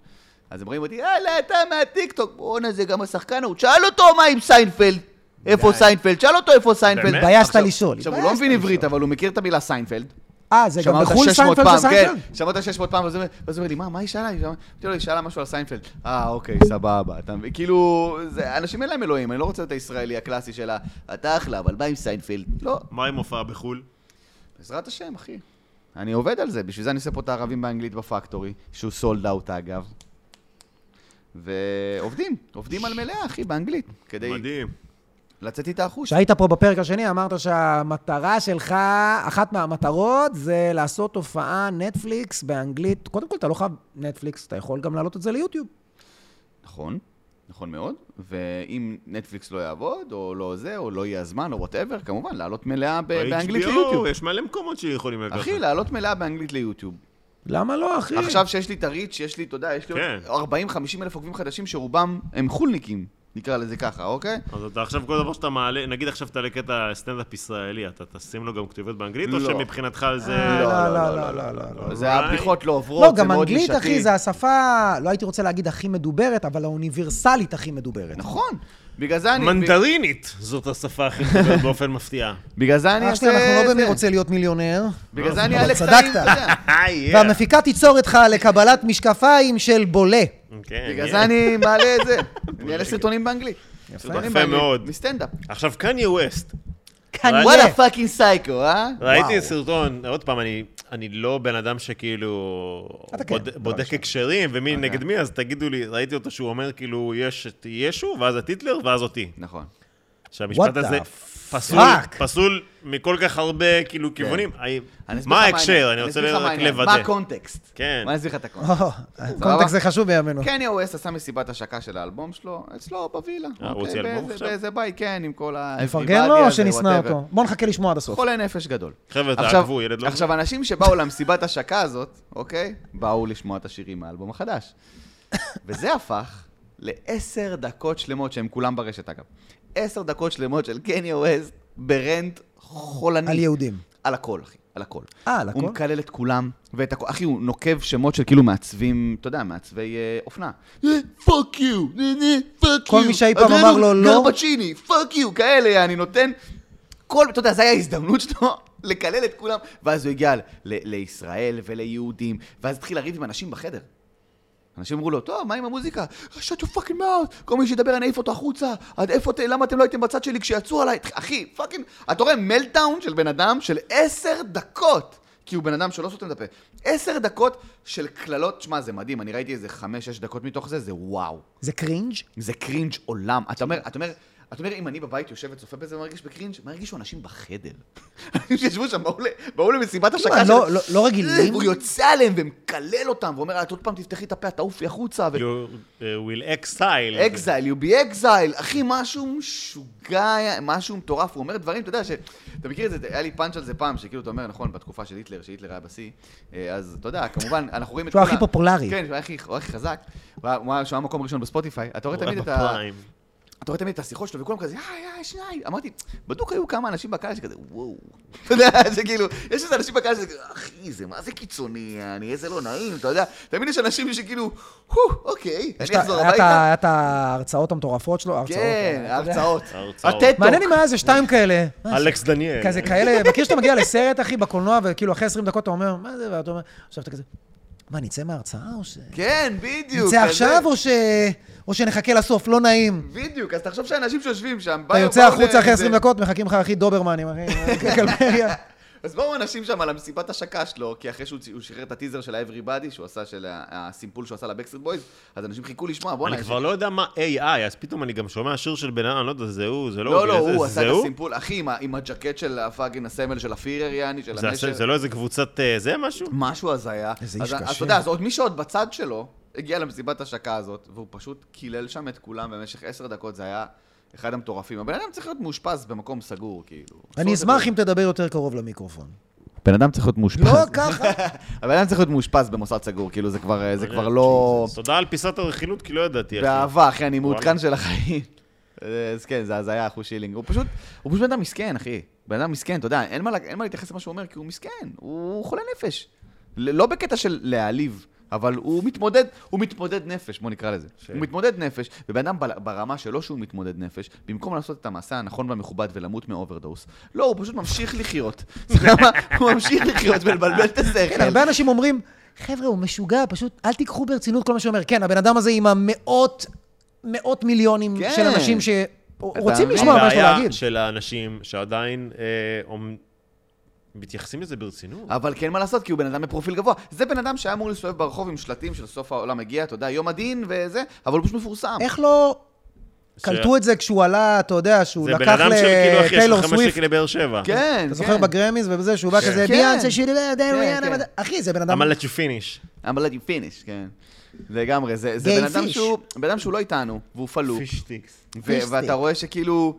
אז הם רואים אותי, יאללה, אתה מהטיקטוק, בואנה, זה גם השחקן ההוא. שאל אותו מה עם סיינפלד, איפה סיינפלד, שאל אותו איפה סיינפלד. באמת? התביישת עכשיו- לשאול. עכשיו, הוא לא התביישת מבין עברית, לשאול. אבל הוא מכיר את המילה סיינפלד. אה, זה גם שמע אותה בחו"ל 600 סיינפלד פעם, זה סיינפלד? כן, שמע אותה 600 פעם, ואז הוא אומר- ואז הוא אומר לי, מה, מה היא שאלה? היא שאלה- אמרתי לו, היא שאלה משהו על סיינפלד. אה, אוקיי, סבבה. אתה מבין? כאילו, זה- אנשים אין להם אלוהים, אני לא רוצה להיות הישראלי הקלאסי של ה... אתה אחלה, אבל מה עם סיינפלד? לא, מה עם הופעה בחו"ל? בעזרת השם, אחי. אני עובד על זה, בשביל זה אני עושה פה את הערבים באנגלית בפקטורי, שהוא סולד אאוט אגב. ועובדים, עובדים על מלאה, אחי, באנגלית, כדי מדהים. לצאת איתה החוש. כשהיית פה בפרק השני, אמרת שהמטרה שלך, אחת מהמטרות, זה לעשות הופעה נטפליקס באנגלית. קודם כל, אתה לא חייב נטפליקס, אתה יכול גם להעלות את זה ליוטיוב. נכון, נכון מאוד, ואם נטפליקס לא יעבוד, או לא זה, או לא יהיה הזמן, או וואטאבר, כמובן, לעלות מלאה ב- באנגלית ב-HBO, ליוטיוב. יש מלא מקומות שיכולים לקחת. אחי, לעלות מלאה באנגלית ליוטיוב. למה לא, אחי? עכשיו שיש לי את הריץ', יש לי, אתה יודע, יש לי כן. עוד 40-50 אלף עוקבים חדשים, שרובם הם חולניקים, נקרא לזה ככה, אוקיי? אז אתה עכשיו, כל דבר שאתה מעלה, נגיד עכשיו אתה לקטע סטנדאפ ישראלי, אתה תשים לו גם כתוביות באנגלית, או לא. שמבחינתך זה... אה, לא, לא, לא, לא, לא, לא. זה הבדיחות לא עוברות, לא, זה גם מאוד אנגלית, נישתי. אחי, זה השפה, לא הייתי רוצה להגיד הכי מדוברת, אבל האוניברסלית הכי מדוברת. נכון. בגלל זה אני... מנדרינית, זאת השפה הכי [laughs] מדוברת באופן מפתיע. בגלל זה אני אח אעשה... שלי, אנחנו לא זה. באמת רוצה להיות מיליונר. בגלל זה אני אבל אעלה צדקת. קטעים, אתה יודע. כן, היי, והמפיקה תיצור אותך לקבלת משקפיים של בולה. אוקיי, בגלל זה אני מעלה את זה. אני [laughs] אעלה סרטונים באנגלית. סרטונים כן. יפה באנגלית, מאוד. מסטנדאפ. עכשיו, קניה ווסט, כנראה. וואלה פאקינג סייקו, אה? ראיתי וואו. סרטון, עוד פעם, אני, אני לא בן אדם שכאילו אתה כן, אוקיי. בוד, דבר בודק ראשון. הקשרים ומי נגד מי, אז תגידו לי, ראיתי אותו שהוא אומר כאילו, יש את ישו, ואז הטיטלר, ואז אותי. נכון. שהמשפט What הזה the פסול, fuck? פסול מכל כך הרבה כאילו כיוונים. אני- כן. אני אסביר מה לך העניין. ההקשר? אני רוצה אסביר לך מה רק העניין. לוודא. מה הקונטקסט? כן. מה אסביר לך את הקונטקסט? [laughs] או, קונטקסט זה חשוב בימינו. קניה ווסט עשה מסיבת השקה של האלבום שלו, אצלו בווילה. אה, הוא אוקיי, הוציא אלבום באיזה- עכשיו? באיזה בית, כן, עם כל ה... נפרגן everybody לו או הזה, שנשנא whatever. אותו? בוא נחכה לשמוע עד הסוף. חולה נפש גדול. חבר'ה, עכשיו- תעקבו, ילד לא... עכשיו, אנשים שבאו למסיבת השקה הזאת, אוקיי? באו לשמוע את השירים מהאלבום החדש. וזה הפך לעשר דקות שלמות, שהם כולם ברשת אגב. עשר דקות שלמות של קניה ווסט ברנט חולני. על יהודים. על הכל, אחי, על הכל. אה, על הכל? הוא מקלל את כולם, ואת הכל, אחי, הוא נוקב שמות של כאילו מעצבים, אתה יודע, מעצבי אה, אופנה. פאק יו, פאק יו. כל מי שאי פעם אמר לו לא. גרבצ'יני, פאק יו, כאלה, אני נותן... כל, אתה יודע, זו הייתה ההזדמנות שלו [laughs] לקלל את כולם, ואז הוא הגיע ל- ל- לישראל וליהודים, ואז התחיל לריב עם אנשים בחדר. אנשים אמרו לו, טוב, מה עם המוזיקה? shut your fucking mouth, כל מי שידבר אני אעיף אותו החוצה, עד איפה, אתם- למה אתם לא הייתם בצד שלי כשיצאו עליי? אחי, פאקינג, אתה רואה מלטאון של בן אדם של עשר דקות, כי הוא בן אדם שלא סותם את הפה, עשר דקות של קללות, שמע, זה מדהים, אני ראיתי איזה חמש-שש דקות מתוך זה, זה וואו. זה קרינג'? זה קרינג' עולם. אתה אומר, אתה אומר, אתה אומר, אם אני בבית יושב וצופה בזה ומרגיש בקרינג', מה הרגישו אנשים בחדר? [laughs] אנשים שישבו שם, באו ל- באו למסיבת כאילו, השקה לא- לא- לא רגילים? הוא יוצא עליהם ומקלל אותם, ואומר, את עוד פעם תפתחי את הפה, את תעופי החוצה. ו- You uh, will exile. אקזייל, you be exile, אחי, משהו משוגע, משהו מטורף, הוא אומר דברים, אתה יודע ש... אתה מכיר את זה, היה לי פאנץ' על זה פעם, שכאילו אתה אומר, נכון, בתקופה של היטלר, שהיטלר היה בשיא, אה, אז אתה יודע, כמובן, אנחנו רואים את כל שהוא ה... הכי פופולרי. כן, שהוא היה הכי- הוא היה הכי חזק, הוא היה- הוא היה שהוא היה מקום ראשון בספוטיפיי, אתה רואה הוא היה תמיד את ה... בפריים. אתה רואה תמיד את השיחות שלו, וכולם כזה, "אה, היי, היי, שניים. אמרתי, בדוק היו כמה אנשים בקהל שכזה, וואו. אתה יודע, [laughs] זה כאילו, יש איזה אנשים בקהל שזה, אחי, זה מה זה קיצוני, אני איזה לא נעים, אתה יודע. תמיד יש אנשים שכאילו, הו, אוקיי, אני אחזור היה את הביתה. ה- היה את ההרצאות המטורפות שלו? ההרצאות, כן, אה, אתה יודע. ההרצאות. ההרצאות. הטט-טוק. מעניין אם היה איזה שתיים כאלה. מה זה? אלכס דניאל. כזה [laughs] כאלה, מכיר שאתה מגיע לסרט, אחי, בקולנוע, וכאילו אחרי 20 דקות אתה אומר, מה זה, ואתה אומר, עכשיו אתה כזה, מה, נצא מההרצאה או ש... כן, בדיוק. נצא כזה. עכשיו או ש... או שנחכה לסוף, לא נעים. בדיוק, אז תחשוב שהאנשים שיושבים שם, אתה באו- יוצא באו החוצה אחרי לאיזה- 20 דקות, מחכים לך, אחי, דוברמנים, אחי, [laughs] קלבריה. אז באו אנשים שם על המסיבת השקה שלו, כי אחרי שהוא צי- הוא שחרר את הטיזר של ה-Everybody, שהוא עשה, של ה- הסימפול שהוא עשה לבקסטריט בויז, אז אנשים חיכו לשמוע, בואנה, אני יש- כבר לא יודע מה AI, אז פתאום אני גם שומע שיר של בן אדם, אני לא יודע, זה הוא, זה לא לא, לא, זה- הוא זה עשה את הסימפול, אחי, עם ה- עם הג'קט של הפאגינג הסמל של הפירר, יעני, של זה הנשר. הס- זה לא איזה קבוצת אה, זה משהו? משהו הזיה. איזה איש אז- אז קשה. אתה יודע, אז עוד מי שעוד בצד שלו, הגיע למסיבת השקה הזאת, והוא פשוט קילל שם את כולם במשך עשר דקות, זה היה אחד המטורפים. הבן אדם צריך להיות מאושפז במקום סגור, כאילו. אני אשמח אם תדבר יותר קרוב [laughs] למיקרופון. בן אדם צריך להיות מאושפז. לא ככה. הבן אדם צריך להיות מאושפז במוסד סגור, כאילו זה כבר, אה, זה כבר Jesus. לא... תודה על פיסת הרכילות, כי לא ידעתי, אחי. באהבה, אחי, אני מעודכן וואלה. של החיים. [laughs] אז כן, זה הזיה, אחוז שילינג. הוא פשוט, הוא פשוט בן אדם מסכן, אחי. בן אדם מסכן, אתה יודע, אין מה, לה- אין מה להתייחס למה שהוא אומר, כי הוא מסכן, הוא חולה נפש. ל- לא בקטע של להעליב, אבל הוא מתמודד, הוא מתמודד נפש, בוא נקרא לזה. כן. הוא מתמודד נפש, ובן אדם בל- ברמה שלו שהוא מתמודד נפש, במקום לעשות את המעשה הנכון והמכובד ולמות מאוברדוס, לא, הוא פשוט ממשיך לחיות. [laughs] סבבה? הוא ממשיך לחיות ולבלבל את כן, השכל. הרבה אנשים אומרים, חבר'ה, הוא משוגע, פשוט אל תיקחו ברצינות כל מה שהוא אומר. כן, הבן אדם הזה עם המאות, מאות מיליונים כן. של אנשים שרוצים מבין? לשמוע מה יש לו להגיד. של האנשים שעדיין אה, אומ- מתייחסים לזה ברצינות. אבל כן מה לעשות, כי הוא בן אדם בפרופיל גבוה. זה בן אדם שהיה אמור להסתובב ברחוב עם שלטים של סוף העולם הגיע, אתה יודע, יום הדין וזה, אבל הוא פשוט מפורסם. איך לא ש- קלטו את זה כשהוא עלה, אתה יודע, שהוא זה בן לקח אדם של כאילו, אחי, יש לטיילור לך חמש סוויפט, שקל לבאר שבע. כן, אתה זוכר כן. בגרמיז ובזה, שהוא בא כן. כזה, כן. ביאנסה שלי, לא יודע, כן, ריאנה, כן. מה- אחי, זה בן אדם... אבל let you finish. I'm let you finish, כן. לגמרי, זה, זה גיי בן אדם פיש. שהוא, בן אדם שהוא לא איתנו, והוא פלוק, fish sticks. ו- פיש סטיק. ואתה רואה שכאילו,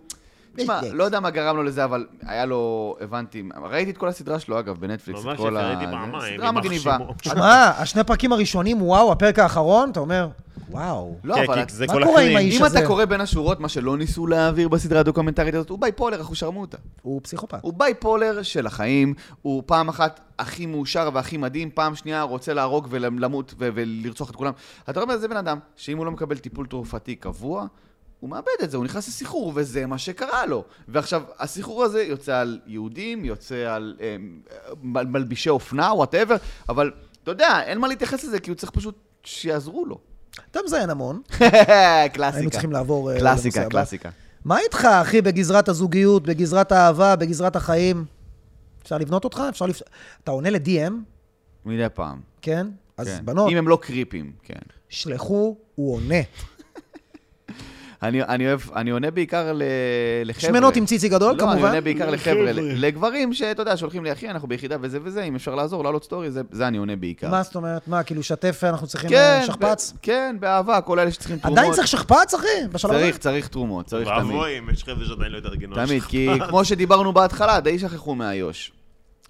תשמע, פיש סטיק. לא יודע מה גרם לו לזה, אבל היה לו, הבנתי, ראיתי את כל הסדרה שלו, אגב, בנטפליקס, את ממש כל יפה, ה... ראיתי זה- פעמיים, סדרה עם אח מגניבה. שמו. שמע, השני פרקים הראשונים, וואו, הפרק האחרון, אתה אומר, וואו. לא, כן, אבל כי זה מה כל קורה עם הקרינג'. האיש? אם אתה הזה. קורא בין השורות, מה שלא ניסו להעביר בסדרה הדוקומנטרית הזאת, הוא בייפולר, אחו שרמוטה. הוא פסיכופת. הוא בייפולר של החיים, הוא פעם אחת הכי מאושר והכי מדהים, פעם שנייה רוצה להרוג ולמות ו- ולרצוח את כולם. אתה אומר, זה בן אדם שאם הוא לא מקבל טיפול תרופתי קבוע, הוא מאבד את זה, הוא נכנס לסחרור, וזה מה שקרה לו. ועכשיו, הסחרור הזה יוצא על יהודים, יוצא על אה, מל- מלבישי אופנה, וואטאבר, אבל אתה יודע, אין מה להתייחס לזה, כי הוא צריך פשוט שיעזרו לו. [laughs] אתה מזיין המון. היינו קלאסיקה. צריכים לעבור... אה, לנושא קלאסיקה, הבא. קלאסיקה. מה איתך, אחי, בגזרת הזוגיות, בגזרת האהבה, בגזרת החיים? אפשר לבנות אותך? אפשר לפ... אתה עונה ל-DM, מדי פעם. כן? אז כן. בנות, אם הם לא קריפים, כן. שלחו, הוא עונה. אני, אני אוהב, אני עונה בעיקר ל... לחבר'ה. שמנות עם ציצי גדול, לא, אני כמובן. עונה בעיקר לחבר'ה, לחבר'ה. לגברים שאתה יודע, שולחים לי, אחי, אנחנו ביחידה וזה וזה, אם אפשר לעזור, לעלות סטורי, זה, זה אני עונה בעיקר. מה זאת אומרת? מה, כאילו שתף, אנחנו צריכים כן, אה, שכפ"ץ? ב- כן, באהבה, כל אלה שצריכים תרומות. עדיין צריך שכפ"ץ, אחי? בשלב הזה? צריך, צריך תרומות, צריך תמיד. ואבוי אם יש חבר'ה שעדיין לא התארגנו. תמיד, כי כמו שדיברנו בהתחלה, די שכחו מאיו"ש.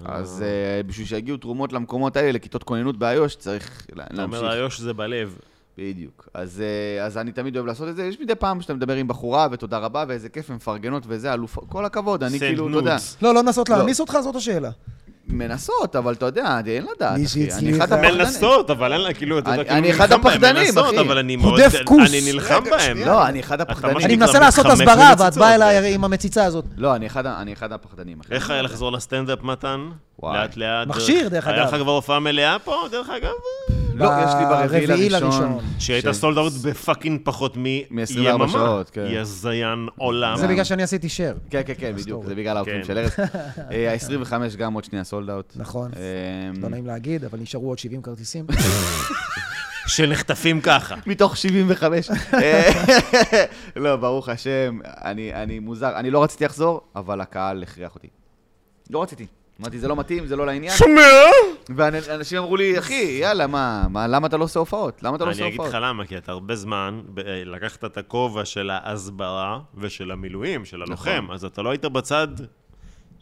אז אה, בשביל שיגיעו תרומות למקומות האלה, לכיתות כוננות באיו"ש, צריך לה- אתה להמשיך. אומר, איו"ש זה בלב. בדיוק. אז, אה, אז אני תמיד אוהב לעשות את זה. יש מדי פעם שאתה מדבר עם בחורה, ותודה רבה, ואיזה כיף, הן מפרגנות וזה, אלוף, כל הכבוד, אני Send כאילו, אתה יודע. nudes. לא, לא לנסות לא. להעמיס אותך, זאת השאלה. מנסות, אבל אתה יודע, אין לדעת, מי אחי. אני שהצליח- אחד הפחדנים. מנסות, אבל אין לה, כאילו, אתה יודע, אני- כאילו אני אחד נלחם בהם, הפחדנים, מנסות, אחי. אבל אני מאוד... חוטף כוס. אני נלחם רגע, בהם. לא, אני אחד ממש אני אני הפחדנים. נקרא מנסה לעשות מתחמק הסברה, מציצות, ואת באה כן. אליי עם המציצה הזאת. לא, אני אחד ה- אני אחד הפחדנים, אחי. איך היה לחזור לסטנדאפ מתן? וואי. לאט לאט. מכשיר, דרך היה אגב. לך כבר הופעה מלאה פה, דרך אגב? לא, יש לי ברביעי ברביעי לראשון. לראשון. שהיית ש- סולד אאוט בפאקינג פחות מ- מיממה. 24 שעות, כן. יא זיין עולם. אמ. זה בגלל שאני עשיתי share. כן, כן, כן, בדיוק, זה בגלל האופים כן. של ארז. אה, ה-25 גם עוד שנייה אמ, סולד אאוט. נכון. אה, לא נעים להגיד, אבל נשארו עוד 70 [laughs] כרטיסים. שנחטפים ככה. מתוך 75. אה, לא, ברוך השם, אני אני מוזר. אני לא רציתי לחזור, אבל הקהל הכריח אותי. לא רציתי. אמרתי, זה לא מתאים, זה לא לעניין. שומע? ואנשים אמרו לי, אחי, יאללה, מה, מה, למה אתה לא עושה הופעות? למה אתה לא עושה אני אגיד הופעות? לך למה, כי אתה הרבה זמן ב- אה, לקחת את הכובע של ההסברה ושל המילואים, נכון. של הלוחם, אז אתה לא היית בצד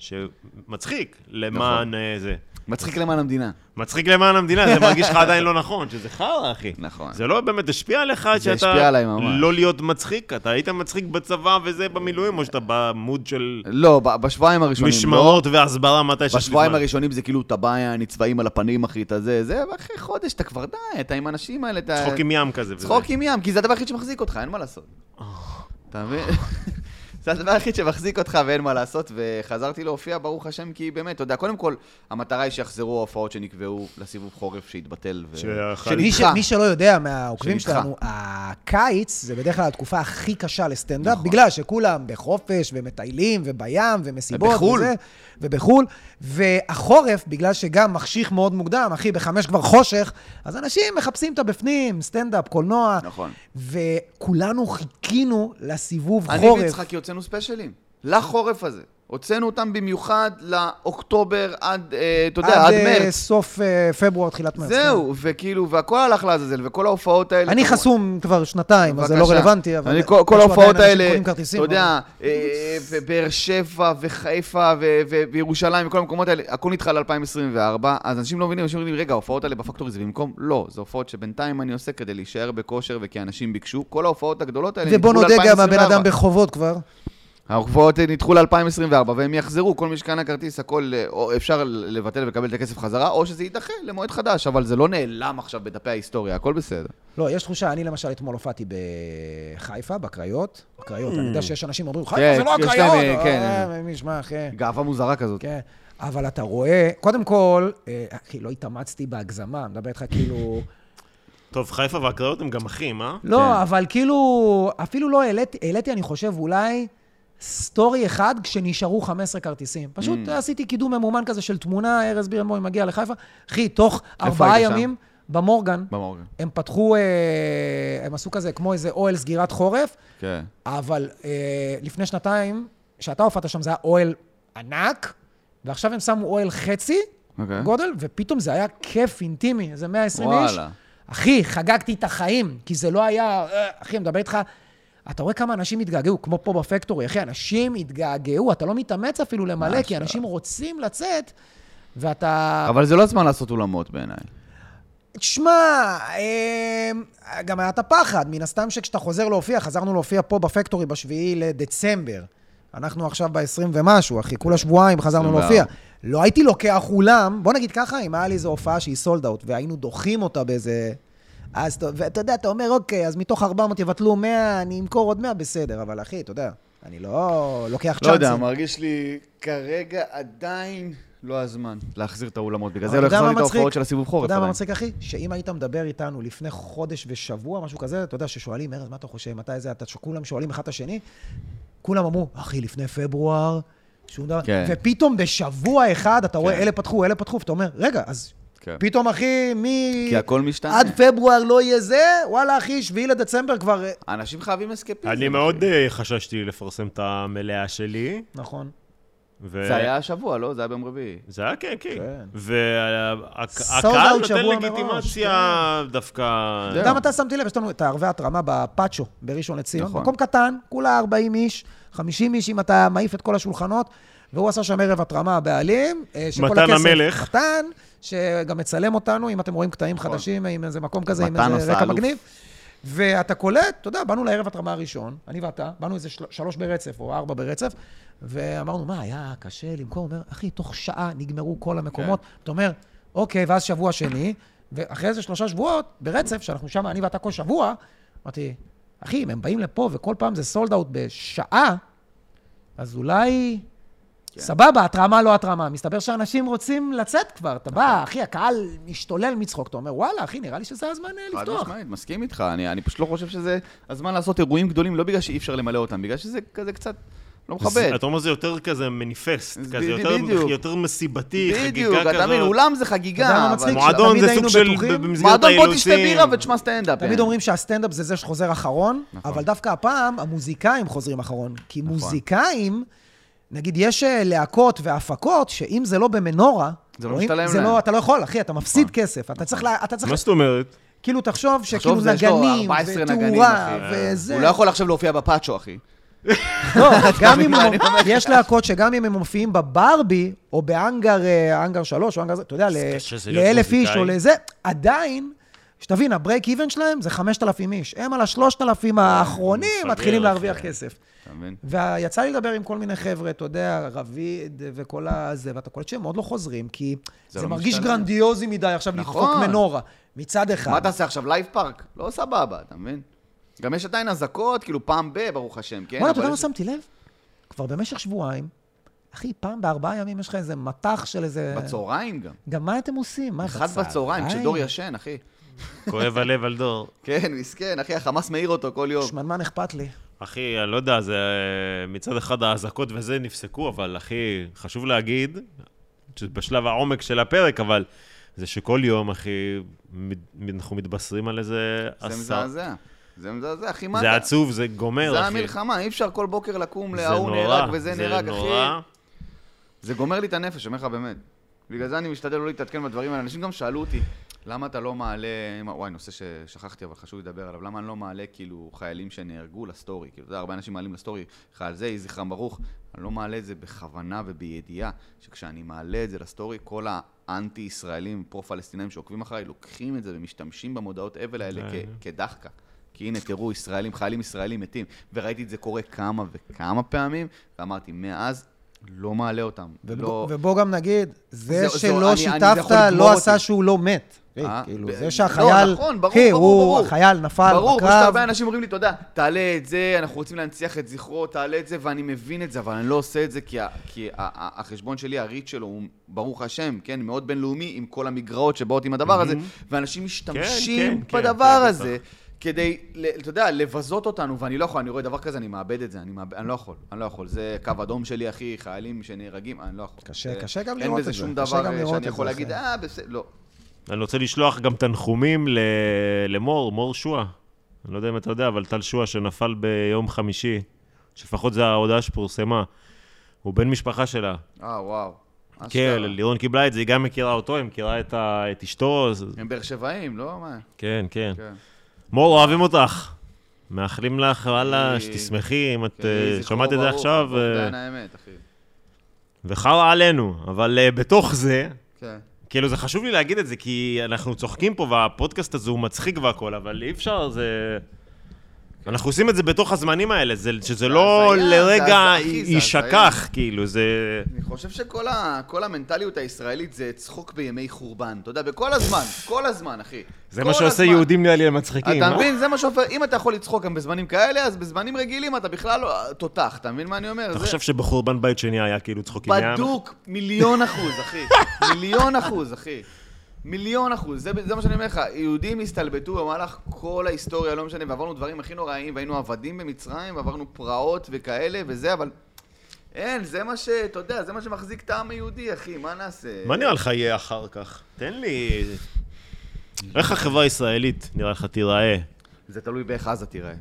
שמצחיק נכון. למען אה, זה. מצחיק למען המדינה. מצחיק למען המדינה, זה מרגיש [laughs] לך עדיין לא נכון, שזה חרא, אחי. נכון. זה לא באמת השפיע עליך עד זה שאתה... השפיע עליי ממש. לא להיות מצחיק, אתה היית מצחיק בצבא וזה במילואים, או שאתה במוד של לא, ב- בשבועיים הראשונים. לא. משמרות והסברה מתי שיש לי בשבועיים זמן. הראשונים זה כאילו, אתה בא, נצבעים על הפנים, אחי, אתה זה, זה, ואחרי חודש אתה כבר די, אתה עם האנשים האלה, אתה... צחוק עם ים כזה. וזה. צחוק עם ים, כי זה הדבר היחיד שמחזיק אותך, אין מה לעשות. אתה מבין? [laughs] זה הדבר היחיד שמחזיק אותך ואין מה לעשות, וחזרתי להופיע, ברוך השם, כי באמת, אתה יודע, קודם כל, המטרה היא שיחזרו ההופעות שנקבעו לסיבוב חורף שהתבטל, ו... שאכל- מי, ש, שנדחה. מי שלא יודע מהעוקבים שנדחה. שלנו, הקיץ זה בדרך כלל התקופה הכי קשה לסטנדאפ, נכון. בגלל שכולם בחופש ומטיילים ובים ומסיבות ובחו"ל. וזה, ובחו"ל. והחורף, בגלל שגם מחשיך מאוד מוקדם, אחי, בחמש כבר חושך, אז אנשים מחפשים את הבפנים, סטנדאפ, קולנוע. נכון. וכולנו חיכינו לסיבוב אני חורף. ויצחקי הוצאנו ספיישלים, לחורף הזה. הוצאנו אותם במיוחד לאוקטובר עד, אה, אתה יודע, עד אה, מרץ. סוף אה, פברואר, תחילת מרץ. זהו, וכאילו, והכל הלך לעזאזל, וכל ההופעות כן. האלה... אני כמובן- חסום כבר שנתיים, אז זה לא בבקשה. רלוונטי, אבל... אני, כל, כל איכשהו ההופעות עדיין אנשים האלה, קונים אתה כרטיסים, יודע, אה, ובאר שבע וחיפה ו- ו- וירושלים וכל המקומות האלה, הכל נדחה ל-2024, אז אנשים לא מבינים, אנשים אומרים לי, רגע, ההופעות האלה בפקטורי זה במקום? לא, זה הופעות שבינתיים אני עושה כדי להישאר בכושר וכי אנשים ביקשו, כל ההופעות הגדולות האלה ובוא נדחו נודה גם הבן ל-2024. אדם בחובות כבר. הרוכבות נדחו ל-2024 והם יחזרו, כל מי שקנה כרטיס, הכל אה, או אפשר לבטל ולקבל את הכסף חזרה, או שזה יידחה למועד חדש, אבל זה לא נעלם עכשיו בדפי ההיסטוריה, הכל בסדר. לא, יש תחושה, אני למשל אתמול הופעתי בחיפה, בקריות. בקריות, אני יודע שיש אנשים אומרים, חיפה כן, זה לא יש הקריות. להם, אה, כן. אה, מי ישמע, אחי. גאווה מוזרה כזאת. כן. אבל אתה רואה, קודם כל, אה, אחי, לא התאמצתי בהגזמה, מדבר איתך [laughs] כאילו... כן. טוב, חיפה והקריות הם גם אחים, אה? לא, אבל כאילו, אפילו לא העליתי, העליתי, אני חושב, אולי סטורי אחד כשנשארו 15 כרטיסים. פשוט Mm. עשיתי קידום ממומן כזה של תמונה, ארז בירנבוים מגיע לחיפה. אחי, תוך ארבעה היית שם? ימים, במורגן, במורגן. הם פתחו, אה, הם עשו כזה, כמו איזה אוהל סגירת חורף, כן. אבל אה, לפני שנתיים, כשאתה הופעת שם, זה היה אוהל ענק, ועכשיו הם שמו אוהל חצי אוקיי. גודל, ופתאום זה היה כיף אינטימי, איזה 120 איש. וואלה. אחי, חגגתי את החיים, כי זה לא היה... אה, אחי, מדבר איתך... אתה רואה כמה אנשים התגעגעו, כמו פה בפקטורי, אחי, אנשים התגעגעו, אתה לא מתאמץ אפילו למלא, ממש כי לא. אנשים רוצים לצאת, ואתה... אבל זה לא הזמן לעשות אולמות בעיניי. תשמע, אה, גם היה את הפחד, מן הסתם שכשאתה חוזר להופיע, חזרנו להופיע פה בפקטורי בשביעי לדצמבר. אנחנו עכשיו ב-20 ומשהו, אחי, כולה שבועיים חזרנו 24. להופיע. לא הייתי לוקח אולם, בוא נגיד ככה, אם היה לי איזו הופעה שהיא סולד אאוט, והיינו דוחים אותה באיזה... אז אתה- ואתה יודע, אתה אומר, אוקיי, אז מתוך 400 יבטלו 100, אני אמכור עוד 100, בסדר, אבל אחי, אתה יודע, אני לא לוקח לא צ'אנסים. יודע, מרגיש לי כרגע עדיין לא הזמן להחזיר את האולמות. בגלל אבל זה לא אתה יודע החזרתי מה את ההופעות מצחיק? של הסיבוב חורף. אתה יודע מה עדיין. מצחיק, אחי? שאם היית מדבר איתנו לפני חודש ושבוע, משהו כזה, אתה יודע, ששואלים, ארז, מה אתה חושב, מתי זה, אתה, כולם שואלים אחד את השני, כולם אמרו, אחי, לפני פברואר, שום דבר, כן. ופתאום בשבוע אחד אתה רואה, כן. אלה פתחו, אלה פתחו, ואתה אומר, רגע, אז כן. פתאום, אחי, מי... כי הכל משתנה. עד פברואר לא יהיה זה, וואלה, אחי, שביעי לדצמבר כבר... אה, אנשים חייבים אסקפיזם. אני מאוד אה, חששתי לפרסם את המלאה שלי. נכון. ו- זה היה השבוע, לא? זה היה ביום רביעי. זה היה כן, כן. כן. Sold והקהל out נותן שבוע כן. לגיטימציה דווקא... אתה יודע מתי שמתי לב? יש לנו את הערבי התרמה בפאצ'ו בראשון לציון. נכון. מקום קטן, כולה 40 איש, 50 איש אם אתה מעיף את כל השולחנות, והוא עשה שם ערב התרמה, הבעלים. אה, שכל מתן הכסף- המלך. נכון. מתן, שגם מצלם אותנו, אם אתם רואים קטעים חדשים, עם איזה מקום כזה, עם מתן איזה עשה רקע אלוף. מגניב. ואתה קולט, אתה יודע, באנו לערב התרמה הראשון, אני ואתה, באנו איזה של- שלוש ברצף או ארבע ברצף, ואמרנו, מה, היה קשה למכור? הוא אומר, אחי, תוך שעה נגמרו כל המקומות. כן. אתה אומר, אוקיי, ואז שבוע שני, ואחרי איזה שלושה שבועות ברצף, שאנחנו שם, אני ואתה כל שבוע, אמרתי, אחי, אם הם באים לפה וכל פעם זה סולד אאוט בשעה, אז אולי... כן. סבבה, התרמה לא התרמה. מסתבר שאנשים רוצים לצאת כבר. אתה נכון. בא, אחי, הקהל משתולל מצחוק. אתה אומר, וואלה, אחי, נראה לי שזה הזמן אה, חד לפתוח. משמעית, מסכים איתך. אני, אני פשוט לא חושב שזה הזמן לעשות אירועים גדולים, לא בגלל שאי אפשר למלא אותם, בגלל שזה כזה קצת לא מכבד. אתה אומר זה יותר כזה מניפסט, אז כזה ב- יותר- בדיוק. יותר מסיבתי, חגיגה בדיוק, כזאת. אתה מבין, אולם זה חגיגה. אתה יודע מה אבל- מצחיק? מועדון תמיד זה היינו סוג של... בטוחים. במסגרת מועדון בוא תשתה האילוצים. בירה ותשמע סטנדאפ. כן. תמיד אומרים שהסטנדאפ זה זה שחוזר אחרון, נכון. אבל דווקא הפעם המוזיקאים חוזרים אחרון. כי מוזיקאים, נגיד, יש אה, להקות והפקות, שאם זה לא במנורה, זה לא רואים? משתלם זה להם. נכון. לא לא, אתה לא יכול, אחי, אתה מפסיד כסף. אתה צריך, לה- אתה צריך, מה זאת אומרת? כאילו, תחשוב שכאילו זה, יש לו נגנים, 14 נגנים, ותאורה, אחי. וזה. הוא לא יכול עכשיו להופיע בפאצ'ו, אחי. לא, גם אם הוא- יש להקות שגם אם הם מופיעים בברבי, או בהאנגר אה, האנגר 3, או האנגר זה, אתה יודע, ל- קשה להיות לאלף איש או מוזיקאי. לזה, עדיין, שתבין, הברייק איבן שלהם זה 5,000 איש. הם על השלושת אלפים האחרונים מפגר, מתחילים אחי. להרוויח כסף. אתה מבין? ויצא לי לדבר עם כל מיני חבר'ה, אתה יודע, רביד וכל הזה, ואתה קולט שהם עוד לא חוזרים, כי זה זה לא מרגיש משתנה. גרנדיוזי מדי עכשיו נכון. לדפוק מנורה, מצד מה אחד. תעשה עכשיו, לייב פארק? לא סבבה, אתה מבין? גם יש עדיין אזעקות, כאילו פעם ב, ברוך השם, כן? וואלה, אתה אבל יודע מה יש- שמתי לב? כבר במשך שבועיים, אחי, פעם בארבעה ימים יש לך איזה מטח של איזה... בצהריים גם. גם מה אתם עושים? מה, אחד בצהריים, כשדור ישן, אחי. כואב הלב על דור. כן, מסכן, אחי, החמאס מעיר אותו כל יום. שמנמן אכפת לי. אחי, אני לא יודע, זה... אה, מצד אחד האזעקות וזה נפסקו, אבל אחי, חשוב להגיד, בשלב העומק של הפרק, אבל זה שכל יום, אחי, מ- אנחנו מתבשרים על איזה זה עשר... מזעזע. זה מזעזע, אחי, מה זה אתה- עצוב, זה גומר, אחי. זה המלחמה, אי אפשר כל בוקר לקום זה לההוא נהרג נורא, וזה זה נהרג, נורא. אחי. זה גומר לי את הנפש, אומר לך באמת. בגלל זה אני משתדל לא להתעדכן בדברים האלה. אנשים גם שאלו אותי, למה אתה לא מעלה... וואי, נושא ששכחתי, אבל חשוב לדבר עליו. למה אני לא מעלה כאילו חיילים שנהרגו לסטורי? כאילו, אתה יודע, הרבה אנשים מעלים לסטורי, חייל זה, יהי זכרם ברוך. אני לא מעלה את זה בכוונה ובידיעה, שכשאני מעלה את זה לסטורי, כל אה. האנטי-ישראלים, פרו-פלסטינאים שעוקבים אחריי, לוקחים את זה ומשתמשים במודעות אבל האלה כן. כ- כדחקה. כי כי הנה, תראו, ישראלים, חיילים ישראלים מתים. וראיתי את זה קורה כמה וכמה פעמים, ואמרתי, מאז לא מעלה אותם. ובוא, לא... ובוא גם נגיד, זה זהו, זהו, שלא אני- אני- זה שיתפת יכול לגמור לא עשה אותי. שהוא לא מת. היי, אה? כאילו, ב- זה שהחייל... לא, נכון, ברור, היי, ברור, הוא- ברור. החייל נפל ברור, כמו בקרב. שהרבה אנשים אומרים לי, תודה, תעלה את זה, אנחנו רוצים להנציח את זכרו, תעלה את זה, ואני מבין את זה, אבל אני לא עושה את זה, כי, ה- כי ה- ה- החשבון שלי, הריט שלו, הוא, ברוך השם, כן, מאוד בינלאומי, עם כל המגרעות שבאות עם הדבר הזה, ואנשים משתמשים כן, כן, בדבר כן, הזה. כדי, ל- אתה יודע, לבזות אותנו, ואני לא יכול, אני רואה דבר כזה, אני מאבד את זה, אני, מאבד, אני לא יכול, אני לא יכול. זה קו אדום שלי, אחי, חיילים שנהרגים, אני לא יכול. קשה- זה- קשה גם לראות אין בזה את זה, שום קשה גם דבר אה, לראות את שאני יכול זה, להגיד, אחי. אה, בסדר, לא. אני רוצה לשלוח גם תנחומים ל... למור, מור שועה. אני לא יודע אם אתה יודע, אבל טל שועה שנפל ביום חמישי, שלפחות זו ההודעה שפורסמה, הוא בן משפחה שלה. אה, וואו. כן, אשכרה. לירון קיבלה את זה, היא גם מכירה אותו, היא מכירה את, ה... את אשתו. זה- הם באר שבעים, לא? מה? כן, כן. כן. מור, אוהבים אותך. מאחלים לך, וואלה, אה, שתשמחי, אם את כן, אה, זכרו שומעת את זה ברוך, עכשיו, אובדן אה, האמת, אחי. וחרא עלינו. אבל אה, בתוך זה, כן. כאילו, זה חשוב לי להגיד את זה, כי אנחנו צוחקים פה, והפודקאסט הזה הוא מצחיק והכל, אבל אי אפשר, זה... אנחנו עושים את זה בתוך הזמנים האלה, זה, שזה לא הזיה, כן. זה לרגע הזיה, אחי, זה יישכח, הזיה. כאילו, זה... אני חושב שכל ה- כל המנטליות הישראלית זה צחוק בימי חורבן. אתה יודע, בכל הזמן, כל הזמן, אחי. זה כל מה שעושה הזמן. יהודים נראה לי למצחיקים. אתה אה? מבין? זה מה שעופר, אם אתה יכול לצחוק גם בזמנים כאלה, אז בזמנים רגילים אתה בכלל לא... תותח, אתה מבין מה אני אומר? אתה זה- חושב שבחורבן בית שני היה כאילו צחוקים? היה- בדוק, מיליון אחוז, אחי. מיליון אחוז, אחי. מיליון אחוז, זה, זה מה שאני אומר לך, יהודים הסתלבטו במהלך כל ההיסטוריה, לא משנה, ועברנו דברים הכי נוראיים, והיינו עבדים במצרים, ועברנו פרעות וכאלה וזה, אבל אין, זה מה ש... אתה יודע, זה מה שמחזיק את העם היהודי, אחי, מה נעשה? מה נראה לך יהיה אחר כך? תן לי... איך החברה הישראלית נראה לך תיראה? זה תלוי באיך עזה תיראה.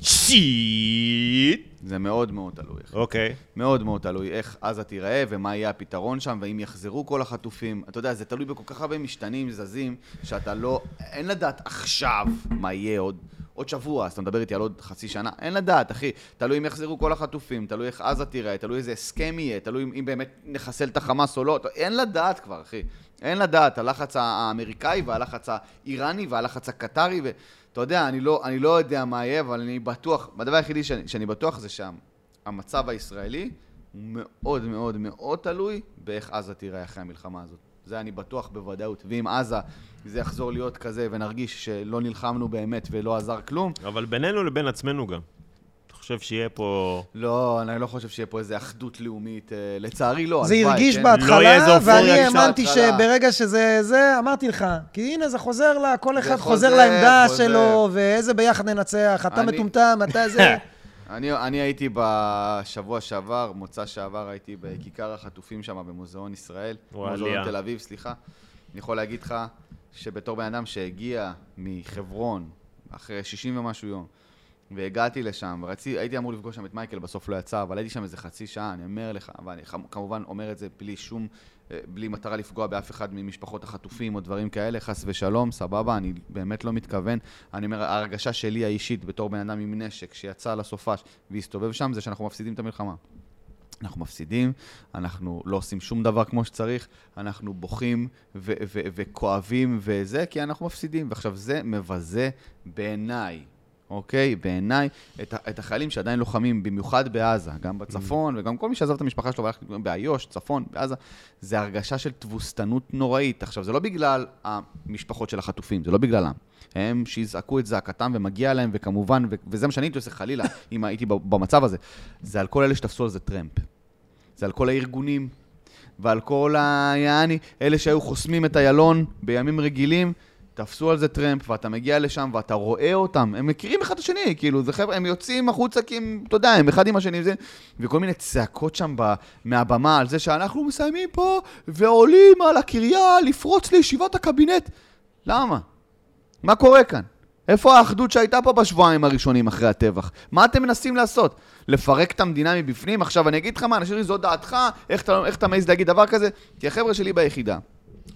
שיט! זה מאוד מאוד תלוי, אחי. אוקיי. מאוד מאוד תלוי איך עזה תיראה ומה יהיה הפתרון שם, ואם יחזרו כל החטופים. אתה יודע, זה תלוי בכל כך הרבה משתנים, זזים, שאתה לא... אין לדעת עכשיו מה יהיה עוד. עוד שבוע, אז אתה מדבר איתי על עוד חצי שנה. אין לדעת, אחי. תלוי אם יחזרו כל החטופים, תלוי איך עזה תיראה, תלוי איזה הסכם יהיה, תלוי אם- אם באמת נחסל את החמאס או לא. אתה- אין לדעת כבר, אחי. אין לדעת. הלחץ האמריקאי והלחץ האיראני והלחץ הקטרי, ואתה יודע, אני לא, אני לא יודע מה יהיה, אבל אני בטוח, הדבר היחידי שאני, שאני בטוח זה שם. המצב הישראלי הוא מאוד מאוד מאוד תלוי באיך עזה תיראה אחרי המלחמה הזאת. זה אני בטוח בוודאות. ואם עזה זה יחזור להיות כזה ונרגיש שלא נלחמנו באמת ולא עזר כלום, אבל בינינו לבין עצמנו גם. אתה חושב שיהיה פה... לא, אני לא חושב שיהיה פה איזה אחדות לאומית. אה, לצערי לא, זה הלוואי, הרגיש כן? לא יהיה איזה בהתחלה, אופוריה ואני כשזה האמנתי בהתחלה. שברגע שזה זה, אמרתי לך, כי הנה זה חוזר לה, כל אחד חוזר, חוזר לעמדה חוזר. שלו, ואיזה ביחד ננצח, אתה אני- מטומטם, [laughs] אתה זה. אני, אני הייתי בשבוע שעבר, מוצא שעבר, הייתי בכיכר החטופים שם, במוזיאון ישראל. וואלה. מוזיאון תל אביב, סליחה. אני יכול להגיד לך שבתור בן אדם שהגיע מחברון, אחרי 60 ומשהו יום, והגעתי לשם, ורצי, הייתי אמור לפגוש שם את מייקל, בסוף לא יצא, אבל הייתי שם איזה חצי שעה, אני אומר לך, ואני חמ- כמובן אומר את זה בלי שום, אה, בלי מטרה לפגוע באף אחד ממשפחות החטופים או דברים כאלה, חס ושלום, סבבה, אני באמת לא מתכוון. אני אומר, ההרגשה שלי האישית, בתור בן אדם עם נשק, שיצא לסופש והסתובב שם, זה שאנחנו מפסידים את המלחמה. אנחנו מפסידים, אנחנו לא עושים שום דבר כמו שצריך, אנחנו בוכים ו- ו- וכואבים וזה, כי אנחנו מפסידים. ועכשיו זה מבזה בעיניי, אוקיי? בעיניי, את, ה- את החיילים שעדיין לוחמים, במיוחד בעזה, גם בצפון, וגם כל מי שעזב את המשפחה שלו והלך להתגורר באיו"ש, צפון, בעזה, זה הרגשה של תבוסתנות נוראית. עכשיו, זה לא בגלל המשפחות של החטופים, זה לא בגללם. הם שיזעקו את זעקתם ומגיע להם, וכמובן, ו- וזה מה שאני הייתי עושה חלילה, [laughs] אם הייתי ב- במצב הזה. זה על כל אלה שתפסו על זה טרמפ. זה על כל הארגונים, ועל כל ה... יעני, אלה שהיו חוסמים את איילון בימים רגילים, תפסו על זה טרמפ, ואתה מגיע לשם ואתה רואה אותם, הם מכירים אחד את השני, כאילו, זה חבר'ה, הם יוצאים החוצה כי הם, אתה יודע, הם אחד עם השני, זה, וכל מיני צעקות שם ב, מהבמה על זה שאנחנו מסיימים פה, ועולים על הקריה לפרוץ לישיבת הקבינט. למה? מה קורה כאן? איפה האחדות שהייתה פה בשבועיים הראשונים אחרי הטבח? מה אתם מנסים לעשות? לפרק את המדינה מבפנים? עכשיו אני אגיד לך מה, אנשים אומרים, זו דעתך, איך אתה, איך אתה מעז להגיד דבר כזה? כי החבר'ה שלי ביחידה,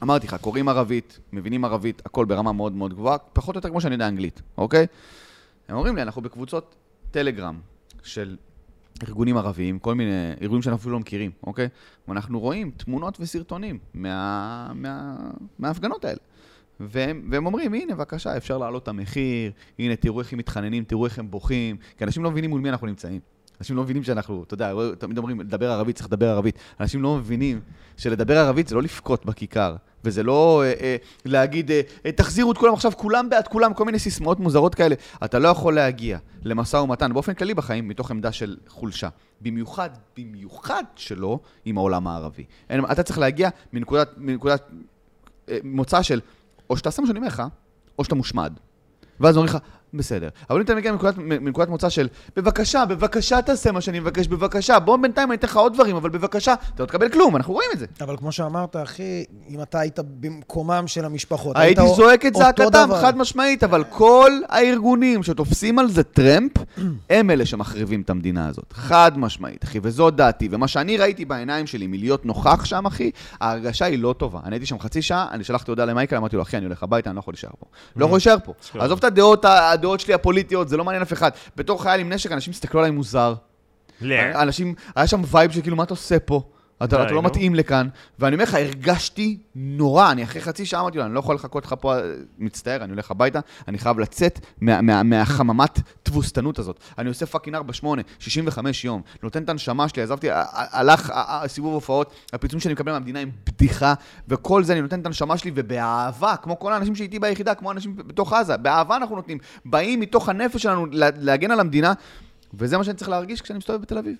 אמרתי לך, קוראים ערבית, מבינים ערבית, הכל ברמה מאוד מאוד גבוהה, פחות או יותר כמו שאני יודע אנגלית, אוקיי? הם אומרים לי, אנחנו בקבוצות טלגרם של ארגונים ערביים, כל מיני ארגונים שאנחנו אפילו לא מכירים, אוקיי? ואנחנו רואים תמונות וסרטונים מה, מה, מההפגנות האלה. והם, והם אומרים, הנה, בבקשה, אפשר להעלות את המחיר, הנה, תראו איך הם מתחננים, תראו איך הם בוכים, כי אנשים לא מבינים מול מי אנחנו נמצאים. אנשים לא מבינים שאנחנו, אתה יודע, תמיד אומרים, לדבר ערבית, צריך לדבר ערבית. אנשים לא מבינים שלדבר ערבית זה לא לבכות בכיכר, וזה לא אה, אה, להגיד, אה, אה, תחזירו את כולם עכשיו, כולם בעד כולם, כל מיני סיסמאות מוזרות כאלה. אתה לא יכול להגיע למשא ומתן, באופן כללי בחיים, מתוך עמדה של חולשה. במיוחד, במיוחד שלא עם העולם הערבי. אין, אתה צריך להגיע מנקודת, מנקודת אה, מוצא של, או שתעשה מה שאני אומר לך, או שאתה מושמד. ואז אומרים לך, בסדר. אבל אם אתה מגיע מנקודת, מנקודת מוצא של, בבקשה, בבקשה תעשה מה שאני מבקש, בבקשה, בוא בינתיים אני אתן לך עוד דברים, אבל בבקשה, אתה לא תקבל כלום, אנחנו רואים את זה. אבל כמו שאמרת, אחי, אם אתה היית במקומם של המשפחות, הייתי היית זועק את אותו זעקתם, דבר. חד משמעית, אבל כל הארגונים שתופסים על זה [clears throat] טרמפ, הם אלה שמחריבים את המדינה הזאת. חד משמעית, אחי, וזו דעתי. ומה שאני ראיתי בעיניים שלי מלהיות נוכח שם, אחי, ההרגשה היא לא טובה. אני הייתי שם חצי שעה, אני שלחתי הודעה למייקל, אמרתי לו, אחי, אני הולך הביתה, אני לא יכול להישאר [clears throat] פה. לא יכול להישאר פה. כן. בסדר. עזוב את הדעות, ה- הדעות שלי הפוליטיות, זה לא מעניין אף אחד. בתור חייל עם נשק, אנשים הסתכלו עליי מוזר. לא. כן. אה, אנשים, היה שם וייב של כאילו, מה אתה עושה פה? די, אתה, אתה נו. לא מתאים לכאן. ואני אומר לך, הרגשתי נורא. אני אחרי חצי שעה אמרתי לו, אני לא יכול לחכות לך פה, אה, מצטער, אני הולך הביתה, אני חייב לצאת מה, מה, מהחממת תבוסתנות הזאת. אני עושה פאקינג 4-8, 65 יום, נותן את הנשמה שלי, עזבתי, ה- ה- הלך ה- ה- הסיבוב הופעות, הפיצויים שאני מקבל מהמדינה הם בדיחה, וכל זה אני נותן את הנשמה שלי, ובאהבה, כמו כל האנשים שאיתי ביחידה, כמו האנשים בתוך עזה, באהבה אנחנו נותנים. באים מתוך הנפש שלנו לה- להגן על המדינה, וזה מה שאני צריך להרגיש כשאני מסתובב בתל אביב.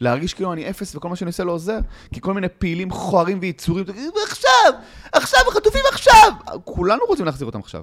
להרגיש כאילו אני אפס וכל מה שאני עושה לא עוזר, כי כל מיני פעילים מכוערים ויצורים, עכשיו, עכשיו, החטופים עכשיו! כולנו רוצים להחזיר אותם עכשיו.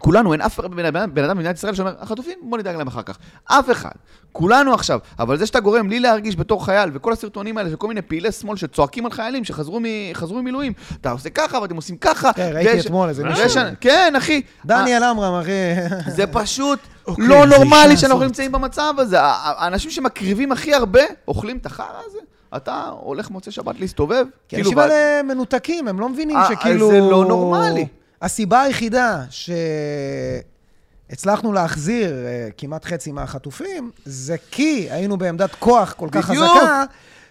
כולנו, אין אף בן אדם בן אדם במדינת ישראל שאומר, החטופים, בוא נדאג להם אחר כך. אף אחד. כולנו עכשיו. אבל זה שאתה גורם לי להרגיש בתור חייל, וכל הסרטונים האלה של כל מיני פעילי שמאל שצועקים על חיילים שחזרו מ- חזרו ממילואים, אתה עושה ככה ואתם עושים ככה. כן, ראיתי ויש- אתמול איזה ויש- מישהו. כן, אחי. דניאל עמרם, אחי. זה פשוט אוקיי, לא זה נורמלי אישה שאנחנו הזאת. נמצאים במצב הזה. ה- ה- האנשים שמקריבים הכי הרבה, אוכלים את החרא הזה. אתה הולך מוצא שבת להסתובב, כי [laughs] כאילו... האנשים ב- האלה מנותקים, הם לא מבינים אה, שכאילו... זה לא נורמלי. הסיבה היחידה שהצלחנו להחזיר אה, כמעט חצי מהחטופים, זה כי היינו בעמדת כוח כל כך בדיוק. חזקה,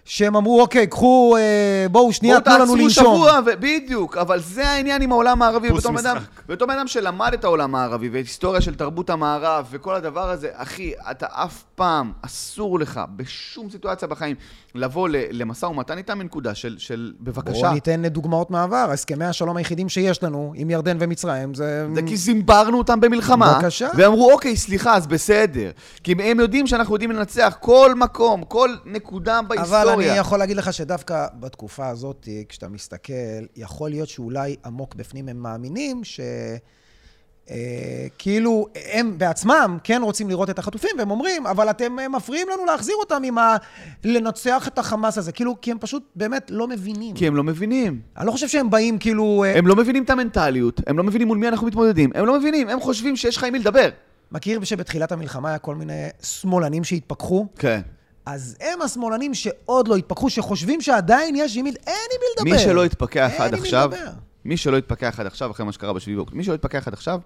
שהם אמרו, אוקיי, קחו, אה, בואו שנייה, תנו לנו בואו לנשום. תעצרו שבוע, ו- בדיוק, אבל זה העניין עם העולם הערבי. פוס בתור בן אדם- משחק. בתור בן אדם שלמד את העולם הערבי, ואת היסטוריה של תרבות המערב, וכל הדבר הזה, אחי, אתה אף פעם, אסור לך, בשום סיטואציה בחיים, לבוא ל- למשא ומתן איתם מנקודה של, של בבקשה. בואו ניתן דוגמאות מהעבר. הסכמי השלום היחידים שיש לנו עם ירדן ומצרים, זה... זה כי זימברנו אותם במלחמה. בבקשה. והם אמרו, אוקיי, סליחה, אז בסדר. כי הם יודעים שאנחנו יודעים לנצח כל מקום, כל נקודה בהיסטוריה. אבל אני יכול להגיד לך שדווקא בתקופה הזאת, כשאתה מסתכל, יכול להיות שאולי עמוק בפנים הם מאמינים ש... אה, כאילו, הם בעצמם כן רוצים לראות את החטופים, והם אומרים, אבל אתם אה, מפריעים לנו להחזיר אותם עם ה... לנצח את החמאס הזה. כאילו, כי הם פשוט באמת לא מבינים. כי הם לא מבינים. אני לא חושב שהם באים כאילו... אה, הם לא מבינים את המנטליות, הם לא מבינים מול מי אנחנו מתמודדים, הם לא מבינים, הם חושבים שיש לך עם מי לדבר. מכיר שבתחילת המלחמה היה כל מיני שמאלנים שהתפכחו? כן. אז הם השמאלנים שעוד לא התפכחו, שחושבים שעדיין יש עם מי... אין עם מי לדבר. מי שלא התפכח אין עד עם מי עכשיו, לדבר. מי שלא התפכח עד עכשיו, אחרי מה שקרה בשביעי באוקטובר, מי שלא התפכח עד עכשיו,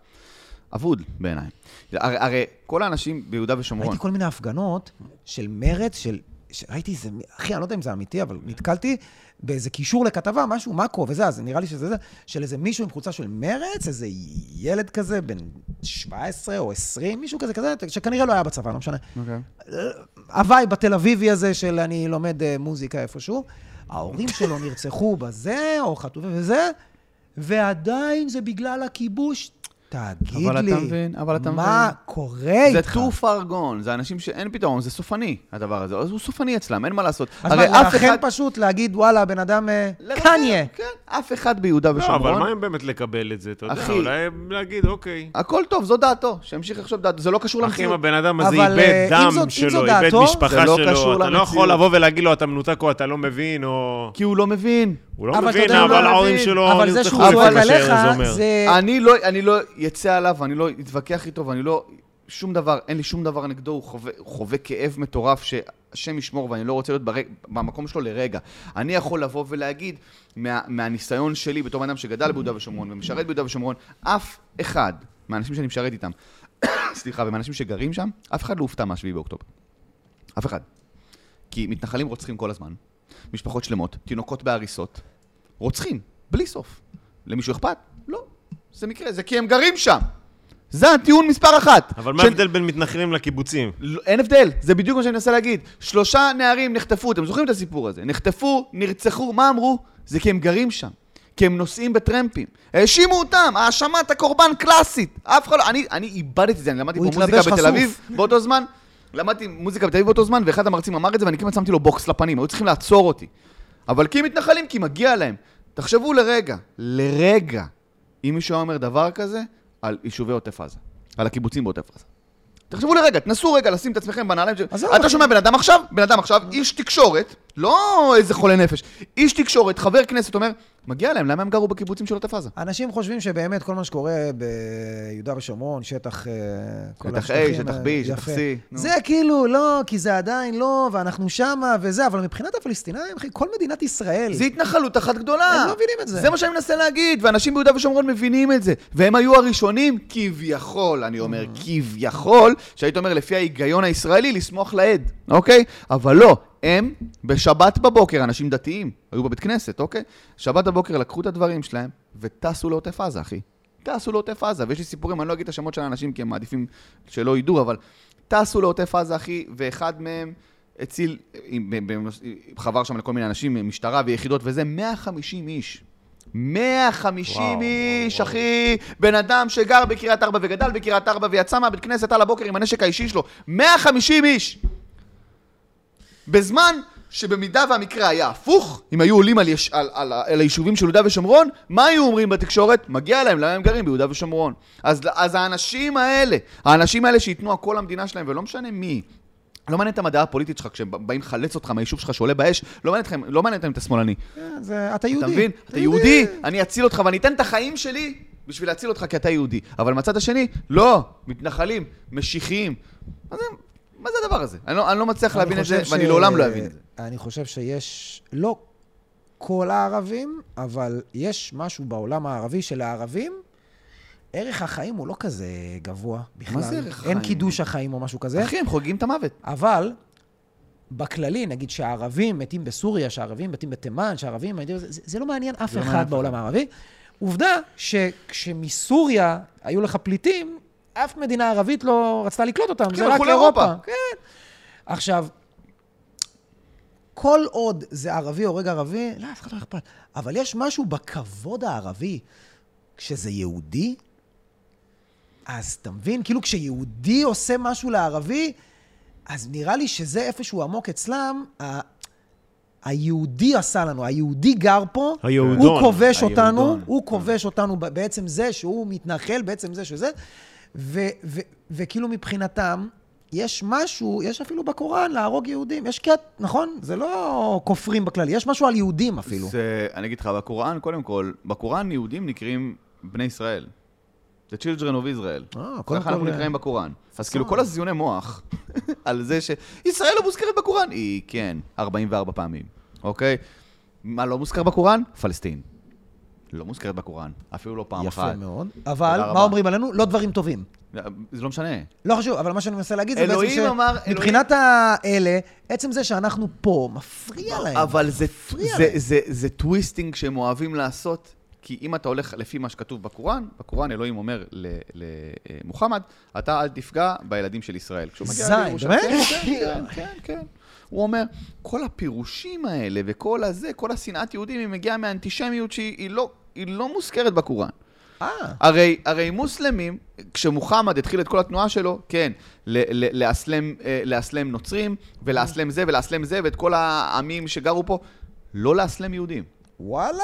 אבוד בעיניי. הרי, הרי כל האנשים ביהודה ושומרון, ראיתי כל מיני הפגנות של מרץ, של... ש- ראיתי איזה... מ- אחי, אני לא יודע אם זה אמיתי, אבל נתקלתי באיזה קישור לכתבה, משהו, מאקו וזה, אז נראה לי שזה זה, של איזה מישהו עם חולצה של מרץ, איזה ילד כזה, בן 17 או 20, מישהו כזה, כזה, שכנראה לא היה בצבא, לא משנה. אוקיי. אה, הווייב התל אביבי הזה של אני לומד אה, מוזיקה איפשהו, ההורים שלו נרצחו בזה, או חטופים וזה, ועדיין זה בגלל הכיבוש. תגיד אבל אתה לי, מבין, אבל אתה מה מבין. קורה זה איתך? too far gone, זה אנשים שאין פתרון, זה סופני, הדבר הזה. אז הוא סופני אצלם, אין מה לעשות. אז מה, לכן פשוט להגיד, וואלה, בן אדם... אה, לרחם, קניה. כן, אף אחד ביהודה לא, אבל מה ושומרון. אם באמת לקבל את זה? אתה יודע, אחי. אולי להגיד, אוקיי. הכל טוב, זו דעתו, שימשיך לחשוב דעתו, זה לא קשור אחי, אם למציאות. הבן אדם הזה אבל, אה, איבד אם זאת- דם אם שלו, זאת איבד דעתו, משפחה זה לא שלו, קשור אתה לא יכול למציאות. לבוא ולהגיד לו, אתה מנותק או אתה לא מבין, או... כי הוא לא מבין. הוא לא אבל אתה מבין, יודע, הוא לא אבל ההורים מבין. שלו אבל זה נרצחו, שהוא זה זועק מה שארז עליך, אומר. זה... אני לא, אני לא אצא עליו, אני לא אתווכח איתו, ואני לא... שום דבר, אין לי שום דבר נגדו, הוא חווה, הוא חווה כאב מטורף שהשם ישמור ואני לא רוצה להיות ברג, במקום שלו לרגע. אני יכול לבוא ולהגיד, מה, מהניסיון שלי בתור בן אדם שגדל ביהודה ושומרון ומשרת ביהודה ושומרון, אף אחד מהאנשים שאני משרת איתם, [coughs] סליחה, ומהאנשים שגרים שם, אף אחד לא הופתע מה-7 באוקטובר. אף אחד. כי מתנחלים רוצחים כל הזמן, משפחות שלמות, תינוקות בהריסות, רוצחים, בלי סוף. למישהו אכפת? לא. זה מקרה, זה כי הם גרים שם. זה הטיעון מספר אחת. אבל מה של- ההבדל בין מתנחלים לקיבוצים? לא- אין הבדל, זה בדיוק מה שאני מנסה להגיד. שלושה נערים נחטפו, אתם זוכרים את הסיפור הזה? נחטפו, נרצחו, מה אמרו? זה כי הם גרים שם. כי הם נוסעים בטרמפים. האשימו אותם, האשמת הקורבן קלאסית. אף אחד לא... אני, אני איבדתי את זה, אני למדתי פה הוא מוזיקה התלבש בתל חשוף. אביב באותו זמן. למדתי מוזיקה בתל אביב באותו זמן, ואחד המרצים אמר את זה, ואני כמעט שמתי לו בוקס לפנים, היו צריכים לעצור אותי. אבל כי מתנחלים, כי מגיע להם. תחשבו לרגע, לרגע, אם מישהו היה אומר דבר כזה, על יישובי עוטף עזה, על הקיבוצים בעוטף עזה. תחשבו לרגע, תנסו רגע לשים את עצמכם בנעליים של... אז זהו, אתה אחי. שומע בן אדם עכשיו, בן אדם עכשיו, איש תקשורת, לא איזה חולה נפש, איש תקשורת, חבר כנסת אומר, מגיע להם, למה הם גרו בקיבוצים של עוטף עזה? אנשים חושבים שבאמת כל מה שקורה ביהודה ושומרון, שטח... אה, כל שטח A, השטחים, שטח אה, B, יפה. שטח C, נו. זה כאילו, לא, כי זה עדיין לא, ואנחנו שמה וזה, אבל מבחינת הפלסטינאים, אחי, כל מדינת ישראל... זה התנחלות אחת גדולה. הם לא מבינים את זה. זה מה שאני מנסה להגיד, ואנשים ביהודה ושומרון מבינים את זה. והם היו הראשונים, כביכול, אני אומר, כביכול, שהיית אומר, לפי ההיגיון הישראלי, לשמוח לעד, אוקיי? אבל לא, הם בשבת בבוקר, אנשים דתיים, היו בבית כנסת, אוקיי? שבת בבוקר לקחו את הדברים שלהם וטסו לעוטף עזה, אחי. טסו לעוטף עזה, ויש לי סיפורים, אני לא אגיד את השמות של האנשים כי הם מעדיפים שלא ידעו, אבל טסו לעוטף עזה, אחי, ואחד מהם הציל, עם- ב- ב- חבר שם לכל מיני אנשים, משטרה ויחידות וזה, 150 איש. 150 וואו, איש, וואו, אחי, בן אדם שגר בקריית ארבע וגדל בקריית ארבע ויצא מהבית כנסת על הבוקר עם הנשק האישי שלו, 150 איש! בזמן שבמידה והמקרה היה הפוך, אם היו עולים על, יש, על, על, על היישובים של יהודה ושומרון, מה היו אומרים בתקשורת? מגיע להם, למה הם גרים ביהודה ושומרון? אז, אז האנשים האלה, האנשים האלה שייתנו הכל למדינה שלהם, ולא משנה מי, לא מעניין את המדעה הפוליטית שלך, כשהם באים לחלץ אותך מהיישוב שלך שעולה באש, לא מעניין אתכם, לא מעניין אותם אם אתה שמאלני. כן, זה- אתה יהודי. אה, אתה מבין? אתה יהודי, אני אציל אותך ואני אתן את החיים שלי בשביל להציל אותך כי אתה יהודי. אבל מצד השני, לא, מתנחלים, משיחיים. מה זה, מה זה הדבר הזה? אני לא, אני לא מצליח אני להבין את זה, חושב ואני ש- לעולם לא אבין את זה. אני חושב שיש, לא כל הערבים, אבל יש משהו בעולם הערבי של הערבים, ערך החיים הוא לא כזה גבוה בכלל. זה ערך אין החיים? קידוש החיים או משהו כזה. אחי, הם חוגגים את המוות. אבל בכללי, נגיד שהערבים מתים בסוריה, שהערבים מתים בתימן, שהערבים... מתים- זה, זה לא מעניין אף זה לא אחד מעניין אף בעולם הערבי. עובדה שכשמסוריה היו לך פליטים, אף מדינה ערבית לא רצתה לקלוט אותם, זה הם רק הלכו כאילו, לאירופה. אירופה. כן. עכשיו, כל עוד זה ערבי הורג ערבי, לא, אף אחד לא אכפת. אבל יש משהו בכבוד הערבי, כשזה יהודי, אז אתה מבין? כאילו כשיהודי עושה משהו לערבי, אז נראה לי שזה איפשהו עמוק אצלם. ה- היהודי עשה לנו, היהודי גר פה, היהודון, הוא כובש היהודון. אותנו, נכון, הוא כובש אותנו ב- בעצם זה שהוא מתנחל, בעצם זה שזה, ו- ו- וכאילו מבחינתם, יש משהו, יש אפילו בקוראן להרוג יהודים, יש קט, נכון? זה לא כופרים בכללי, יש משהו על יהודים אפילו. זה, אני אגיד לך, בקוראן, קודם כל, בקוראן יהודים נקראים בני ישראל. The children of Israel. אה, קודם ככה אנחנו כל, נקראים בקוראן. אז כאילו כל הזיוני מוח [laughs] על זה שישראל לא מוזכרת בקוראן, היא כן, 44 פעמים, אוקיי? מה לא מוזכר בקוראן? פלסטין. לא מוזכרת בקוראן, אפילו לא פעם יפה אחת. מאוד, אבל רבה. מה אומרים עלינו? לא דברים טובים. זה לא משנה. לא חשוב, אבל מה שאני מנסה להגיד זה בעצם אלוהים אמר- שמבחינת האלה, עצם זה שאנחנו פה, מפריע להם. אבל זה, מפריע זה, להם. זה, זה טוויסטינג שהם אוהבים לעשות, כי אם אתה הולך לפי מה שכתוב בקוראן, בקוראן אלוהים אומר למוחמד, אתה אל תפגע בילדים של ישראל. כשהוא מגיע זין, לירושלים- באמת? כן, כן, כן, כן. הוא אומר, כל הפירושים האלה וכל הזה, כל השנאת יהודים, היא מגיעה מהאנטישמיות שהיא היא לא, היא לא מוזכרת בקוראן. אה, הרי, הרי מוסלמים, כשמוחמד התחיל את כל התנועה שלו, כן, ל- ל- לאסלם, אה, לאסלם נוצרים, ולאסלם זה, ולאסלם זה, ואת כל העמים שגרו פה, לא לאסלם יהודים. וואלה?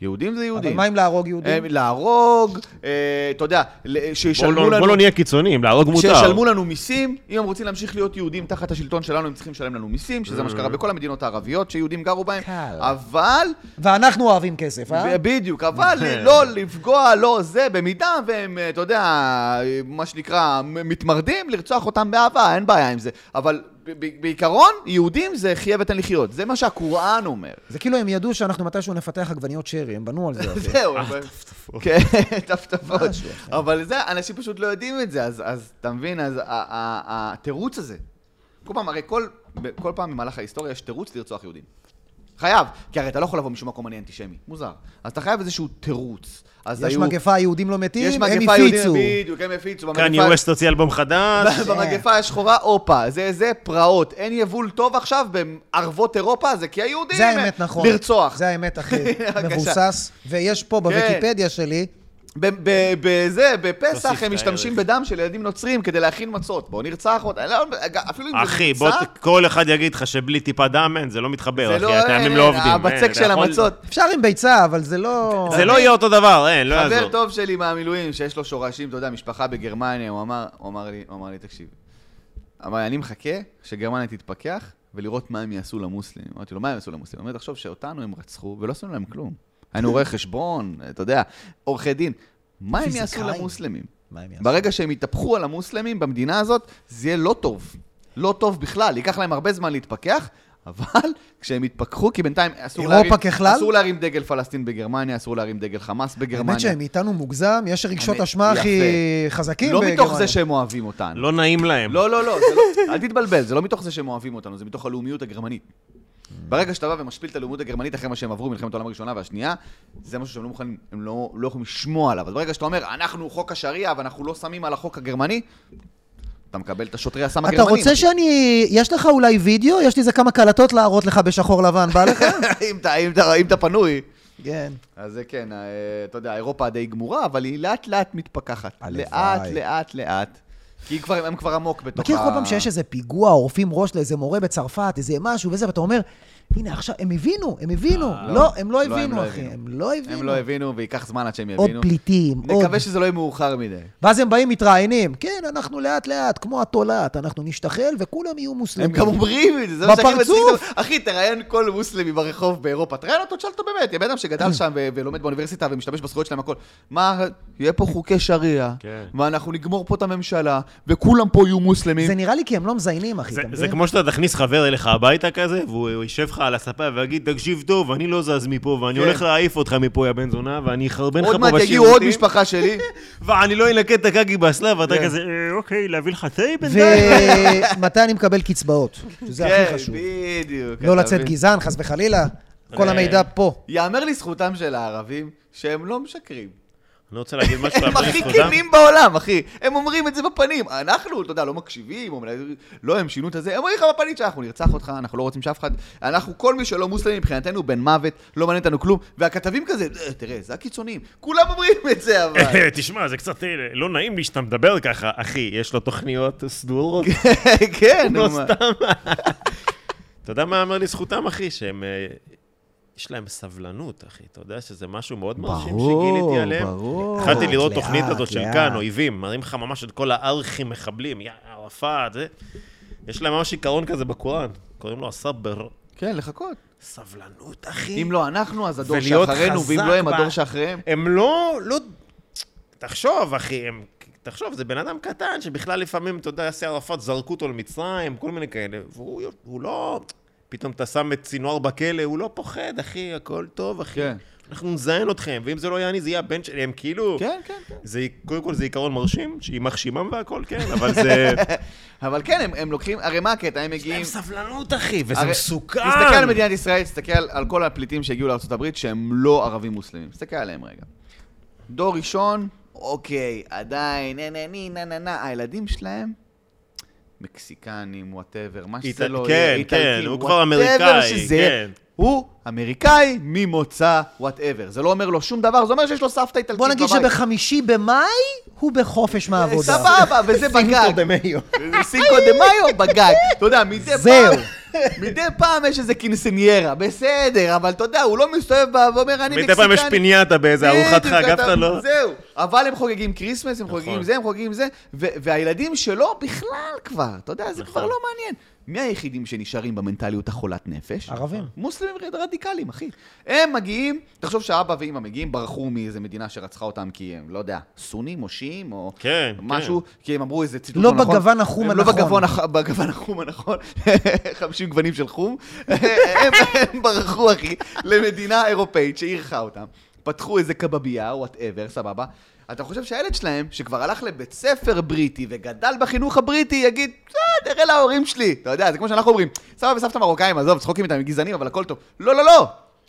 יהודים זה יהודים. אבל מה אם להרוג יהודים? אה, להרוג, אה, אתה יודע, ל- בוא שישלמו לא- לנו... בוא לא נהיה קיצוניים, להרוג מותר. שישלמו לנו מיסים, אם הם רוצים להמשיך להיות יהודים תחת השלטון שלנו, הם צריכים לשלם לנו מיסים, אה. שזה מה שקרה בכל המדינות הערביות שיהודים גרו בהם. קל. אבל ואנחנו אוהבים כסף, אה? [laughs] בדיוק, אבל לא לפגוע, לא זה, במידה והם, אה, אתה יודע, מה שנקרא, מ- מתמרדים, לרצוח אותם באהבה, אין בעיה עם זה. אבל ב- ב- בעיקרון, יהודים זה חיה ותן לחיות. זה מה שהקוראן [laughs] אומר. זה כאילו הם ידעו שאנחנו מתישהו נפתח עגבניות שרי, הם בנו על זה. [laughs] אחי. זהו. אבל- אוקיי? כן, טפטפות. משהו אחר. אבל זה, אנשים פשוט לא יודעים את זה, אז- אז אתה מבין, אז ה- ה- התירוץ הזה. כל פעם, הרי כל- כל פעם במהלך ההיסטוריה יש תירוץ לרצוח יהודים. חייב, כי הרי אתה לא יכול לבוא משום מקום אני אנטישמי, מוזר. אז אתה חייב איזשהו תירוץ. אז יש היו- מגפה, היהודים לא יש מתים, הם מגפה יהודית, הפיצו. בדיוק, הם הפיצו. קניה במגפה- ווסט הוציא אלבום חדש. [laughs] במגפה השחורה, הופה, זה זה פרעות. אין יבול טוב עכשיו בערבות אירופה, זה כי היהודים... זה הם- האמת, נכון. אה, לרצוח. זה האמת, אחי. [laughs] בבקשה. כן. מבוסס. ויש פה בוויקיפדיה שלי, ב- ב- בזה, בפסח תוסיף הם את משתמשים הערך. בדם של ילדים נוצרים כדי להכין מצות. בואו נרצח אותם. אני לא- אפילו אם זה אחי, נמצא, בוא, ת- כל אחד יגיד לך שבלי טיפה דם אין, זה לא זה מתחבר, לא- אחי, הטעמים אין, לא עובדים. אין, הבצק אתה של יכול- המצות. אפשר עם ביצה, אבל זה לא... זה לא יהיה אותו דבר, אין, לא חבר יעזור. טוב שלי מהמילואים, שיש לו שורשים, אתה יודע, משפחה בגרמניה, הוא אמר, הוא אמר לי, הוא אמר לי, תקשיב. אמר לי, אני מחכה שגרמניה תתפכח ולראות מה הם יעשו למוסלמים. אמרתי לו, מה הם יעשו למוסלמים? הוא אומר, תחשוב שאותנו הם רצחו ולא עשינו להם כלום. היינו רואי חשבון, אתה יודע, עורכי דין. מה הם יעשו פיזיקאים. למוסלמים? מה הם יעשו? ברגע שהם יתהפכו על המוסלמים במדינה הזאת, זה יהיה לא טוב. לא טוב בכלל, ייקח להם הרבה זמן להתפכח, אבל כשהם יתפכחו, כי בינתיים אסור אירופה להרים... ככלל? אסור להרים דגל פלסטין בגרמניה, אסור להרים דגל חמאס בגרמניה. האמת שהם איתנו מוגזם, יש רגשות האמת, אשמה הכי יפה. חזקים לא בגרמניה. מתוך זה שהם אוהבים אותנו. לא נעים להם. לא, לא, לא, זה לא, אל תתבלבל, זה לא מתוך זה שהם אוהבים אותנו, זה מתוך הלאומיות הגרמנית. ברגע שאתה בא ומשפיל את הלאומיות הגרמנית אחרי מה שהם עברו, מלחמת העולם הראשונה והשנייה, זה משהו שהם לא מוכנים, הם לא, לא יכולים לשמוע עליו. אז ברגע שאתה אומר, אנחנו חוק השריעה ואנחנו לא שמים על החוק הגרמני, אתה מקבל את השוטרי הסם אתה הגרמנים. רוצה שאני... יש לך אולי וידאו? יש לי איזה כמה קלטות להראות לך בשחור לבן, בא [laughs] לך? [laughs] אם אתה- אם אתה- אם אתה פנוי. כן. אז זה כן, אה, אתה יודע, אירופה די גמורה, אבל היא לאט לאט מתפכחת. הלוואי. לאט לאט לאט. כי היא כבר- הם כבר עמוק בתוך מכיר כל פעם שיש איזה פיגוע, עורפים ראש לאיזה מורה בצרפת, איזה משהו וזה, ואתה אומר, הנה עכשיו, הם הבינו, הם הבינו. לא, הם לא הם לא הבינו, אחי, הבינו. הם לא הם לא הבינו. הבינו, וייקח זמן עד שהם עוד יבינו. פליטים, עוד... נקווה שזה לא יהיה מאוחר מדי. ואז הם באים, מתראיינים. כן, אנחנו לאט-לאט, כמו התולעת, אנחנו נשתחל וכולם יהיו מוסלמים. הם גם אומרים את זה, זה מה שהכי מצחיק. בפרצוף. אותם. אחי, תראיין כל מוסלמי ברחוב באירופה, תראיין אותו, תשאל אותו באמת, יא בן אדם שגדל שם ו- ולומד באוניברסיטה ומשתמש בזכויות שלהם, הכל. מה, יהיה פה חוקי שריעה, כן. ואנחנו נגמור פה את הממשלה, וכולם פה יהיו מוסלמים. זה נראה לי כי הם לא מזיינים, אחי. זה- אתה זה מבין? כמו שאתה תכניס חבר אליך הביתה כזה, והוא הוא יישב לך על הספה ויגיד, תקשיב טוב, אני לא זז מפה, ואני כן. הולך להעיף אותך מפה, יא בן זונה, ואני אחרבן לך פה עוד בשירותים. מעט יגיעו עוד משפחה [laughs] שלי. ואני לא אנקה את הקקי באסלה, ואתה כן. כזה, "אה, אוקיי, להביא לך תה בינתיים? ומתי אני מקבל [laughs] קצבאות? שזה הכי כן, חשוב. בדיוק. לא אתה לצאת מבין? גזען, חס וחלילה. כל אה. המידע פה. יאמר לזכותם של הערבים שהם לא משקרים. אני רוצה להגיד משהו, הם אבל הכי לזכותם- כנים בעולם, אחי. הם אומרים את זה בפנים. אנחנו, אתה יודע, לא מקשיבים, או מנהל- לא, הם שינו את הזה. הם אומרים לך בפנים שאנחנו נרצח אותך, אנחנו לא רוצים שאף אחד... אנחנו, כל מי שלא מוסלמי מבחינתנו, בן מוות, לא מעניין אותנו כלום. והכתבים כזה, "אה, תראה, זה הקיצונים. כולם אומרים את [laughs] זה, אבל... [laughs] תשמע, זה קצת אה, לא נעים לי שאתה מדבר ככה. אחי, יש לו תוכניות סדורות. כן, לא הם- סתם. אתה יודע מה אומר לזכותם, אחי? שהם... אה, יש להם סבלנות, אחי. אתה יודע שזה משהו מאוד מרשים שגיליתי עליהם. ברור. התחלתי לראות לאט, תוכנית הזאת של לאט. כאן, אויבים. מראים לך ממש את כל הארכי מחבלים, יא ערפאת, זה. יש להם ממש עיקרון כזה בקוראן. קוראים לו הסבר. כן, לחכות. סבלנות, אחי. אם לא אנחנו, אז הדור ולהיות שאחרינו, ואם חזק לא הם, ב- הדור שאחריהם. הם לא, לא... תחשוב, אחי, הם... תחשוב, זה בן אדם קטן שבכלל לפעמים, אתה יודע, יאסר ערפאת, זרקו אותו למצרים, כל מיני כאלה, והוא הוא לא... פתאום אתה שם את סינואר בכלא, הוא לא פוחד, אחי, הכל טוב, אחי. כן. אנחנו נזיין אתכם, ואם זה לא יהיה אני, זה יהיה הבן שלי, הם כאילו... כן, כן, כן. זה, קודם כל זה עיקרון מרשים, שעם מחשימם והכל, כן, אבל [laughs] זה... אבל כן, הם- הם לוקחים, הרי מה הקטע? הם הם מגיעים... סבלנות, אחי, וזה הרי- מסוכן. תסתכל על מדינת ישראל, תסתכל על- על כל הפליטים שהגיעו לארה"ב שהם לא ערבים מוסלמים. תסתכל עליהם רגע. דור ראשון, אוקיי, עדיין, נה נה נה נה נה נה, הילדים שלהם, מקסיקנים, וואטאבר, מה שזה איטל- לא כן, יהיה, כן, איטלקים, הוא כבר whatever אמריקאי, שזה, כן. הוא אמריקאי ממוצא וואטאבר. זה לא אומר לו שום דבר, זה אומר שיש לו סבתא איטלקית בוא נגיד בבית. שבחמישי במאי הוא בחופש מהעבודה. סבבה, וזה בגג. זה סינקו דה מאיו בגג. אתה יודע, מדי פעם... זהו. מדי פעם יש איזה קינסניירה, בסדר, אבל אתה יודע, הוא לא מסתובב ב- ואומר, אני מקסיקני. מדי פעם יש פינייתה באיזה ארוחת בדיוק, חג, אף אתה- אחד לא... זהו. אבל הם חוגגים כריסמס, הם חוגגים נכון. זה, הם חוגגים זה, ו- והילדים שלו בכלל כבר, אתה יודע, זה כבר נכון. לא מעניין. מי היחידים שנשארים במנטליות החולת נפש? ערבים. מוסלמים רדיקליים, אחי. הם מגיעים, תחשוב שאבא ואימא מגיעים, ברחו מאיזה מדינה שרצחה אותם כי הם, לא יודע, סונים או שיעים או כן, משהו, כי הם אמרו איזה ציטוט לא נכון. בגוון החום הם הנכון. לא בגוון הח- בגוון החום הנכון, [laughs] 50 גוונים של חום. [laughs] הם הם ברחו, אחי, למדינה אירופאית שאירחה אותם. פתחו איזה קבבייה, וואטאבר, סבבה. אתה חושב שהילד שלהם, שכבר הלך לבית ספר בריטי וגדל בחינוך הבריטי, יגיד, אה, תראה להורים שלי. אתה יודע, זה כמו שאנחנו אומרים, סבא וסבתא מרוקאים, עזוב, צחוקים איתם, הם גזענים, אבל הכל טוב. לא, לא, לא!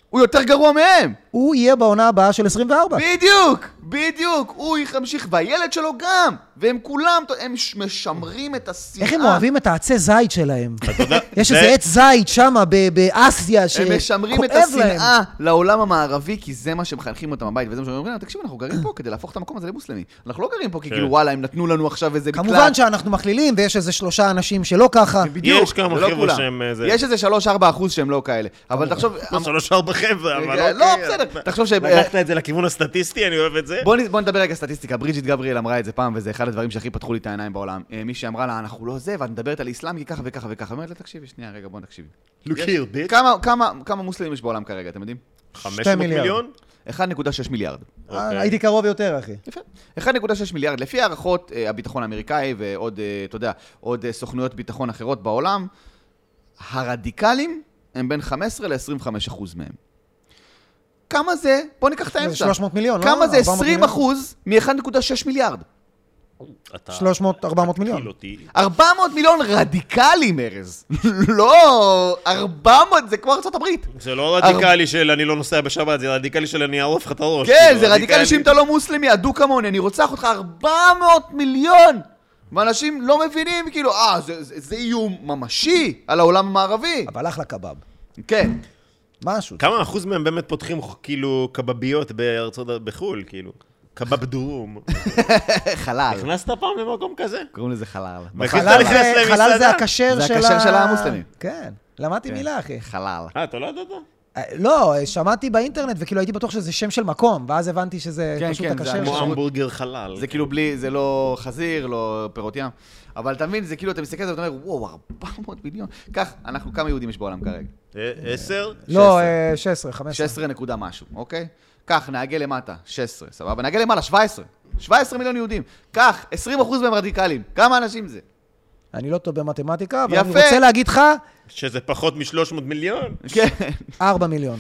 הוא יותר גרוע מהם! הוא יהיה בעונה הבאה של 24. בדיוק! בדיוק! הוא ימשיך, והילד שלו גם! והם כולם, אתה- הם ש- משמרים את השנאה. איך הם אוהבים את העצי זית שלהם? אתה יודע, יש זה- איזה עץ זית שם באסיה שכואב הם להם. משמרים את השנאה לעולם המערבי, כי זה מה שמחנכים אותם בבית, וזה מה שאומרים להם, תקשיבו, אנחנו גרים פה כדי להפוך את המקום הזה למוסלמי. אנחנו לא גרים פה כי כן. כאילו, וואלה, הם נתנו לנו עכשיו איזה מקלט. כמובן שאנחנו מכלילים, ויש איזה שלושה אנשים שלא ככה. בדיוק, יש כמה זה לא חבר'ה כולם. שהם, אה, זה- יש איזה 3-4 אחוז שהם לא כאלה. אבל תחשוב... לא, שלוש ארבע לא, חבר'ה, אבל אמ- רגע, אוקיי. לא, בסדר, אתה- תחשוב אה, ש- לקחת את זה לכיוון הסטטיסטי, אני אוהב את זה. בוא נ- בוא נדבר רגע סטטיסטיקה. בריג'יט גבריאל אמרה את זה פעם, וזה אחד הדברים שהכי פתחו לי את העיניים בעולם. אה, מישהי אמרה לה, אנחנו לא זה, ואת מדברת על איסלאם, כי ככה וככה וככה. אומרת לה, תקשיבי, שנייה, רגע, בוא נקשיב. Look יש- here, bitch. כמה- כמה- כמה מוסלמים יש בעולם כרגע, אתם יודעים? 500 מיליארד. מיליון? 1.6 מיליארד. אוקיי. אה, הייתי קרוב יותר, אחי. יפה. 1.6 מיליארד, לפי הערכות אה, הביטחון האמריקאי ועוד, אה, אתה יודע, עוד אה, סוכנויות ביטחון אחרות בעולם, הרדיקלים הם בין 15 ל-25 אחוז מהם. כמה זה, בוא ניקח את האמצע. 300 מיליון, לא? כמה זה 400 20 מיליון? אחוז מ-1.6 מיליארד? אתה 300, 400 מיליון. תתקיל אותי. 400 מיליון רדיקלים, ארז. [laughs] לא, 400, זה כמו ארה"ב. זה לא רדיקלי של אני לא נוסע בשבת, זה רדיקלי של אני אערוף לך את הראש. כן, כאילו, זה רדיקלי שאם אתה לא מוסלמי, אדוק כמוני, אני רוצח אותך 400 מיליון! ואנשים לא מבינים, כאילו, אה, זה, זה, זה איום ממשי על העולם המערבי. אבל אחלה קבב. כן. משהו. כמה אחוז מהם באמת פותחים כאילו קבביות בארצות, בחו"ל, כאילו? קבב [laughs] דרום. אה, חלל. נכנסת פעם למקום כזה? קוראים לזה חלל. מכניס חלל נכנס זה- למסעדה? חלל זה הכשר זה של ה... הכשר של המוסלמים. כן. למדתי מילה, אחי. חלל. אה, אתה לא ידעת? אה, לא, אה, שמעתי באינטרנט, וכאילו הייתי בטוח שזה שם של מקום, ואז הבנתי שזה כן, פשוט כן, זה הכשר כמו של... המועמד. המבורגר חלל. זה כאילו בלי, זה לא חזיר, לא פירות ים. אבל אתה מבין, זה כאילו, אתה מסתכל על זה ואתה אומר, וואו, 400 מיליון. כך, אנחנו, כמה יהודים יש בעולם כרגע? אה, עשר? לא, אה, 16, 15. 16 נקודה משהו, אוקיי? קח, נעגל למטה, 16, סבבה? נעגל למעלה, 17. 17 מיליון יהודים. קח, 20 אחוז מהם רדיקלים. כמה אנשים [laughs] זה? אני לא טוב במתמטיקה, אבל אני יפה. רוצה להגיד לך, שזה פחות מ-300 מיליון? כן, 4 מיליון.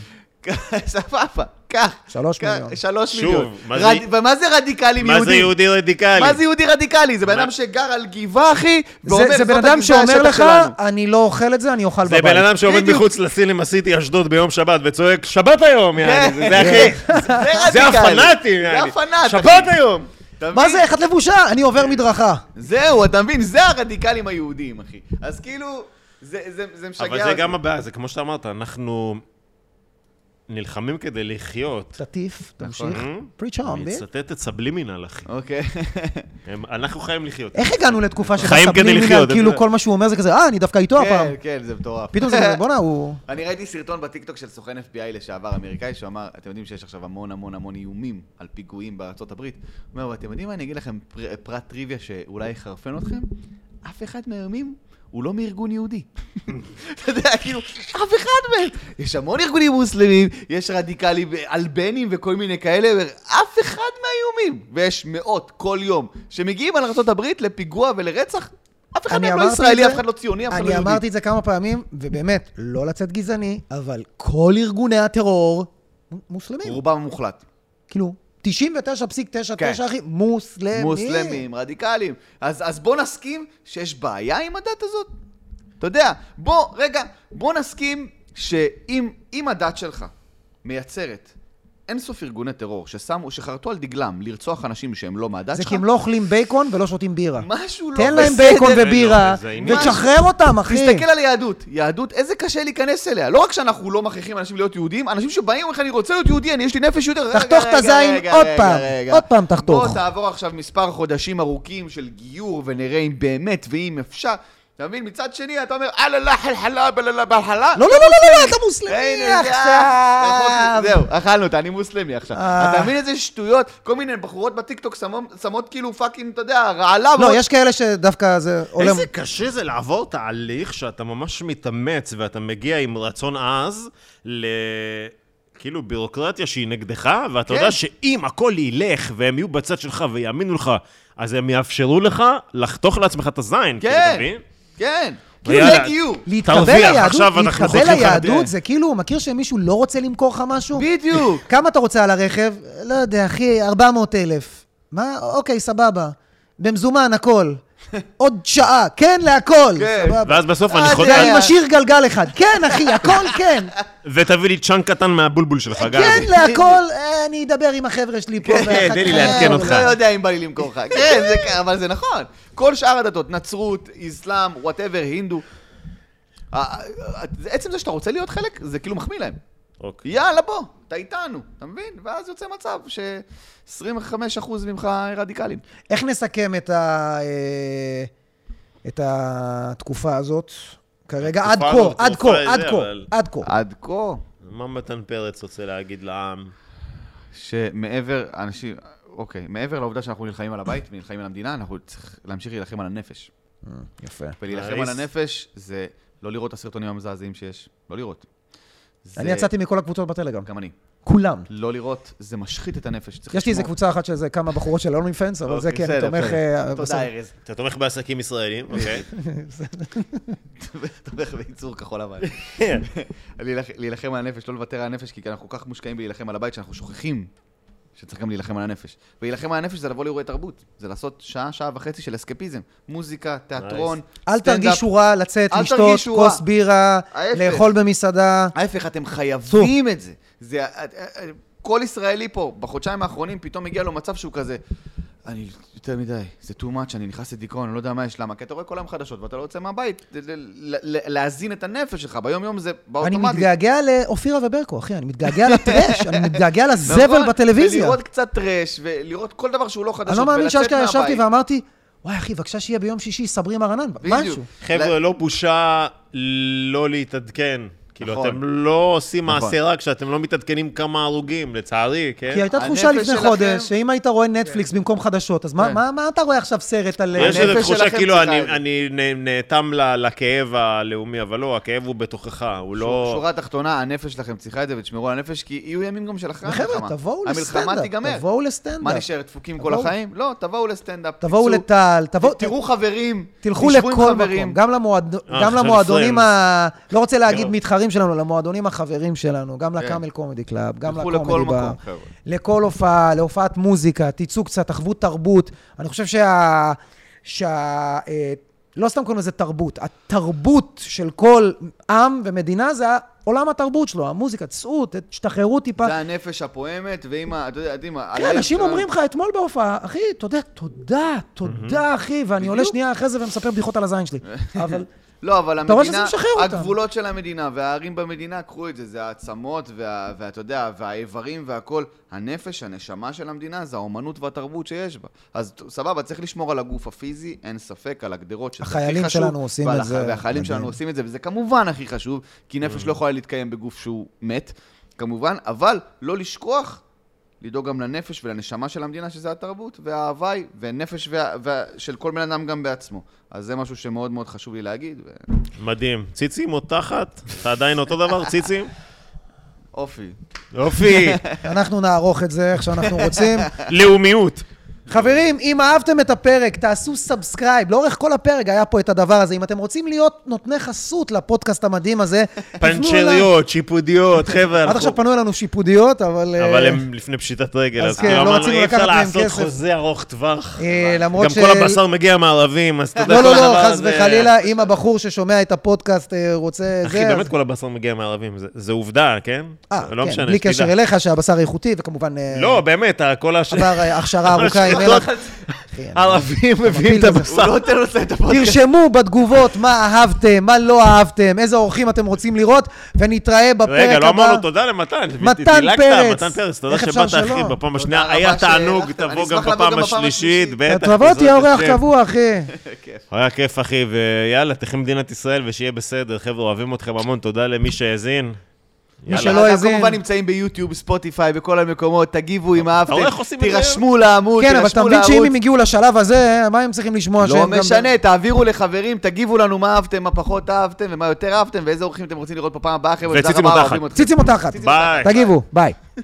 סבבה, קח. שלוש קח, מיליון. שלוש שוב, מיליון. מה זה- רד- ומה זה רדיקלים מה יהודים? זה יהודי רדיקלי? מה זה יהודי רדיקלי? זה בן מה- אדם שגר על גבעה, אחי, ואומר, זה- זה "זאת בן אדם הגבעה, שאומר השטח לך, [laughs] שלנו." אני לא אוכל את זה, אני אוכל זה בבית. בן אדם שעומד בדיוק. מחוץ לסינמה סיטי אשדוד ביום שבת וצועק שבת היום, יעני, כן, זה- [laughs] זה הכי... כן. זה זה רדיקלי. הפנאטים, זה יעני. הפנאט. שבת היום! אתה מה מבין? זה, איך את לבושה? אני עובר מדרכה. זהו, אתה מבין? זה הרדיקלים היהודים, אחי. אז כאילו, זה- זה זה משגע. אבל זה אותי. גם הבעיה, זה כמו שאתה אמרת, אנחנו נלחמים כדי לחיות. אוקיי? תטיף, נכון. תמשיך. פריצ' אני און, בי. אצטט את סבלימינל, אחי. אוקיי. הם- אנחנו חיים לחיות. איך הגענו לתקופה שאתה חיים כדי סבלים לחיות, מינל, כאילו אתה- כל מה שהוא אומר זה כזה, אה, אני דווקא איתו הפעם. כן, כן, זה מטורף. פתאום זה כזה, [laughs] בואנה, הוא... אני ראיתי סרטון בטיקטוק של סוכן FBI לשעבר אמריקאי, שאמר, אתם יודעים שיש עכשיו המון המון המון איומים על פיגועים בארצות הברית. הוא אומר, אתם יודעים מה, אני אגיד לכם פר- פרט טריוויה שאולי יחרפן אתכם? אף אחד מהאיומים הוא לא מארגון יהודי. אתה יודע, כאילו, אף אחד מהם. יש המון ארגונים מוסלמים, יש רדיקלים אלבנים וכל מיני כאלה, הוא אומר, אף אחד מהאיומים. ויש מאות כל יום שמגיעים על ארצות הברית לפיגוע ולרצח. אף אחד אני מהם לא אמרתי ישראלי, את אף זה- אחד לא ציוני, אף אחד לא אני יהודי. אמרתי את זה כמה פעמים, ובאמת, לא לצאת גזעני, אבל כל ארגוני הטרור מ- מוסלמים. רובם המוחלט. כאילו, 99.99 כן. אחי, מוסלמים. מוסלמים, רדיקלים. אז, אז בוא נסכים שיש בעיה עם הדת הזאת. אתה יודע, בוא, רגע, בוא נסכים שאם אם הדת שלך מייצרת אינסוף ארגוני טרור ששמו, שחרטו על דגלם לרצוח אנשים שהם לא מהדת זה שלך, כי הם לא אוכלים בייקון ולא שותים בירה. משהו לא תן בסדר. להם בייקון לא, ובירה, זה עניין. ותשחרר אותם, אחי. תסתכל על היהדות. יהדות, איזה קשה להיכנס אליה. לא רק שאנחנו לא מכריחים אנשים להיות יהודים, אנשים שבאים ואומרים לך, אני רוצה להיות יהודי, אני, יש לי נפש יהודי. רגע, תחתוך את רגע, הזין רגע, עוד רגע, פעם. רגע. עוד פעם תחתוך. בוא תעבור עכשיו מספר חודשים ארוכים של גיור, ונראה אם באמת ואם אפשר. אתה מבין? מצד שני, אתה אומר, אללה לה חלחלה בללה בלחלה. לא, לא, לא, לא, לא, לא, אתה מוסלמי הנה, זה אה, נכון, ה- עכשיו. זהו, אכלנו אותה, אני מוסלמי עכשיו. אה. אתה מבין איזה שטויות? כל מיני בחורות בטיקטוק שמות- שמות כאילו פאקינג, אתה יודע, רעלה. לא, ועוד- יש כאלה שדווקא זה עולם... איזה קשה זה לעבור תהליך שאתה ממש מתאמץ ואתה מגיע עם רצון עז ל... כאילו בירוקרטיה שהיא נגדך, ואתה כן. יודע שאם הכל ילך והם יהיו בצד שלך ויאמינו לך, אז הם יאפשרו לך לחתוך לעצמך את הזין, כאילו, אתה כן, מבין? כן. כאילו ויאללה. זה גיור. להתקבל תרוויח, ליהדות, עכשיו אנחנו להתקבל חותכים לך ליהדות, דרך. זה כאילו, מכיר שמישהו לא רוצה למכור לך משהו? בדיוק. כמה אתה רוצה על הרכב? לא יודע, אחי, 400 אלף. מה? אוקיי, סבבה. במזומן, [laughs] הכל. עוד שעה, כן להכל, כן. סבבה. ואז בסוף אני אה, חוזר- תראה, אני משאיר גלגל אחד. כן, אחי, הכל [laughs] כן. ותביא לי צ'אנק קטן מהבולבול שלך, גל. כן להכל, אה, אני אדבר עם החבר'ה שלי פה. כן, ואחר תן לי כך- לעדכן אה, אותך. לא יודע אם בא לי למכור [laughs] לך. כן, זה כ- אבל זה נכון. כל שאר הדתות, נצרות, איסלאם, וואטאבר, הינדו. ה- ה- ה- עצם זה שאתה רוצה להיות חלק, זה כאילו מחמיא להם. אוקיי. יאללה, בוא, אתה איתנו, אתה מבין? ואז יוצא מצב ש-25% ממך רדיקלים. איך נסכם את, ה... אה, את התקופה הזאת כרגע? עד כה, הזאת, עד כה, תקופה זה, עד כה, אבל- עד כה. עד כה, מה מתן פרץ רוצה להגיד לעם? שמעבר, אנשים, אוקיי, מעבר לעובדה שאנחנו נלחמים על הבית ונלחמים על המדינה, אנחנו צריכים להמשיך להילחם על הנפש. יפה. ולהילחם על הריס. הנפש זה לא לראות את הסרטונים המזעזעים שיש, לא לראות. זה- אני יצאתי מכל הקבוצות בטלגרם, גם אני. כולם. לא לראות, זה משחית את הנפש. צריך יש לי איזה לשמור. קבוצה אחת של איזה כמה בחורות של אונלי פנס, אבל זה אוקיי, כי אני בסדר, תומך... בסדר. אה, בסדר. תודה, ארז. אתה תומך בעסקים ישראלים, אוקיי. [laughs] תומך בייצור כחול לבן. כן. [laughs] להילח- להילחם על הנפש, לא לוותר על הנפש, כי אנחנו כל כך מושקעים בלהילחם על הבית, שאנחנו שוכחים שצריך גם להילחם על הנפש. ולהילחם על הנפש זה לבוא לאירועי תרבות. זה לעשות שעה, שעה וחצי של אסקפיזם. מוזיקה, תיאטרון, אל תרגישו רע לצאת, אל לשתות, תרגישו כוס רע. בירה, ההפך. לאכול במסעדה. ההפך, אתם חייבים את זה. זה... אה, כל ישראלי פה, בחודשיים האחרונים, פתאום הגיע לו מצב שהוא כזה, אני יותר מדי, זה too much, אני נכנס לדיכאון, אני לא יודע מה יש, למה? כי אתה רואה כל היום חדשות ואתה לא יוצא מהבית, ל- ל- ל- להזין את הנפש שלך, ביום-יום זה אני באוטומטי. מתגעגע לאופירה וברקו, אחי, אני מתגעגע לטרש, אני מתגעגע [laughs] נכון? לזבל בטלוויזיה. ולראות קצת טרש, ולראות כל דבר שהוא לא חדשות, אני לא מאמין ולצאת שאשכרה מהבית. ישבתי ואמרתי, וואי, אחי, בבקשה שיהיה ביום שישי סברי מרנן, בדיוק. משהו. חבר'ה, לא בושה לא להתעדכן. כאילו, נכון. אתם לא עושים נכון. מעשה רק כשאתם לא מתעדכנים כמה הרוגים, לצערי, כן? כי הייתה הנפש תחושה לפני שלכם- חודש, שאם היית רואה נטפליקס במקום חדשות, אז מה- כן. מה מה אתה רואה עכשיו סרט על... אה, יש איזו הנפש תחושה שלכם כאילו צריכה אני, את זה. אני נ- נאטם ל- לכאב הלאומי, אבל לא, הכאב הוא בתוכך, הוא לא... לא... שורה תחתונה, הנפש שלכם צריכה את זה ותשמרו על הנפש, כי יהיו ימים גם של אחרי המלחמה. חבר'ה, תבואו המלחמה לסטנדאפ, תיגמר. תבואו לסטנדאפ. מה נשאר, דפוקים כל תבואו- החיים? לא, תבואו לסטנדאפ. תבואו תצאו, לטל, תבואו... תראו חברים, תלכו תשבו עם לכל חברים. מקום, גם, למועד... אה, גם חשבתי למועדונים friends. ה... לא רוצה להגיד כן. מתחרים שלנו, למועדונים החברים שלנו, גם כן. לקאמל קומדי קלאב, גם תלכו לקומדי לכל בר, מקום, חבר'ה. לכל הופעה, להופעת מוזיקה, תצאו קצת, תחוו תרבות. אני חושב שה... שה... אה, לא סתם קוראים לזה תרבות, התרבות של כל עם ומדינה זה עולם התרבות שלו, המוזיקה, צאו, ת- תשתחררו טיפה. זה הנפש הפועמת, ואם ה... אתה יודע, יודעים, ה- כן, הלב אנשים שלנו- אומרים לך אתמול בהופעה, אחי, אתה יודע, תודה, תודה, אחי, ואני עולה בדיוק. שנייה אחרי זה ומספר בדיחות על הזין שלי. אבל לא, אבל אתה רואה שזה המדינה, משחרר אותם. הגבולות של המדינה והערים במדינה, קחו את זה, זה העצמות, וה- ואתה יודע, והאיברים והכל. הנפש, הנשמה של המדינה, זה האומנות והתרבות שיש בה. אז ת- סבבה, צריך לשמור על הגוף הפיזי, אין ספק, על הגדרות, שזה הכי חשוב. החיילים שלנו עושים ועל את זה, הח- והחיילים מדהים. Mm. שלנו עושים את זה, וזה כמובן הכי חשוב, כי נפש לא יכולה להתקיים בגוף שהוא מת, כמובן, אבל לא לשכוח לדאוג גם לנפש ולנשמה של המדינה, שזה התרבות, והאהבה היא, ונפש וה... וה... של כל בן אדם גם בעצמו. אז זה משהו שמאוד מאוד חשוב לי להגיד. ו... מדהים. ציצים או תחת? אתה עדיין אותו דבר, ציצים? אופי. יופי, אנחנו נערוך את זה איך שאנחנו רוצים. לאומיות. חברים, אם אהבתם את הפרק, תעשו סאבסקרייב. לאורך כל הפרק היה פה את הדבר הזה. אם אתם רוצים להיות נותני חסות לפודקאסט המדהים הזה, תפנו אליי. פנצ'ריות, שיפודיות, חבר'ה. עד אנחנו- עכשיו פנו אלינו שיפודיות, אבל... אה, אבל הם לפני פשיטת רגל, אז אז כן, כאילו לא אמרנו, רצינו אי אפשר לקחת מהם לעשות כסף." חוזה ארוך טווח. אה, למרות גם ש... כל הבשר מגיע מהערבים, אז אתה יודע, לא, כל לא, לא, הדבר חס הזה- וחלילה, אם הבחור ששומע את הפודקאסט אה, רוצה... אחי, זה, אז- באמת כל הבשר מגיע מהערבים, זה- זה עובדה, כן? אה, לא כן, משנה, בלי שתדע. קשר אליך, שהבשר איכותי, וכמובן... אה, לא, באמת, ה- כל הש... עבר [laughs] אה, הכשרה ארוכה השחיתות. עם מלח. אחי, אני- הערבים מביאים את מפיל את זה. הבשר. לא נותן לו לסיים את תרשמו בתגובות מה אהבתם, מה לא אהבתם, איזה אורחים אתם רוצים לראות, ונתראה בפרק הבא. רגע, לא אמרנו תודה למתן. מתן דילגת, פרץ. מתן פרץ, תודה איך אפשר שבאת, שלא? אחי, בפעם השנייה. רבה היה תענוג, שהלכתם. אני תבוא גם אשמח לבוא בפעם גם בפעם השלישית, השלישית. בטח. תבוא, בעזרת תהיה אורח השם. קבוע, אחי. היה כיף, אחי, ויאללה, תחי מדינת ישראל ושיהיה בסדר. חבר'ה, אוהבים אתכם המון, תודה למי שהאזין. מי יאללה. שלא האזין. כמובן נמצאים ביוטיוב, ספוטיפיי, בכל המקומות, תגיבו אם אהבתם, רואה איך עושים את זה? תירשמו לעמוד, כן, אבל אתה תירשמו מבין שאם הם לערוץ. הגיעו לשלב הזה, מה הם צריכים לשמוע שהם לא גם... משנה, תעבירו לחברים, תגיבו לנו מה אהבתם, מה פחות אהבתם, ומה יותר אהבתם, ואיזה אורחים אתם רוצים לראות בפעם הבאה, חבר'ה, וציצים תודה אותה רבה, אוהבים אחת. אתכם. ציצים אותה אחת. ביי. תגיבו, ביי.